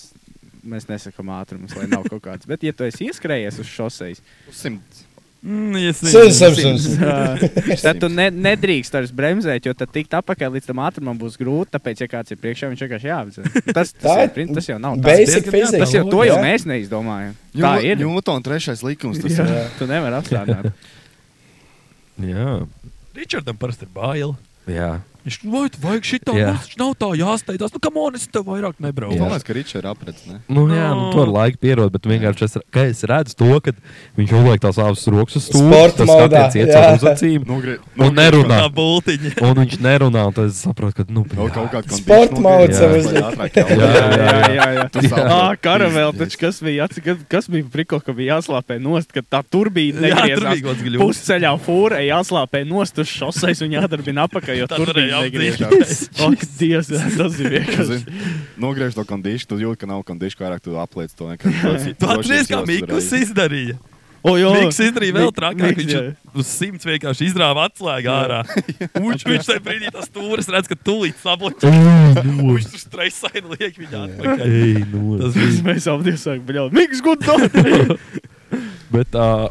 [SPEAKER 9] mēs nesakām ātrumus, lai nav kaut kāds. Bet, ja tu esi ieskrējies uz šoseis,
[SPEAKER 2] uz 100.
[SPEAKER 3] Mm, es nezinu.
[SPEAKER 9] Jā. Tad tu ne, nedrīkst vairs bremzēt, jo tad tikt apakaļ līdz tam ātrumam būs grūti. Tāpēc, ja kāds ir priekšā, viņš vienkārši jāapdzer. Tas, tas,
[SPEAKER 4] Tā
[SPEAKER 9] ir
[SPEAKER 4] ir
[SPEAKER 9] prin- tas jau nav
[SPEAKER 4] basic
[SPEAKER 9] Tas diezgan-
[SPEAKER 4] physics.
[SPEAKER 9] Tas jau to jau
[SPEAKER 4] Jā.
[SPEAKER 9] mēs neizdomājam. Tā
[SPEAKER 2] Ņū-
[SPEAKER 9] ir.
[SPEAKER 2] Ņūtona trešais likums. Tas
[SPEAKER 9] Jā.
[SPEAKER 2] ir.
[SPEAKER 9] Tu nevari apstādināt.
[SPEAKER 1] Jā.
[SPEAKER 3] Ričardam parasti ir bail.
[SPEAKER 1] Jā.
[SPEAKER 3] Viņš "Nu, vai tu vajag šitā,
[SPEAKER 1] Jā.
[SPEAKER 3] yeah. tas nav tā jāsteidās. Nu, kam on, es tev vairāk nebraucu.
[SPEAKER 2] Man liekas, ka Ričs ir apredzis. ne?
[SPEAKER 1] Nu, jā, nu, to ar laiku pierod, bet vienkārši es, ka es redzu to, ka viņš uzliek tās abas rokas uz stūri,
[SPEAKER 4] Sporta
[SPEAKER 1] tas
[SPEAKER 4] modā,
[SPEAKER 1] skatiens iet
[SPEAKER 4] jā.
[SPEAKER 1] caur uz acīm
[SPEAKER 2] Nogrie-
[SPEAKER 1] un nerunā.
[SPEAKER 3] Nu, Tā bultiņa.
[SPEAKER 1] Un viņš nerunā, un tad es saprotu, ka, nu,
[SPEAKER 2] Vēl
[SPEAKER 1] jā.
[SPEAKER 2] kaut kāda
[SPEAKER 4] Sporta mode sev
[SPEAKER 1] Jā, jā,
[SPEAKER 9] jā, jā.
[SPEAKER 2] Tu
[SPEAKER 9] jā.
[SPEAKER 2] saproti.
[SPEAKER 9] Ah, karavēl, taču kas bija, atci- kad- kas bija prikla, ka bija jāslāpē nost, ka tā
[SPEAKER 3] Jā, tur
[SPEAKER 9] turbīna
[SPEAKER 3] bija
[SPEAKER 9] negriezās.
[SPEAKER 3] kaut kāds gļūks.
[SPEAKER 9] Pusceļā fūrē jāslāpē nost uz šoseis un jādarbina apakaļ, jo
[SPEAKER 3] Tā
[SPEAKER 9] turbīna
[SPEAKER 3] varēja
[SPEAKER 9] negriezās. Ak, Dievs, tas
[SPEAKER 2] Tu
[SPEAKER 9] ir vienkārši.
[SPEAKER 2] zini, Nogriež to kondīšu, tu jūti, ka nav kondīšu, kā vairāk tu apliec to. vienkārši.
[SPEAKER 3] Tu
[SPEAKER 2] Drošības
[SPEAKER 3] atceries, kā
[SPEAKER 2] jostas
[SPEAKER 3] Mikls
[SPEAKER 2] reizi.
[SPEAKER 3] izdarīja.
[SPEAKER 9] O, jā.
[SPEAKER 3] Mikls izdarīja vēl
[SPEAKER 9] Mik-
[SPEAKER 3] trakāk.
[SPEAKER 9] Miks,
[SPEAKER 3] Viņš
[SPEAKER 9] jā.
[SPEAKER 3] uz simts vienkārši izrāva atslēgu ārā. Un Viņš, viņš tajā brīdī tas stūris redz, ka tūlīt sabloķē. Viņš tur stresaini liek viņu atpakaļ.
[SPEAKER 1] Ej, nu.
[SPEAKER 3] Tas
[SPEAKER 9] Mēs-
[SPEAKER 3] bija.
[SPEAKER 9] Mēs apdiesām, bļaut. Miks, good dog!
[SPEAKER 1] Bet, uh,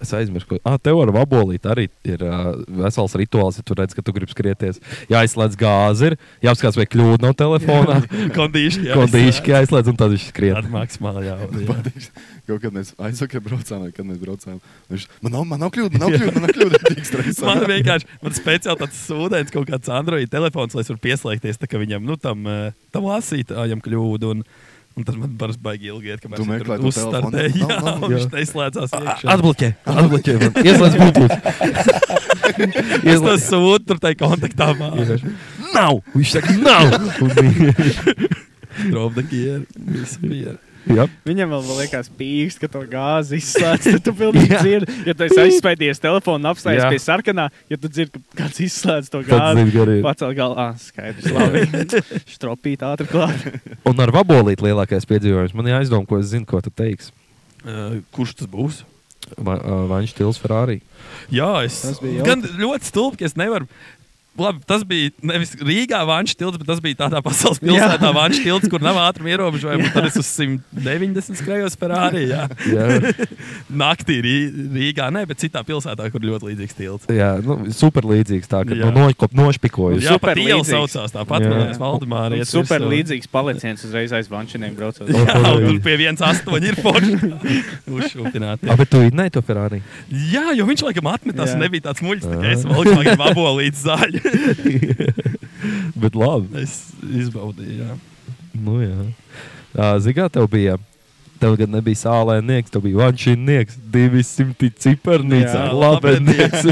[SPEAKER 1] Es aizmirsu, ka ah, tev ar vabolīti arī ir uh, vesels rituāls, ja tu redz, ka tu gribi skrieties. Jāizslēdz gāzi, ir jāapskatās, vai kļūda no telefona.
[SPEAKER 3] Kondīšķi.
[SPEAKER 1] Kondīški jāizslēdz, un tad viņš skriet.
[SPEAKER 3] Maksimāli jā. jā.
[SPEAKER 2] Patīk. Kaut kad mēs aizvakar braucām, vai kad mēs braucām. Viņš, man nav, man nav kļūda, man nav kļūda, man nav kļūda. Tik
[SPEAKER 3] Man
[SPEAKER 2] stresā.
[SPEAKER 3] vienkārši ir speciāli tāds sūdens, kaut kāds Android telefons, lai es varu pieslēgties tā, ka viņam, nu, tam, eh, tam lasītājam kļūdu. Un, un tad man baras baigi ilgi iet, kamēr
[SPEAKER 2] Tu
[SPEAKER 3] es
[SPEAKER 2] meklē to telefonu.
[SPEAKER 3] tur uzstartēju.
[SPEAKER 2] Nav,
[SPEAKER 3] Jā,
[SPEAKER 2] nav,
[SPEAKER 3] un viņš neizslēdzās iekšā.
[SPEAKER 1] Atbloķē, atbloķē. man. Ieslēdz būtību.
[SPEAKER 3] Es to sūtu tur tajā kontaktā. māšu.
[SPEAKER 1] Nav! Viņš saka, nav! Un-
[SPEAKER 3] Drop the gear. Visu gear.
[SPEAKER 1] Jā,
[SPEAKER 9] Viņam vēl liekas pīksts, ka to gāzi izslēdz. Tad tu pilnīgi dzirdi, ja tu esi aizspēdies telefonu, apstājies
[SPEAKER 1] Jā.
[SPEAKER 9] pie sarkanā, ja tu dzirdi, ka kāds izslēdz to
[SPEAKER 1] Tad
[SPEAKER 9] gāzi.
[SPEAKER 1] zini, ka arī-
[SPEAKER 9] Pacēl galvu, ah, skaidrs, labi. Stropīt ātri klāt.
[SPEAKER 1] un ar vabolīti lielākais piedzīvojums. Man ir aizdomas, ko es zinu, ko tu teiksi.
[SPEAKER 3] Eh, Kurš tas būs?
[SPEAKER 1] Va- uh, Vaņš Tils Ferrari.
[SPEAKER 3] Jā, es.
[SPEAKER 9] Tas bija
[SPEAKER 3] Gan ļoti stulbi, ka es nevaru. Labi, tas bija nevis Rīgā Vančs tilts, bet tas bija tādā pasaules pilsētā Vančs tilts, kur nav ātruma ierobežojuma. un Tad es uz 190 skrējos Ferrari. Jā.
[SPEAKER 1] Jā,
[SPEAKER 3] Naktī Rī- Rīgā, ne, bet citā pilsētā, kur ļoti līdzīgs tilts.
[SPEAKER 1] jā nu, super līdzīgs tā, ka
[SPEAKER 3] Jā.
[SPEAKER 1] no noškop nošpikojas.
[SPEAKER 3] Jā,
[SPEAKER 9] super
[SPEAKER 3] pat iela
[SPEAKER 9] līdzīgs.
[SPEAKER 3] saucās tāpat,
[SPEAKER 1] Jā.
[SPEAKER 3] kā Valdemāra.
[SPEAKER 9] Un
[SPEAKER 3] iet
[SPEAKER 9] Super
[SPEAKER 3] virsū.
[SPEAKER 9] līdzīgs paliciens uzreiz aiz vančiniem braucot.
[SPEAKER 3] Jā, un tur pie 1,8 ir forši. Uzšūpināt.
[SPEAKER 1] Ah, bet tu īdnei to Ferrari.
[SPEAKER 3] Jā, jo viņš laikam atmetās,
[SPEAKER 9] Jā.
[SPEAKER 3] un nebija tāds muļķis, tā kā es valku tagad vabolīts zaļi.
[SPEAKER 1] Bet labi.
[SPEAKER 3] Es izbaudīju, jā.
[SPEAKER 1] Nu, jā. Uh, Zigā, tev bija. Tev gan nebija sālēnieks, tev bija vanšīnieks, 200 cipernīca,
[SPEAKER 3] Jā,
[SPEAKER 1] labenieks.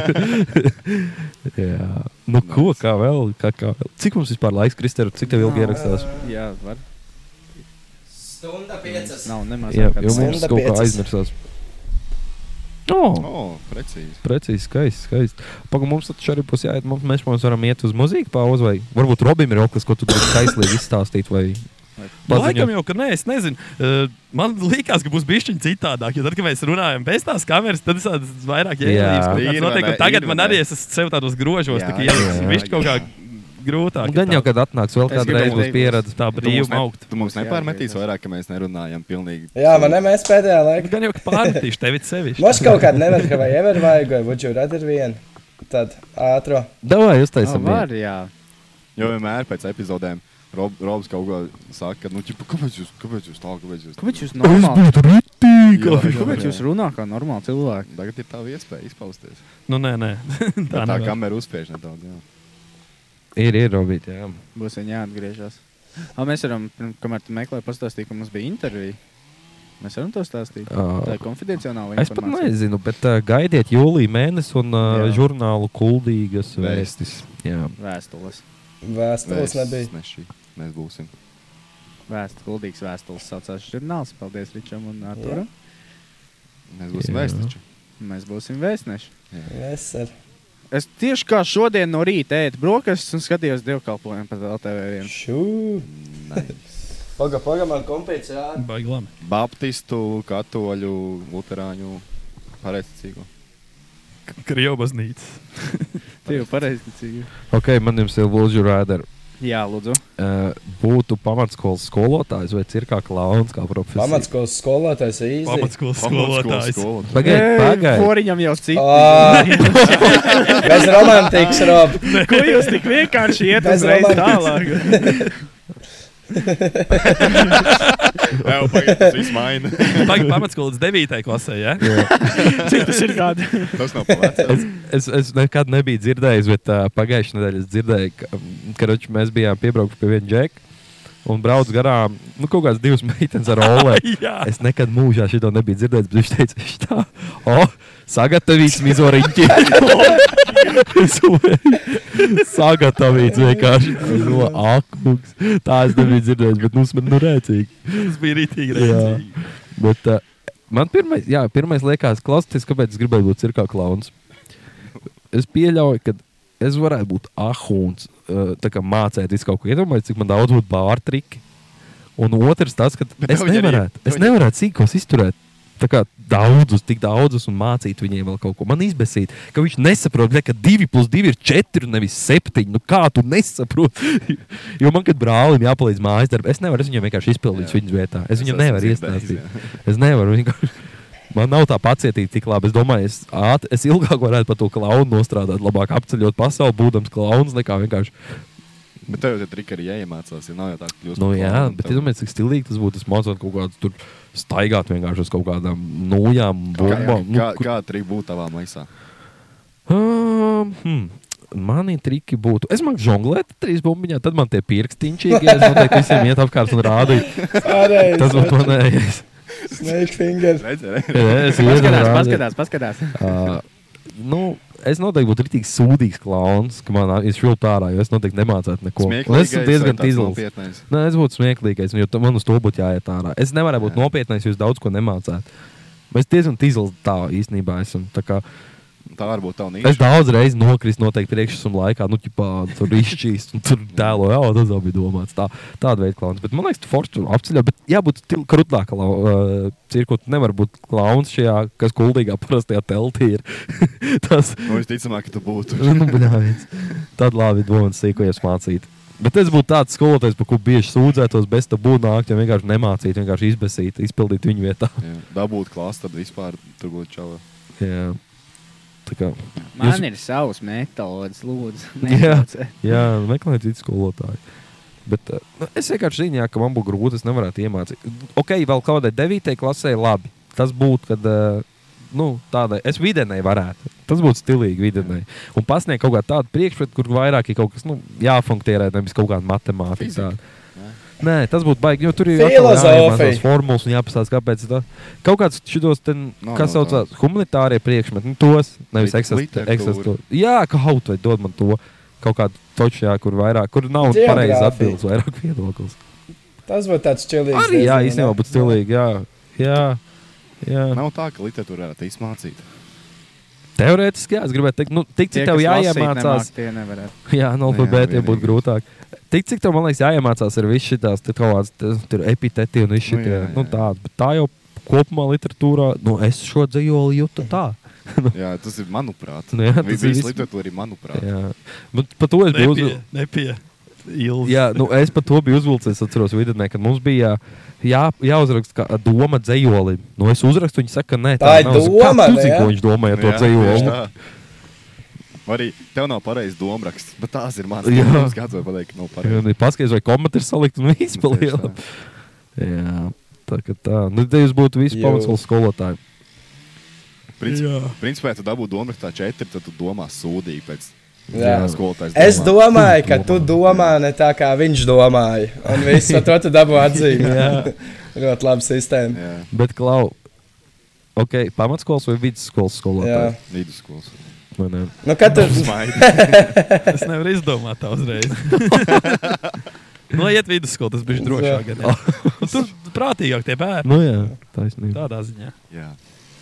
[SPEAKER 1] jā. Nu, ko, kā vēl, kā, kā vēl? Cik mums vispār laiks, Kristēra, cik tev ilgi ierakstās?
[SPEAKER 9] Jā, var.
[SPEAKER 4] Stunda piecas.
[SPEAKER 1] Nu.
[SPEAKER 9] Nav nemaz.
[SPEAKER 1] Jā,
[SPEAKER 9] nekāds
[SPEAKER 1] jo mums
[SPEAKER 4] Stunda
[SPEAKER 1] kaut kā
[SPEAKER 4] piecas.
[SPEAKER 1] aizmirsās. Oh.
[SPEAKER 2] O, precīzi.
[SPEAKER 1] Precīzi, skaisti. skaisti. Pagaidām, mums taču arī būs jāiet. Mums, mēs mums varam iet uz muziku pauzi, vai varbūt Robim ir kaut kas, ko tu gribi skaistīgi izstāstīt. Vai...
[SPEAKER 3] Laikam jau, ka nē, es nezinu. Uh, man liekas, ka būs bišķiņa citādāk. Jo tad, kad mēs runājam bez tās kameras, tad es tādu vairāk
[SPEAKER 1] Jā.
[SPEAKER 2] Ir
[SPEAKER 3] jēdzinu.
[SPEAKER 2] vai ne?
[SPEAKER 3] Noteikti, un tagad
[SPEAKER 2] Ir
[SPEAKER 3] man
[SPEAKER 2] vai ne?
[SPEAKER 3] arī es esmu sev tādos grožos,
[SPEAKER 2] Jā,
[SPEAKER 3] tā kā
[SPEAKER 2] jā,
[SPEAKER 3] jāsaka,
[SPEAKER 2] jā.
[SPEAKER 3] bišķi kaut kā grūtāk.
[SPEAKER 1] Nu, Gan jau, kad atnāks vēl
[SPEAKER 9] Es
[SPEAKER 1] kāda
[SPEAKER 9] gribēju
[SPEAKER 1] reize, būs
[SPEAKER 9] teikt,
[SPEAKER 1] pieredze. Tā
[SPEAKER 2] Tu mums
[SPEAKER 3] brīvi
[SPEAKER 2] ne-
[SPEAKER 3] augt.
[SPEAKER 2] Tu mums
[SPEAKER 9] Jā,
[SPEAKER 2] nepārmetīs
[SPEAKER 9] jā, jā.
[SPEAKER 2] vairāk, ka mēs nerunājam pilnīgi.
[SPEAKER 4] Jā, man nemēs pēdējā
[SPEAKER 3] Nu,
[SPEAKER 4] laikā.
[SPEAKER 3] Gan jau, ka pārmetīšu tevi sevišķi.
[SPEAKER 4] Mums kaut kāda nevar, vai ever vajag, vai would you rather vienu. Tad ātro.
[SPEAKER 1] Davai,
[SPEAKER 9] Ah,
[SPEAKER 1] uztaisam.
[SPEAKER 9] Var,
[SPEAKER 1] vienu.
[SPEAKER 9] jā.
[SPEAKER 2] Jo vienmēr pēc epizodēm Rob, Robs kaut ko saka, ka, nu, ķipa, kāpēc jūs, kāpēc jūs tā, kāpēc jūs tā?
[SPEAKER 9] Kāpēc jūs normāli?
[SPEAKER 2] Jā, jā,
[SPEAKER 9] Kāpēc
[SPEAKER 2] jā.
[SPEAKER 9] jūs runā kā normāli cilvēki?
[SPEAKER 2] Tagad ir tā iespēja izpausties.
[SPEAKER 3] Nu, nē, nē.
[SPEAKER 2] Tā, tā
[SPEAKER 3] nevar.
[SPEAKER 2] kamera uzspiež nedaudz. Jā.
[SPEAKER 1] Ir, ir, Robīt, jā.
[SPEAKER 9] Būs viņa jāatgriežas. Ah, mēs varam, pirm- kamēr tu meklē, pastāstīt, ka mums bija intervija. Mēs varam to stāstīt.
[SPEAKER 1] Ā.
[SPEAKER 9] Tā ir konfidenciāla
[SPEAKER 1] Es pat
[SPEAKER 9] informācija.
[SPEAKER 1] nezinu, bet uh, gaidiet jūlija mēnesi un uh,
[SPEAKER 9] Jā.
[SPEAKER 1] žurnālu kuldīgas
[SPEAKER 2] Vēstis.
[SPEAKER 1] vēstis. Jā.
[SPEAKER 9] Vēstules.
[SPEAKER 4] Vēstules
[SPEAKER 2] Mēs-
[SPEAKER 4] nebija.
[SPEAKER 2] Ne šī. Mēs būsim.
[SPEAKER 9] Vēstules, gudrīgs vēstules saucās žurnāls. Paldies Ričam un Arturam.
[SPEAKER 2] Mēs būsim
[SPEAKER 1] Jā.
[SPEAKER 2] vēstniči.
[SPEAKER 9] Mēs būsim vēstneši.
[SPEAKER 4] Yes, sir.
[SPEAKER 9] Es tieši kā šodien no rīta ēdu brokastis un skatījos dievkalpojumu pa LTV. vienu.
[SPEAKER 4] Šū. Pagaidām, pagaidām, man kompīts rāda.
[SPEAKER 3] Baigi labi.
[SPEAKER 2] Baptistu, katoļu, luterāņu, pareizticīgo.
[SPEAKER 3] Krievu baznīca.
[SPEAKER 9] Tie jau pareizticīgi.
[SPEAKER 1] Ok, man jums ir lūdzu rādīt.
[SPEAKER 9] Jā, lūdzu.
[SPEAKER 1] Uh, būtu pamatskolas skolotājs vai cirkā klauns kā profesija?
[SPEAKER 4] Pamatskolas skolotājs ir īsi.
[SPEAKER 3] Pamatskolas
[SPEAKER 1] skolotājs. Pagaid, pagaid.
[SPEAKER 9] Poriņam jau cits.
[SPEAKER 4] Ā, bez romantikas, Rob.
[SPEAKER 9] Ko jūs tik vienkārši iet
[SPEAKER 4] Bez
[SPEAKER 9] uzreiz
[SPEAKER 4] romantikas.
[SPEAKER 9] tālāk?
[SPEAKER 2] Jā, pagaid, tas viss maina.
[SPEAKER 3] Tagad pamatskolas 9. klasē, ja?
[SPEAKER 9] Cik tas ir gadi?
[SPEAKER 2] Tas nav pavācis.
[SPEAKER 1] Es, es, es nekad nebiju dzirdējis, bet uh, pagājušajā nedēļā es dzirdēju, ka mm, karoči, mēs bijām piebraukuši pie viena džeka. Un brauc garām, nu, kaut kādas divas meitenes ar olēm.
[SPEAKER 3] Jā.
[SPEAKER 1] es nekad mūžā šo nebiju dzirdējis, bet viņš teica, viņš tā, o, sagatavīts mizoriņķi. Es domāju, sagatavīts vienkārši. No, akuks. Tā es nebiju dzirdējis, bet nu, es man nu rēcīgi.
[SPEAKER 3] Tas bija rītīgi.
[SPEAKER 1] Jā.
[SPEAKER 3] rēcīgi.
[SPEAKER 1] Bet, uh, man pirmais, jā, pirmais liekas, klausoties, kāpēc es gribēju būt cirkā klauns. Es pieļauju, ka es varētu būt ahūns, uh, tā kā mācīt visu kaut ko. Iedomājieties, cik man daudz būtu bāra triki. Un otrs tas, ka
[SPEAKER 2] Bet
[SPEAKER 1] es
[SPEAKER 2] tev viņi arī-
[SPEAKER 1] nevarētu,
[SPEAKER 2] tev
[SPEAKER 1] es
[SPEAKER 2] viņi-
[SPEAKER 1] nevarētu sīkos izturēt. Tā kā daudzus, tik daudzus, un mācīt viņiem vēl kaut ko. Man izbēsīt, ka viņš nesaprot, bļa, ka 2 plus 2 ir 4, nevis 7. Nu, kā tu nesaproti? jo man, kad brālim jāpalīdz mājas darbā, es nevaru, es viņam vienkārši izpildīju viņas vietā. Es, es viņam
[SPEAKER 2] esmu
[SPEAKER 1] nevaru
[SPEAKER 2] dzirdējis,
[SPEAKER 1] iestāstīt. Es nevaru. vienkārši- Man nav tā pacietība tik labi. Es domāju, es, āt, es ilgāk varētu par to klaunu nostrādāt, labāk apceļot pasauli, būdams klauns, nekā vienkārši.
[SPEAKER 2] Bet tev jau tie triki arī jāiemācās, ja nav jau tā, ka kļūst
[SPEAKER 1] Nu,
[SPEAKER 2] par
[SPEAKER 1] jā,
[SPEAKER 2] klaunu,
[SPEAKER 1] bet
[SPEAKER 2] tev-
[SPEAKER 1] es domāju, cik stilīgi tas būtu. Es mācot kaut kādas tur staigāt vienkārši uz kaut kādām nojām,
[SPEAKER 2] Kā, jā,
[SPEAKER 1] bombām. Nu,
[SPEAKER 2] kā,
[SPEAKER 1] kur-
[SPEAKER 2] kā triki būtu tavā maisā?
[SPEAKER 1] Um, hmm. Mani triki būtu. Es māku žonglēt trīs bumbiņā, tad man tie pirkstiņķi, ja es noteikti visiem iet apkārt un rādīju.
[SPEAKER 4] Pareizi.
[SPEAKER 1] Tas būtu manējais.
[SPEAKER 4] Snake finger.
[SPEAKER 2] Redzi, redzi.
[SPEAKER 1] Es ietu un
[SPEAKER 9] Paskatās,
[SPEAKER 1] rādīju.
[SPEAKER 9] paskatās, paskatās.
[SPEAKER 1] Ā, nu, es noteikti būtu rītīgs sūdīgs klauns, ka man izšvilpa ārā, jo es noteikti nemācētu neko. Un Es esmu
[SPEAKER 2] Smieklīgais vai
[SPEAKER 1] diezgan
[SPEAKER 2] tāds
[SPEAKER 1] izlūks.
[SPEAKER 2] nopietnais?
[SPEAKER 1] Nē, es būtu smieklīgais, jo tu- man uz to būtu jāiet ārā. Es nevaru būt nopietnais, jo es daudz ko nemācētu. Mēs diezgan izlūks tā īstenībā esam. Tā kā
[SPEAKER 2] Nu, Tā varbūt tā nav.
[SPEAKER 1] Es daudz reizes nokritu noteikti priekšsakuma laikā, nu, ķipā, tur izšķīst, un tur tēlo, jā, tas jau bija domāts. Tā, tāda veida klauns. Bet man liekas, tu forši tur apceļā, bet jābūt til- krūtākam uh, cirkutam. Nevar būt klauns šajā, kas kuldīgā parastajā teltī ir. tas,
[SPEAKER 2] Nu, Visticamāk, ka tu būtu.
[SPEAKER 1] nu, bļāviens. Tad labi, domas sīkojas mācīt. Bet es būtu tāds skolotājs, par ko bieži sūdzētos, bez tā būtu nākt, ja vienkārši nemācīt, vienkārši izbēsīt, izpildīt viņu vietā.
[SPEAKER 2] Jā, Dabūt klāstu, tad vispār tur būtu čau.
[SPEAKER 1] Jā. Tā kā,
[SPEAKER 9] Man
[SPEAKER 1] Jūs-
[SPEAKER 9] ir savs metods, lūdzu.
[SPEAKER 1] Jā.
[SPEAKER 9] netods.
[SPEAKER 1] jā, meklēt citu skolotāju. Bet eh, nu, es vienkārši zinu, jā, ka man būtu grūti, es nevarētu iemācīt. Ok, vēl kaut kādai 9. klasē, labi. Tas būtu, kad eh, nu, tādai es vidienē varētu. Tas būtu stilīgi vidienē. Un pasniegt kaut kādu tādu priekšmetu, kur vairāk ir kaut kas nu, jāfunkcionē, nevis kaut kāda matemātika. Tāda. Nē, tas būtu baigi, jo tur ir
[SPEAKER 4] Filozofija.
[SPEAKER 1] jāiemācās formulas un jāpastāsta, kāpēc tā. Kaut kāds šitos, ten, no,
[SPEAKER 2] Nav
[SPEAKER 1] kas
[SPEAKER 2] no
[SPEAKER 1] saucās humanitārie priekšmeti, nu, tos nevis
[SPEAKER 2] Lit-
[SPEAKER 1] eksistē.
[SPEAKER 2] literatūra.
[SPEAKER 1] Jā, kaut vai dod man to kaut kādu toču, jā, kur vairāk, kur nav pareizi
[SPEAKER 4] Geogrāfija.
[SPEAKER 1] atbildes, vairāk viedoklis.
[SPEAKER 4] Tas būtu tāds čilīgs.
[SPEAKER 1] Arī jā,
[SPEAKER 4] diezgan,
[SPEAKER 1] īstenībā
[SPEAKER 4] ne?
[SPEAKER 1] būtu stilīgi, jā. jā. Jā.
[SPEAKER 2] Nav tā, ka literatūra varētu izmācīt.
[SPEAKER 1] Teorētiski, jā, es gribētu teikt, nu, tik
[SPEAKER 9] Tie,
[SPEAKER 1] cik tev
[SPEAKER 9] kas lasīt
[SPEAKER 1] jāiemācās.
[SPEAKER 9] nemāk, Tie nevarētu.
[SPEAKER 1] Jā,
[SPEAKER 3] Nu,
[SPEAKER 1] analfabētiem būtu
[SPEAKER 2] Nu, vienīgi.
[SPEAKER 1] grūtāk. Tik cik tev, man liekas, jāiemācās ar visu šitās te kaut kādas te- tur epitēti un visu
[SPEAKER 2] Nu,
[SPEAKER 1] šitie,
[SPEAKER 2] jā,
[SPEAKER 1] nu,
[SPEAKER 2] jā.
[SPEAKER 1] tādu. Bet tā jau kopumā literatūrā, nu, es šo dzējoli jūtu tā.
[SPEAKER 2] Jā, tas ir manuprāt.
[SPEAKER 1] Nu jā, tas
[SPEAKER 2] Vi-
[SPEAKER 1] ir
[SPEAKER 2] Visa
[SPEAKER 1] vis-
[SPEAKER 2] literatūra ir manuprāt.
[SPEAKER 1] Jā, bet par to es
[SPEAKER 3] Nu,
[SPEAKER 1] biju uzvilcis.
[SPEAKER 3] Nepie, nepie. Ilgi.
[SPEAKER 1] Jā, nu, es par to biju uzvilcis. Es atceros, vidutnē, kad mums bija jā, jāuzraksta kā doma dzējolim. Nu, es uzrakstu, viņi saka, ka nē,
[SPEAKER 4] Tā ir
[SPEAKER 1] nav. Es saku,
[SPEAKER 4] doma,
[SPEAKER 1] kā tu
[SPEAKER 4] ne,
[SPEAKER 1] zini,
[SPEAKER 4] jā?
[SPEAKER 1] ko viņš domāja ar
[SPEAKER 2] Nu
[SPEAKER 1] to
[SPEAKER 2] jā,
[SPEAKER 1] dzējoli.
[SPEAKER 2] tieši tā. Arī tev nav pareizs domāts, bet tās ir manas
[SPEAKER 1] Jā.
[SPEAKER 2] domas. Kāds var pateikt, ka nav pareizs.
[SPEAKER 1] Paskaidrojiet, vai komats ir salikts un viss
[SPEAKER 2] Nu, tieši
[SPEAKER 1] palielināts. Jā, tā kā tā. Nu, te jūs būtu visi
[SPEAKER 4] Jū.
[SPEAKER 1] pamatskolas skolotāji.
[SPEAKER 2] Princi
[SPEAKER 3] Jā.
[SPEAKER 2] principā, ja tu dabū domu tā četri, tad tu domā sūdīgi pēc
[SPEAKER 4] Jā.
[SPEAKER 2] tā skolotājas.
[SPEAKER 4] Es
[SPEAKER 2] domām.
[SPEAKER 4] domāju, ka tu domā ne tā, kā viņš domāja. Un viss par to tu dabū atzīmi.
[SPEAKER 1] Jā.
[SPEAKER 4] Ļoti laba sistēma.
[SPEAKER 2] Jā,
[SPEAKER 1] Bet, Klau, ok, pamatskolas vai vidusskolas
[SPEAKER 4] Jā.
[SPEAKER 1] skolotāji?
[SPEAKER 2] vidusskolas.
[SPEAKER 1] Vai ne?
[SPEAKER 4] Nu, katrs
[SPEAKER 3] Es nevaru izdomāt tā uzreiz. Nu, lai iet vidusskolā, tas bija drošāk. gan, jā. Un Tur prātīgāk tie bērni.
[SPEAKER 1] Nu, jā, taisnība.
[SPEAKER 3] Tādā ziņā.
[SPEAKER 2] Jā,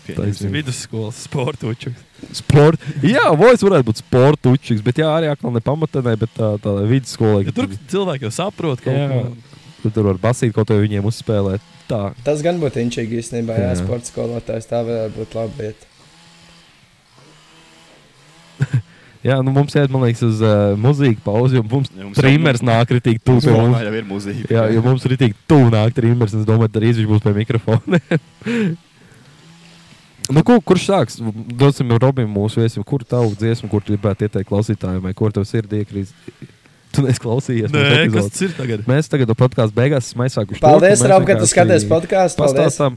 [SPEAKER 1] Taisnība.
[SPEAKER 3] Vidusskolas sportoču.
[SPEAKER 1] Sport. Jā, voice varētu būt sporta učiks, bet jā, arī atkal ne pamatenē, bet tā, tādā vidusskolē.
[SPEAKER 3] Ja tur cilvēki jau saprot, ka
[SPEAKER 1] Jā. Tu Nu, tur var basīt kaut ko viņiem uzspēlēt. Tā.
[SPEAKER 4] Tas gan būtu inčīgi īstenībā, jā,
[SPEAKER 1] Jā.
[SPEAKER 4] sports skolotājs. Tā varētu būt laba lieta.
[SPEAKER 1] Jā, nu mums iet, man liekas, uz uh, mūziku pauzi, jo mums,
[SPEAKER 2] Jā,
[SPEAKER 1] ja,
[SPEAKER 2] mums
[SPEAKER 1] mums trimers
[SPEAKER 2] jau-
[SPEAKER 1] nāk ritīgi tuvu. pie
[SPEAKER 2] Mums
[SPEAKER 1] mums.
[SPEAKER 2] vēl jau ir muzika.
[SPEAKER 1] Jā, jo mums ritīgi tuvu nāk trimers, un es domāju, tad drīz viņš būs pie mikrofona. nu, ko, kurš sāks? Dosim Robim mūsu viesim, kur tavu dziesmu, kur tu gribētu ieteikt klausītājiem, vai kur tev sirdī iekrīt? Tu neesi klausījies.
[SPEAKER 3] Nē,
[SPEAKER 1] mūsu
[SPEAKER 3] kas
[SPEAKER 1] epizodes.
[SPEAKER 3] tas ir tagad?
[SPEAKER 1] Mēs tagad podkāstu beigās esam aizsākuši.
[SPEAKER 4] Paldies, Rob, ka tu skaties podkāstu. Paldies.
[SPEAKER 1] Pastāstām.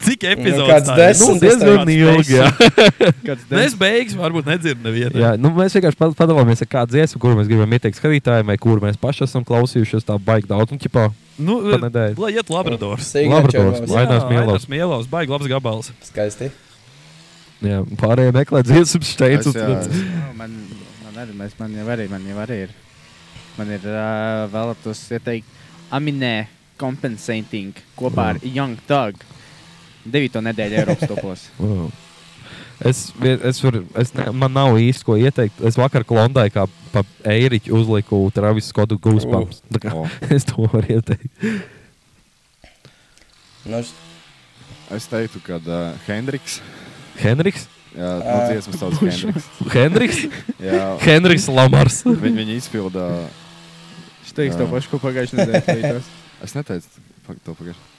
[SPEAKER 3] Cik
[SPEAKER 4] Nu,
[SPEAKER 3] epizodes?
[SPEAKER 4] kāds
[SPEAKER 3] tā ir?
[SPEAKER 4] desmit,
[SPEAKER 1] Nu, diezgan ilgi. Jā.
[SPEAKER 3] Mēs beigsim, Nu, varbūt nedzird nevienu.
[SPEAKER 1] Jā, nu, mēs vienkārši pa- padomājamies, ar kādu dziesmu, kuru mēs gribam ieteikt skatītājiem, vai kuru mēs paši esam klausījušies. Tā baigta daudz, un ķipā,
[SPEAKER 3] Nu,
[SPEAKER 1] pa nedēļu.
[SPEAKER 3] lai iet Labradors.
[SPEAKER 4] Signature
[SPEAKER 1] Labradors,
[SPEAKER 4] Mouse.
[SPEAKER 1] Lainās Mielovs.
[SPEAKER 3] Mielovs. Mielovs, baigi labs gabals.
[SPEAKER 4] Skaisti.
[SPEAKER 1] Jā, pārējie meklē dziesmu
[SPEAKER 2] Es,
[SPEAKER 1] steidzot.
[SPEAKER 2] jā, es-
[SPEAKER 9] Jā, Nu, Man, man arī, mēs, man jau arī, man jau arī ir. Man ir uh, vēlētos ieteikt Aminē Compensating kopā ar Young Thug. 9. nedēļa Eiropas topos.
[SPEAKER 1] Wow. Mm. Es, vien- es, varu, es ne, man nav īsti ko ieteikt. Es vakar klondai kā pa eiriķu uzliku Travis Skotu Goosebumps.
[SPEAKER 4] Oh.
[SPEAKER 1] Tā kā
[SPEAKER 2] O.
[SPEAKER 1] Es to varu ieteikt.
[SPEAKER 4] Nu,
[SPEAKER 2] Es teiktu, ka uh, Hendriks.
[SPEAKER 1] Henriks?
[SPEAKER 2] Jā, no dziesmas sauc Hendriks.
[SPEAKER 1] Henriks?
[SPEAKER 2] Jā,
[SPEAKER 1] Henriks Lamars.
[SPEAKER 2] viņi, viņi izpildā.
[SPEAKER 9] Es teikšu to
[SPEAKER 2] Jā.
[SPEAKER 9] pašu, ko pagājušajā nedēļā teicās.
[SPEAKER 2] Es neteicu pa- to pagājušajā.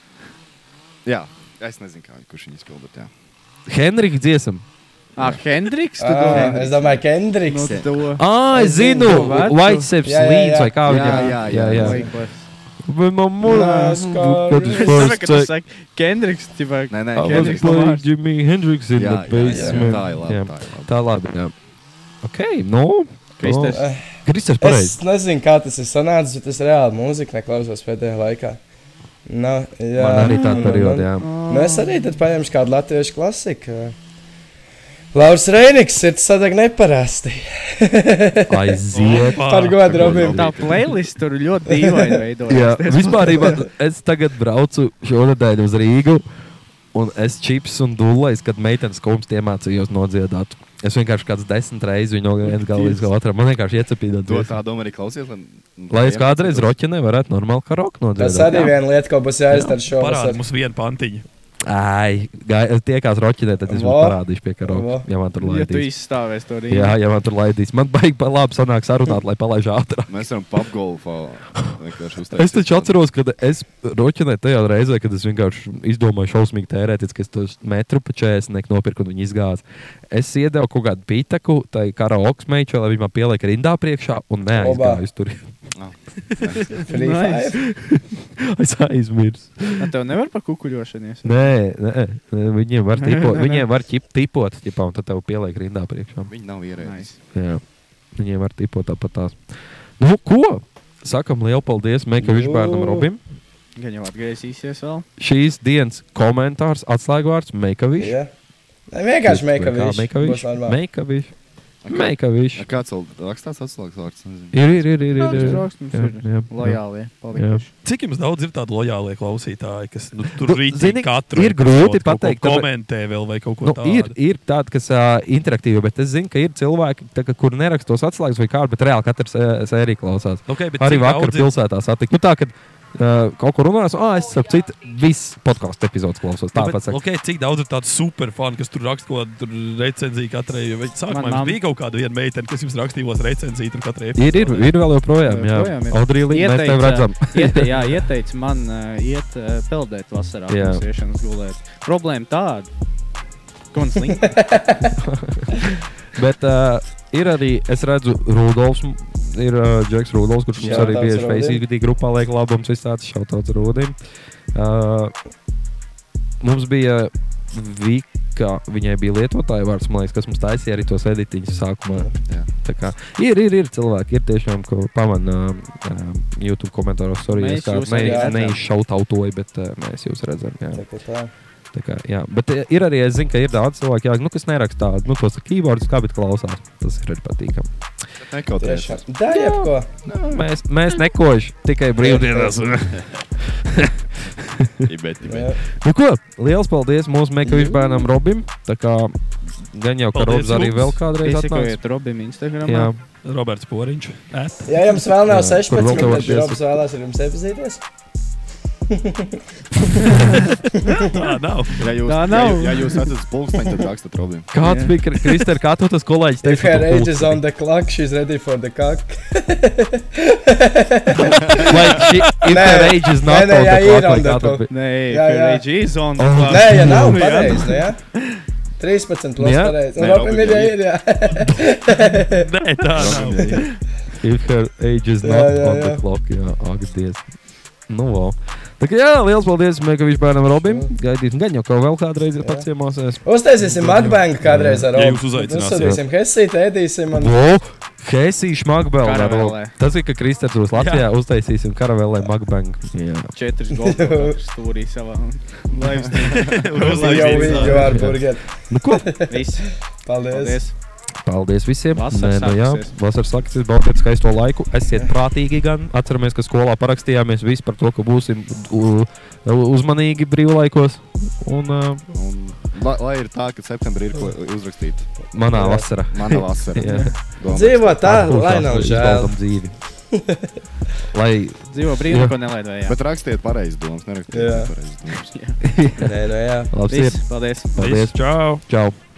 [SPEAKER 2] Jā, es nezinu, kā, kurš viņu izpildā. bet Jā.
[SPEAKER 1] Henriks dziesam.
[SPEAKER 9] Ah, Hendriks? Tu
[SPEAKER 4] Ā,
[SPEAKER 9] domā,
[SPEAKER 4] Es domāju, ka
[SPEAKER 9] nu,
[SPEAKER 4] Kendriks.
[SPEAKER 9] to.
[SPEAKER 1] Ā, es
[SPEAKER 4] Es zinu,
[SPEAKER 1] zinu!
[SPEAKER 9] vecu.
[SPEAKER 1] Whitecaps
[SPEAKER 4] Jā, jā,
[SPEAKER 1] līdz
[SPEAKER 4] jā.
[SPEAKER 1] vai kā
[SPEAKER 2] Jā,
[SPEAKER 1] viņam.
[SPEAKER 2] jā, jā, jā.
[SPEAKER 1] Vai man
[SPEAKER 4] Last car
[SPEAKER 1] mūžā?
[SPEAKER 4] race.
[SPEAKER 9] Es saprotu, ka tu saki Kendriks. Tipā,
[SPEAKER 2] Nē, nē,
[SPEAKER 1] I was
[SPEAKER 9] Kendriks
[SPEAKER 1] playing
[SPEAKER 9] Lamars.
[SPEAKER 1] Jimi Hendrix in the
[SPEAKER 2] Jā, jā, jā,
[SPEAKER 1] basement.
[SPEAKER 2] tā ir
[SPEAKER 1] Jā.
[SPEAKER 2] labi. Tā ir labi.
[SPEAKER 1] Tā labi, jā. Ok, nu.
[SPEAKER 9] Kristers.
[SPEAKER 1] nu, Kristers
[SPEAKER 4] Es
[SPEAKER 1] pareizi.
[SPEAKER 4] nezinu, kā tas ir sanācis, bet es reāli mūziku neklausos pēdējā laikā. Nu, jā,
[SPEAKER 1] Man arī tāda
[SPEAKER 4] nu,
[SPEAKER 1] perioda,
[SPEAKER 4] nu,
[SPEAKER 1] jā.
[SPEAKER 4] Nu, es arī tad paņemšu kādu latviešu klasiku. Lauris Reinigs ir sadag neparasti.
[SPEAKER 1] Aiziet.
[SPEAKER 4] Par
[SPEAKER 3] Ah,
[SPEAKER 2] par
[SPEAKER 4] godu
[SPEAKER 2] godu,
[SPEAKER 4] Robim.
[SPEAKER 9] Tā playlist tur ļoti dīvaini veidojas.
[SPEAKER 1] Jā, vispār es tagad braucu šonadēļ uz Rīgu. Un es čips un dūlēs, kad meitenes kungs iemācījos nodziedāt. Es vienkārši kāds desmit reizes viņu viens galvā līdz otram. Man vienkārši iecepīja
[SPEAKER 2] To
[SPEAKER 1] to.
[SPEAKER 2] tā doma arī klausies. Lai,
[SPEAKER 1] Lai es kādreiz roķinē varētu normāli karoku nodziedāt.
[SPEAKER 4] Tas arī viena lieta, ko būs jāizdara
[SPEAKER 3] Parāda
[SPEAKER 4] šovasar.
[SPEAKER 3] mums vienu pantiņu.
[SPEAKER 1] Ai, gai- tiekās roķinē, tad es jums
[SPEAKER 4] Vo.
[SPEAKER 1] parādīšu pie karoga.
[SPEAKER 4] Vo.
[SPEAKER 1] Ja man tur
[SPEAKER 9] Ja tu
[SPEAKER 1] laidīs.
[SPEAKER 9] izstāvēsi to rītu.
[SPEAKER 1] Jā, ja man tur laidīs. Man baigi pa labi sanāk sarunāt, lai palaiž ātrāk.
[SPEAKER 2] Mēs varam papgolfā vienkārši uztaisīt.
[SPEAKER 1] Es taču atceros, ka es roķinēju tajā reizē, kad es vienkārši izdomāju šausmīgi tērēties, ka es tos metru pa 40 nopirku un viņi izgāzās. Es iedevu kaut kādu pītaku, tai karaoke meičai, lai viņa man pieliek rindā priekšā un
[SPEAKER 4] Obā.
[SPEAKER 1] neaizgāju uz tur.
[SPEAKER 4] Free
[SPEAKER 9] Nice.
[SPEAKER 4] Fire.
[SPEAKER 1] es aizmirsu.
[SPEAKER 9] Nu, Tev nevar pa kukuļošanies.
[SPEAKER 1] Nē, nē, nē, viņiem var tipot, viņiem var ķip, tipot, ķipā, un tad tev pieliek rindā priekšā.
[SPEAKER 2] Viņi nav ierēdis.
[SPEAKER 9] Nice.
[SPEAKER 1] Jā. Viņiem var tipot tāpat tās. Nu, ko? Sakam lielu paldies
[SPEAKER 3] Nu.
[SPEAKER 1] Meklējušam bērnam
[SPEAKER 4] Jū.
[SPEAKER 1] Robim.
[SPEAKER 9] Gan jau atgriezīsies vēl.
[SPEAKER 1] Šīs dienas komentārs atslēgvārds Meklējušam.
[SPEAKER 4] Jā. Nē, vienkārši meklējuši.
[SPEAKER 1] Meklējušam. Meklējušam.
[SPEAKER 2] Kāds vēl rakstās atslēgas vārds? Nezinu.
[SPEAKER 1] Ir, ir, ir, ir, ir,
[SPEAKER 9] Daudz
[SPEAKER 1] ir.
[SPEAKER 9] draugs mums
[SPEAKER 1] Jā,
[SPEAKER 9] ir.
[SPEAKER 1] jā, jā.
[SPEAKER 9] Lojālie.
[SPEAKER 1] Jā.
[SPEAKER 9] Palikuši.
[SPEAKER 3] Cik jums daudz ir tādu lojālie klausītāji, kas nu,
[SPEAKER 1] Nu,
[SPEAKER 3] tur rīzīgi
[SPEAKER 1] zini,
[SPEAKER 3] katru
[SPEAKER 1] ir grūti
[SPEAKER 3] epizodu kaut ko
[SPEAKER 1] pateikt, tāpēc-
[SPEAKER 3] komentē vēl vai kaut ko
[SPEAKER 1] Nu,
[SPEAKER 3] tādu?
[SPEAKER 1] ir, ir tādi, kas uh, interaktīvi, bet es zinu, ka ir cilvēki, tā, kā, kur nerakstos atslēgas vai kādu, bet reāli katrs uh, sēriju klausās.
[SPEAKER 3] Okay, Nu, bet
[SPEAKER 1] Arī
[SPEAKER 3] cik
[SPEAKER 1] vakar
[SPEAKER 3] daudz ir-
[SPEAKER 1] pilsētā satiktu. Nu, tā, kad uh, kaut kur runās, ah, es saprotu, viss podkāstu epizodes klausos.
[SPEAKER 3] Nu, bet,
[SPEAKER 1] Tāpat
[SPEAKER 3] okay, cik daudz ir tādu superfanu, kas tur raksta kaut kādu recenziju katrai? Vai
[SPEAKER 9] Man
[SPEAKER 3] sākumā jums
[SPEAKER 9] mam-
[SPEAKER 3] bija kaut kāda viena meitene, kas jums rakstījos recenziju tur katrai?
[SPEAKER 1] Ir, ir, ir vēl joprojām. Jā,
[SPEAKER 9] Joprojām ir.
[SPEAKER 1] Audrija Līta, mēs tev redzam.
[SPEAKER 9] iete, jā, ieteica man uh, iet uh, peldēt vasarā,
[SPEAKER 1] Jā.
[SPEAKER 9] pirms iešanas gulēt. Problēma tāda. Konslīd.
[SPEAKER 1] Bet uh, ir arī, es redzu, Rudolfs. m- Ir uh, Džeks Rudolfs, kurš mums arī bieži
[SPEAKER 4] Shoutouts Rudim.
[SPEAKER 1] Facebook grupā liek labums, viss tāds šautauts Rudim. Uh, mums bija Vika, viņai bija lietotāja vārds, man liekas, kas mums taisīja arī tos editiņus sākumā.
[SPEAKER 2] Jā.
[SPEAKER 1] Tā kā ir, ir, ir cilvēki, ir tiešām, ko pamanām um, YouTube komentāros. Sorry,
[SPEAKER 9] Mēs
[SPEAKER 1] es kā
[SPEAKER 9] jūs arī
[SPEAKER 1] ne,
[SPEAKER 4] redzam.
[SPEAKER 1] neizšautautoju, bet uh, mēs jūs redzam. Jā.
[SPEAKER 4] Tā kā tā.
[SPEAKER 1] Tā Kā, jā, bet e, ir arī, es zinu, ka ir daudz cilvēku, jā, nu, kas neraksta tādu, nu, tos keyboardus, kā bet klausās. Tas ir arī patīkami.
[SPEAKER 4] Tiešām.
[SPEAKER 2] Nekautrēties.
[SPEAKER 4] Tā jebko.
[SPEAKER 1] Mēs, mēs nekožam, tikai brīvdienās.
[SPEAKER 2] Ibet, ibet.
[SPEAKER 4] Jā.
[SPEAKER 1] Nu, ko, liels paldies mūsu meklējušam bērnam Robim. Tā kā Gan jau, ka Robs
[SPEAKER 3] Paldies,
[SPEAKER 1] arī
[SPEAKER 3] Ups.
[SPEAKER 1] vēl kādreiz atnāks.
[SPEAKER 9] Sekojiet Robim Instagramā.
[SPEAKER 1] Jā.
[SPEAKER 3] Roberts Poriņš. Es.
[SPEAKER 4] Ja jums vēl nav
[SPEAKER 1] Jā, kur
[SPEAKER 4] 16,
[SPEAKER 1] vēl
[SPEAKER 4] tad
[SPEAKER 1] tev
[SPEAKER 4] Robs vēlās ar jums iepazīties.
[SPEAKER 3] Tā nav.
[SPEAKER 2] Ja jūs, ja,
[SPEAKER 9] Tā nav.
[SPEAKER 2] jūs- ja jūs esat pulksteņi, tad rakstat problēmu.
[SPEAKER 1] Kāds bija Kri- Krister, kā tu tas kolēģis
[SPEAKER 4] If her age is
[SPEAKER 1] teica?
[SPEAKER 4] on the clock, she's ready for the cock.
[SPEAKER 1] Vai šī if
[SPEAKER 4] Nē,
[SPEAKER 1] her age is not
[SPEAKER 4] nē, nē,
[SPEAKER 1] on
[SPEAKER 4] jā,
[SPEAKER 1] the
[SPEAKER 4] ir
[SPEAKER 1] clock?
[SPEAKER 4] on
[SPEAKER 1] vai
[SPEAKER 4] the
[SPEAKER 1] kā tu
[SPEAKER 4] clock.
[SPEAKER 1] biji?
[SPEAKER 9] Nē,
[SPEAKER 4] Jā, jā.
[SPEAKER 9] Ferrage is on.
[SPEAKER 1] Oh.
[SPEAKER 9] the-
[SPEAKER 4] Nē, ja nav
[SPEAKER 9] Ah. Jā.
[SPEAKER 4] pareizi, nu jā. 13 plus
[SPEAKER 1] Jā.
[SPEAKER 4] pareizi.
[SPEAKER 2] Nē,
[SPEAKER 4] Un Robim
[SPEAKER 2] Robim
[SPEAKER 4] ir, ja
[SPEAKER 2] ir.
[SPEAKER 4] ir, jā.
[SPEAKER 3] Nē, tā nav.
[SPEAKER 1] If her age is not
[SPEAKER 4] Jā, jā,
[SPEAKER 1] on the
[SPEAKER 4] jā.
[SPEAKER 1] clock, jā, ak, dievs. Nu, vēl. Tā kā jā, liels paldies Megaviču bērnam Robim. Gaidīsim, gan jau, ka vēl kādreiz ir pats iemācēs.
[SPEAKER 4] Uztaisīsim mukbangu kādreiz ar
[SPEAKER 3] Ja
[SPEAKER 4] Robu.
[SPEAKER 3] jūs uzaicināsiet.
[SPEAKER 4] Uzsūtīsim hesīt, ēdīsim un...
[SPEAKER 1] Hesīša Magbēlē.
[SPEAKER 9] Karavēlē.
[SPEAKER 1] Tas ir, ka Kristers būs Latvijā, uztaisīsim karavellē Magbangu.
[SPEAKER 9] Četras golfas stūrī savā. Lai
[SPEAKER 4] Jau
[SPEAKER 9] viss.
[SPEAKER 4] viņi, jau ar burgeri.
[SPEAKER 1] Nu, ko?
[SPEAKER 9] Viss.
[SPEAKER 4] Paldies.
[SPEAKER 9] Paldies.
[SPEAKER 1] Paldies visiem.
[SPEAKER 9] Vasara
[SPEAKER 1] Nē, nu jā,
[SPEAKER 9] sākusies.
[SPEAKER 1] Vasaras sāksies, baudiet skaisto laiku. Esiet prātīgi gan. Atceramies, ka skolā parakstījāmies visi par to, ka būsim u- u- uzmanīgi brīvlaikos. Un uh,
[SPEAKER 2] Un, lai, lai ir tā, ka septembrī ir ko uzrakstīt.
[SPEAKER 1] manā vasarā.
[SPEAKER 2] Mana vasara.
[SPEAKER 1] Jā.
[SPEAKER 2] Domā-
[SPEAKER 4] Dzīvo tā,
[SPEAKER 1] Atpūtās,
[SPEAKER 4] lai nav žēl.
[SPEAKER 1] izbaudam dzīvi. lai
[SPEAKER 9] Dzīvo
[SPEAKER 1] Jā.
[SPEAKER 9] brīvi, ko nelaid vajag.
[SPEAKER 2] Bet rakstiet pareizi domas, nerakstiet
[SPEAKER 4] Jā.
[SPEAKER 2] nepareizi domas.
[SPEAKER 4] Nē, nu jā.
[SPEAKER 1] labs ir.
[SPEAKER 9] Viss. Paldies.
[SPEAKER 1] Paldies.
[SPEAKER 3] Čau!
[SPEAKER 1] Čau!